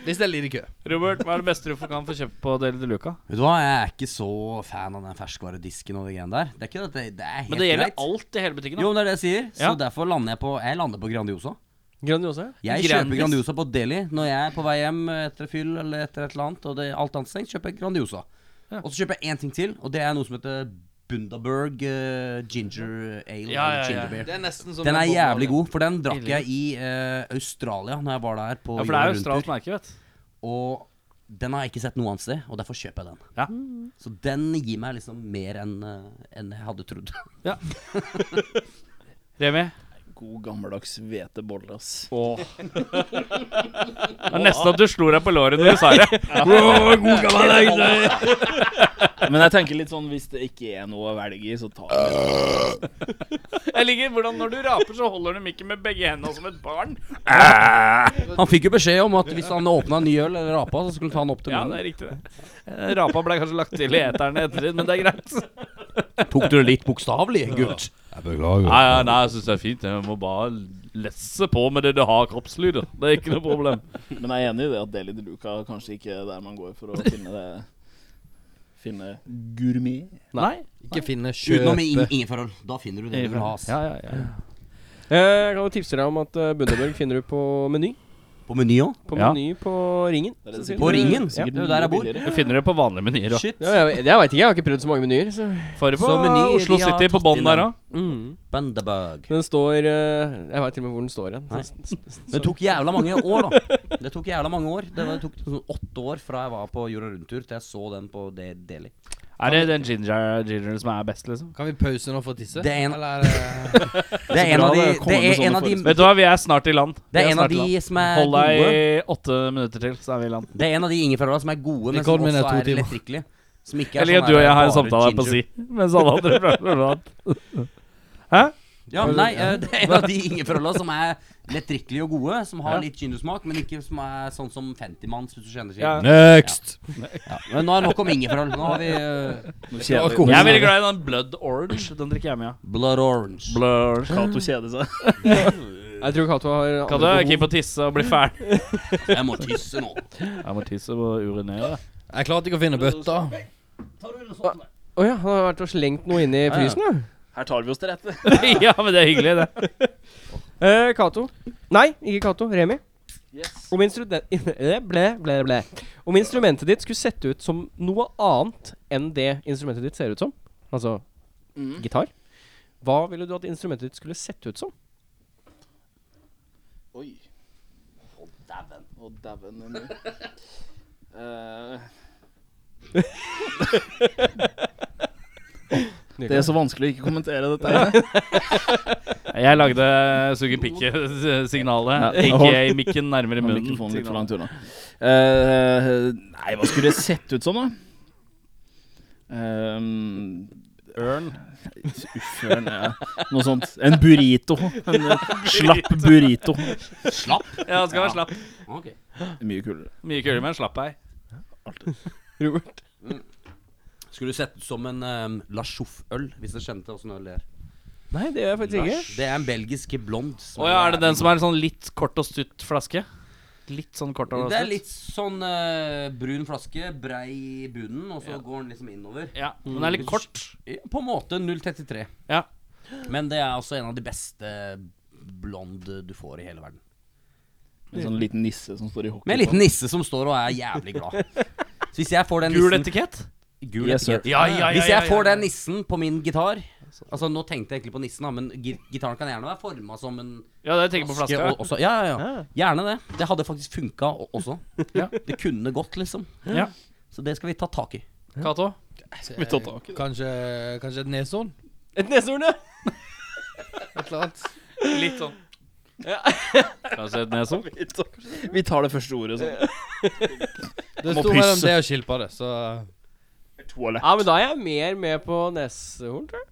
S4: Hvis det er lite kø.
S3: Robert, hva er det beste du får- kan få kjøpt på Deli de Luca?
S5: Vet du hva, jeg er ikke så fan av den ferskvaredisken og de greiene der. Det er ikke at det, det er helt greit.
S3: Men det gjelder alt i hele butikken. da.
S5: Jo, det er det jeg sier. Så
S3: Ja.
S5: derfor lander jeg på Jeg lander på Grandiosa.
S2: Grandiosa?
S5: Jeg
S3: Grandis.
S5: kjøper Grandiosa på Deli når jeg er på vei hjem etter fyll eller etter et eller annet, og det, alt annet stengt, kjøper jeg Grandiosa. Og så kjøper jeg én ting til, og det er noe som heter Bundaberg eh, Ginger
S3: Ja,
S5: Ale. eller
S3: ja, ja.
S5: ginger beer.
S4: Det er nesten som
S5: Den er
S4: Bob Marley.
S5: jævlig god, for den drakk jeg i eh, Australia Når jeg var der på
S3: Ja, for det er
S5: jorda
S3: jo australsk
S5: rundt-tur.
S3: merke, vet du.
S5: Og den har jeg ikke sett noe annet sted, og derfor kjøper jeg den.
S3: Ja.
S5: Så den gir meg liksom mer enn eh, enn jeg hadde trodd.
S3: Remi,
S6: God gammeldags hvetebolle, ass.
S3: det er nesten at du slo deg på låret når du sa det.
S6: Men jeg tenker litt sånn hvis det ikke er noe å velge i, så ta det.
S3: Jeg liker hvordan når du raper, så holder du mikken med begge hendene som et barn.
S5: Han fikk jo beskjed om at hvis han åpna en ny øl eller rapa, så skulle han ta den opp til
S3: Ja, det
S5: munnen.
S3: er riktig, det. Eh, Rapa ble kanskje lagt til i eteren etter det, men det er greit.
S5: Tok du det litt bokstavelig, gutt?
S3: Nei, nei, jeg syns det er fint. Jeg må bare lesse på med det du har kroppslyder. Det er ikke noe problem.
S6: Men jeg er enig i det at Deli de Luca kanskje ikke er der man går for å finne det Finne gourmet.
S3: Nei.
S4: Ikke finne
S5: Utenom
S4: kjøp.
S5: i ingen- ingen forhold. Da finner du det du vil ha. ass.
S3: Ja, ja, ja.
S2: Eh, Jeg kan jo tipse deg om at eh, Bundaberg finner du på Meny.
S5: På Meny òg?
S2: På
S3: Ja.
S2: Meny på Ringen.
S6: Det er det
S2: Så sier
S5: På
S2: du-
S5: Ringen?
S2: Ja.
S5: Det er jo der jeg bor.
S6: Billigere.
S3: Du finner det på vanlige menyer òg.
S5: Shit.
S2: Ja, jeg, jeg veit ikke, jeg har ikke prøvd så mange menyer. Så.
S3: Får det på
S5: Så Meny,
S3: Oslo
S5: de har
S3: City på
S5: tatt
S3: bånn
S5: inn
S3: der
S5: den.
S3: òg.
S2: Mm.
S5: Bundaberg.
S2: Den står eh, Jeg veit til og med hvor den står hen.
S5: Nei.
S2: Så- s- s-
S5: Det tok jævla mange år, da. Det tok jævla mange år. Det, var, det tok sånn åtte år fra jeg var på jorda rundt-tur til jeg så den på De- Deli.
S3: Er det den ginger, ginger som er best, liksom?
S4: Kan vi pause nå for å tisse?
S5: Det er en-
S4: Eller eh, er det
S5: Det er en
S6: bra
S5: av de
S6: det kommer
S5: Det
S6: med
S5: er
S6: sånne
S5: en av de,
S6: forespørsler.
S3: Vet du hva, vi er snart i land.
S5: det
S3: Vi
S5: er en av
S3: snart i land.
S5: de som er
S3: Hold deg
S5: gode.
S3: i åtte minutter til, så er vi i land.
S5: Det er en av de ingefærøla som er gode, men som
S4: Rekorden min er
S5: også
S4: to
S5: er
S4: timer.
S5: lett drikkelige. Som ikke er
S3: Eller du
S5: sånn
S3: og
S5: der
S3: jeg har en
S5: bare
S3: samtale her på si.
S5: ginger.
S3: Mens alle andre prater om annet. Hæ?
S5: Ja, nei, eh, det er en av de ingefærøla som er lett drikkelige og gode, som har litt gingersmak, men ikke som er sånn som 50-manns, hvis du kjenner til.
S3: Ja.
S4: Next!
S5: Ja. Men nå er det nok om ingefærøl. Nå har vi eh,
S6: Nå
S4: Det var
S6: kjeder
S4: alkohol.
S3: Jeg er veldig glad i den Blood Orange. Den drikker jeg med, ja.
S5: Blood Orange.
S3: Blood Orange.
S6: Cato kjeder seg.
S2: Jeg tror Cato har andre
S3: Kan du
S2: behov.
S3: ikke på tisse og bli ferdig?
S5: Jeg må tisse nå.
S3: Jeg må tisse og urinere.
S4: Jeg klarte ikke å finne bøtta.
S2: Å ja, han har vært og slengt noe inn i frysen, ja.
S6: Her tar vi oss til rette.
S3: ja, men det er hyggelig, det.
S2: Eh, Cato. Nei, ikke Cato. Remi. Om, instruden- Eh, ble, ble, ble. Om instrumentet ditt skulle sett ut som noe annet enn det instrumentet ditt ser ut som, altså gitar, hva ville du at instrumentet ditt skulle sett ut som?
S6: Oi. Å, dæven. Å, dæven. Eh, det er så vanskelig å ikke kommentere dette. her.
S3: Jeg lagde suge pikket-signalet.
S6: Ja.
S3: Ikke i mikken nærmere
S6: Men
S3: munnen.
S6: Mikrofonen litt for
S3: signalet.
S6: langt unna. Eh, nei, hva skulle det sett ut som, da? Um,
S3: Ørn.
S6: uff, ørn, ja. Noe sånt. En burrito. En eh, slapp burrito.
S5: Slapp?
S3: Ja, skal være slapp.
S5: Ok.
S6: Mye kulere.
S3: Mye kulere med en slapp ei.
S2: Robert.
S5: Skulle du sett ut som en um, La Choff-øl, hvis du skjønte åssen øl det er.
S2: Nei, det gjør jeg faktisk ikke.
S5: Det er en belgisk blond. som
S3: Å ja, er det den som er sånn litt kort og stutt flaske? Litt sånn kort og stutt?
S5: Det er litt sånn eh, brun flaske, brei i bunnen, og så går den liksom innover.
S3: Ja, men den er
S4: Mm.
S3: litt kort.
S5: På en måte 0,33.
S3: Ja.
S5: Men det er også en av de beste blonde du får i hele verden.
S6: En sånn liten nisse som står i hockey.
S5: Med en liten nisse som står og er jævlig glad. Så hvis jeg får den
S3: Gul
S5: nissen
S3: etikett?
S5: Gul
S6: Yes, sir.
S5: etikett.
S3: Ja, ja, ja,
S5: Hvis
S3: ja,
S5: jeg
S3: ja,
S5: får
S3: ja.
S5: den nissen på min gitar Altså Nå tenkte jeg egentlig på nissen, da men gi- gitaren kan gjerne være forma som en
S3: Ja, det tenker jeg på
S5: flaske
S3: flaska.
S5: og- også. Ja, ja, ja. Gjerne det. Det hadde faktisk funka o- også. Det kunne gått, liksom.
S3: Ja.
S5: Så det skal vi ta tak i.
S3: Cato?
S6: vi ta tak i det?
S4: Kanskje, kanskje et neshorn?
S2: Et neshorn, ja.
S4: Et eller annet.
S3: Litt sånn. Kanskje et neshorn?
S6: Vi tar det første ordet sånn.
S4: Det
S6: må
S4: sto mellom
S6: pisse.
S4: det og skilpadde, så
S6: Toalett.
S2: ja. Men da er jeg mer med på neshorn, tror jeg.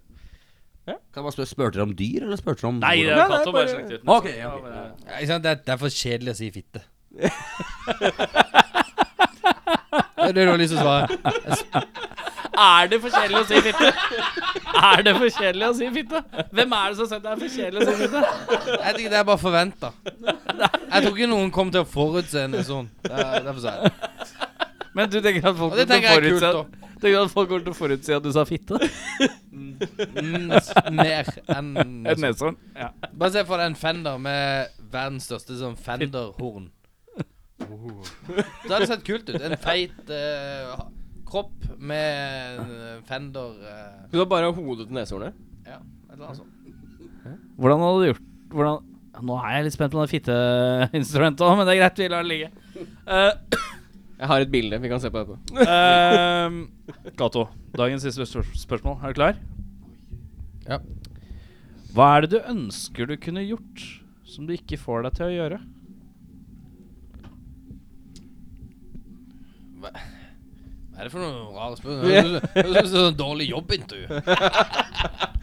S5: Kan jeg bare spørre, Spurte dere om dyr, eller spurte dere om
S3: Nei, det
S5: hvordan-
S2: Nei,
S3: er
S2: nei,
S3: Cato bare
S2: bare-
S3: slengte ut.
S5: Ok, ja, ok.
S4: Ja, ikke sant? Det, er- det er for kjedelig å si fitte. det er det du har lyst til å svare.
S3: Er det for kjedelig å si fitte? Er det for kjedelig å si fitte? Hvem er det som sier det er for kjedelig å si fitte?
S4: Jeg tenker Det er bare forventa. Jeg tror ikke noen kom til å forutse en sånn. Det er- Derfor sa jeg det.
S3: Men du tenker at folk
S4: Og det tenker jeg er kult, da.
S3: Tenker at folk kommer til å forutsi at du sa fitte?
S4: Mm, s- mer enn
S3: Et neshorn. Ja.
S4: Bare se for deg en Fender med verdens største sånn Fender-horn. Det hadde sett kult ut. En feit eh, ha- kropp med en eh, Fender eh,
S2: Du har bare hodet til neshornet?
S4: Ja, et eller annet sånt.
S3: Hvordan hadde du gjort hvordan, Nå er jeg litt spent på den fitteinstrumentet òg, men det er greit, vi lar det ligge. Eh,
S2: Jeg har et bilde. Vi kan se på etterpå.
S3: ehm, Cato, dagens siste spør spørsmål. Er du klar?
S4: Ja.
S3: Hva er det du ønsker du kunne gjort, som du ikke får deg til å gjøre?
S4: Hva er det for noen rare spørsmål? Det høres ut som et dårlig jobbintervju.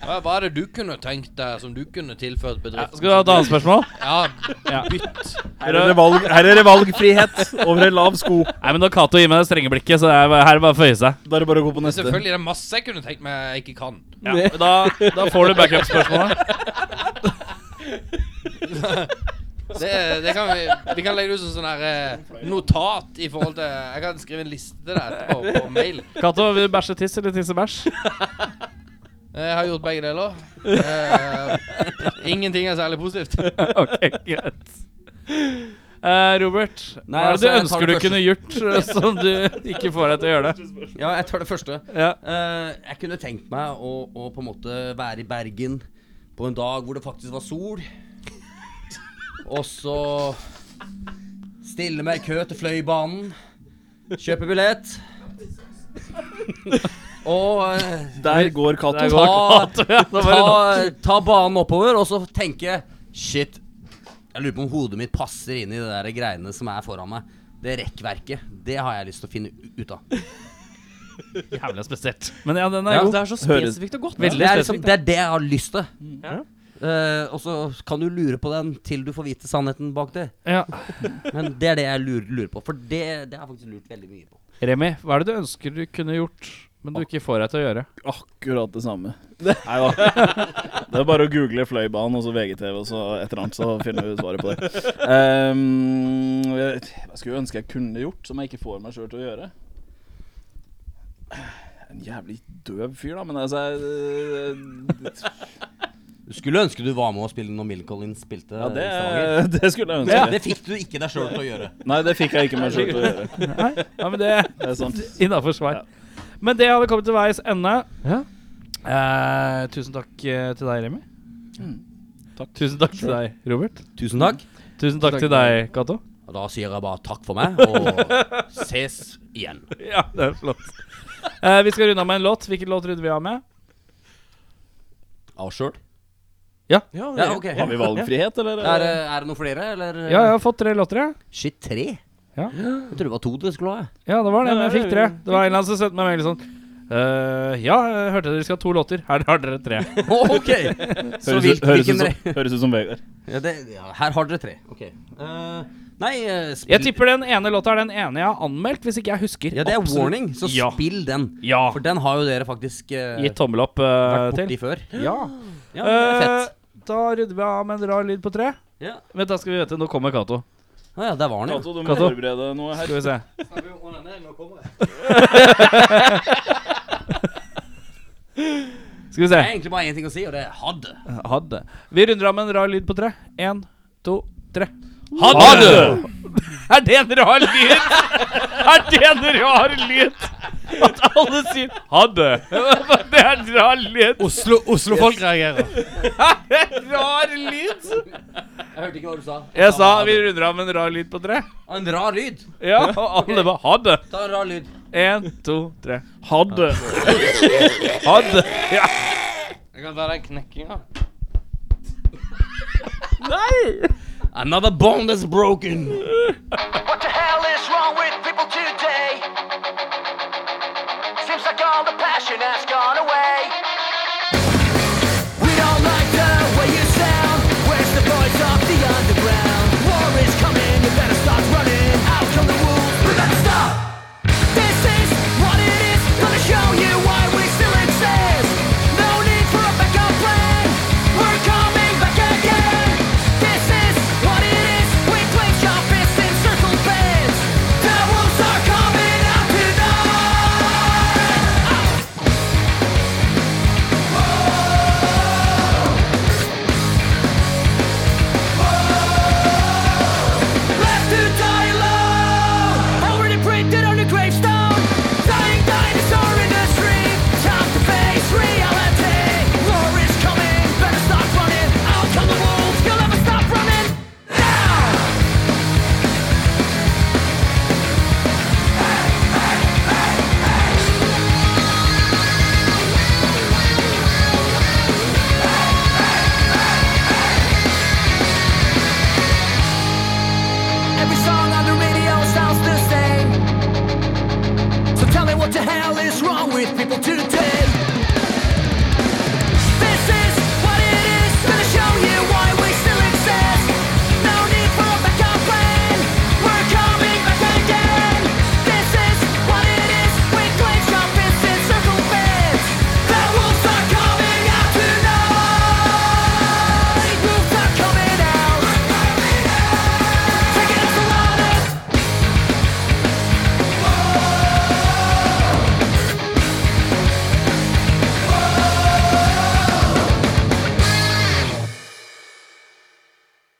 S4: Hva hva er det du kunne tenkt deg, som du kunne tilført bedriften?
S3: Skal du ha et annet spørsmål?
S4: Ja,
S3: Ja.
S4: bytt.
S6: Her er det valg, her er det valgfrihet over en lav sko.
S3: Nei, men Når Cato gir meg det strenge blikket, så er, her er det bare å føye seg.
S6: Da er det bare å gå på neste.
S4: Selvfølgelig, det er masse jeg kunne tenkt meg jeg ikke kan.
S3: Ja, men da, da får du backup-spørsmålet.
S4: Det, det kan vi, vi kan legge det ut som sånn her eh, notat i forhold til Jeg kan skrive en liste til deg etterpå på mail.
S3: Cato, vil du bæsje tiss eller tisse bæsj?
S4: Jeg har gjort begge deler. Eh, ingenting er særlig positivt.
S3: ok, greit. Eh, Robert, hva
S5: Nei,
S3: er det
S5: altså,
S3: du
S5: jeg tar
S3: ønsker du
S5: det
S3: kunne gjort eh, som du ikke får deg til å gjøre det?
S5: Ja, jeg tar det første.
S3: Ja.
S5: Eh, jeg kunne tenkt meg å, å på en måte være i Bergen på en dag hvor det faktisk var sol. Og så stille meg i kø til Fløibanen, kjøpe billett. Og eh,
S6: Der går Cato.
S3: Der går-
S5: ta,
S3: Ja, da var det
S5: ta, ta banen oppover, og så tenke Shit. Jeg lurer på om hodet mitt passer inn i det der greiene som er foran meg. Det rekkverket. Det har jeg lyst til å finne u- ut av.
S3: Jævlig spesielt. Men ja, den er
S5: Ja,
S3: god.
S2: Det er så
S6: Høres-
S2: spesifikt og godt.
S3: Veldig
S5: det, er liksom,
S3: spesifikt,
S5: det er det jeg har lyst til.
S3: Ja.
S5: Eh, og så kan du lure på den til du får vite sannheten bak det.
S3: Ja.
S5: Men det er det jeg lurer, lurer på, for det, det har jeg faktisk lurt veldig mye på.
S3: Remi, hva er det du ønsker du kunne gjort, men du ikke får deg til å gjøre.
S6: Akkurat det samme. Nei da. Det er bare å google Fløibanen og så VGTV og så et eller annet, så finner vi svaret på det. Ehm, jeg vet- hva skulle jeg ønske jeg kunne gjort, som jeg ikke får meg sjøl til å gjøre? En jævlig døv fyr, da, men altså jeg-
S5: Du skulle ønske du var med og spille når Mill Collins spilte.
S6: Ja,
S5: i Stavanger.
S6: det, det skulle jeg ønske.
S5: Det fikk du ikke deg sjøl til å gjøre.
S6: Nei, det fikk jeg ikke meg sjøl til å gjøre.
S3: Nei, ja, men det
S6: Det er sant.
S3: Innafor svar. Men det hadde kommet til veis ende.
S2: Ja.
S3: Eh, tusen takk eh, til deg, Remi. Tusen Mm. takk til deg, Robert.
S5: Tusen takk.
S3: Tusen takk, til deg, Cato.
S5: Og da sier jeg bare takk for meg, og ses igjen.
S3: Ja, det er flott. Eh, vi skal runde av med en låt. Hvilken låt rydder vi av med?
S5: Av sjøl.
S2: Ja,
S5: Ja, ok.
S6: Har vi valgfrihet, eller?
S5: Er, eh, det- er det noe flere, eller?
S3: Ja, jeg har fått tre låter, jeg.
S5: Shit, tre?
S3: Ja.
S5: Jeg trodde det var to du skulle ha. jeg.
S3: Ja, det var det,
S2: Ja,
S3: men jeg
S2: det
S3: fikk
S2: er
S3: tre.
S2: jo-
S3: Det var en eller annen som sendte meg en mail sånn eh, Ja, jeg hørte dere skal ha to låter. Her har dere tre.
S5: ok! Så
S6: høres,
S5: hvil-
S6: ut, høres,
S5: hvilken
S6: ut
S5: re-
S6: som, høres ut som Vegard.
S5: ja, det, ja, Her har dere tre. Ok. Eh, nei eh, spill
S3: Jeg tipper den ene låta er den ene jeg har anmeldt, hvis ikke jeg husker.
S5: Ja, det er
S3: absolutt.
S5: warning, så
S3: Ja.
S5: spill den.
S3: Ja.
S5: For den har jo dere faktisk eh,
S3: Gitt tommel opp eh,
S5: vært borti
S3: til.
S5: før.
S3: Ja.
S5: Ja, det er
S3: Eh,
S5: fett.
S3: Da rydder vi av med en rar lyd på tre.
S5: Ja.
S3: Vent, da skal vi vite. Nå kommer Cato.
S5: Å ja, der var den, ja.
S6: Cato, du må
S3: Cato.
S6: forberede noe her.
S3: Skal vi se. Skal vi se.
S5: Det er egentlig bare én ting å si, og det er hadde.
S3: Hadde. Vi runder av med en rar lyd på tre. Én, to, tre. Er det en rar lyd? Er det en rar lyd? At alle sier 'hadde'. Det er en rar lyd.
S4: Oslo- Oslo-folk reagerer.
S3: En rar lyd.
S5: Jeg hørte ikke hva du sa.
S3: Jeg sa vi runder av med en rar lyd på tre.
S5: En rar lyd.
S3: Ja, og alle bare 'hadde'.
S5: Ta en rar lyd.
S3: Én, to, tre.
S6: Hadde.
S3: Hadde. Ja.
S4: Jeg kan ta den knekkinga.
S5: Another bone that's broken.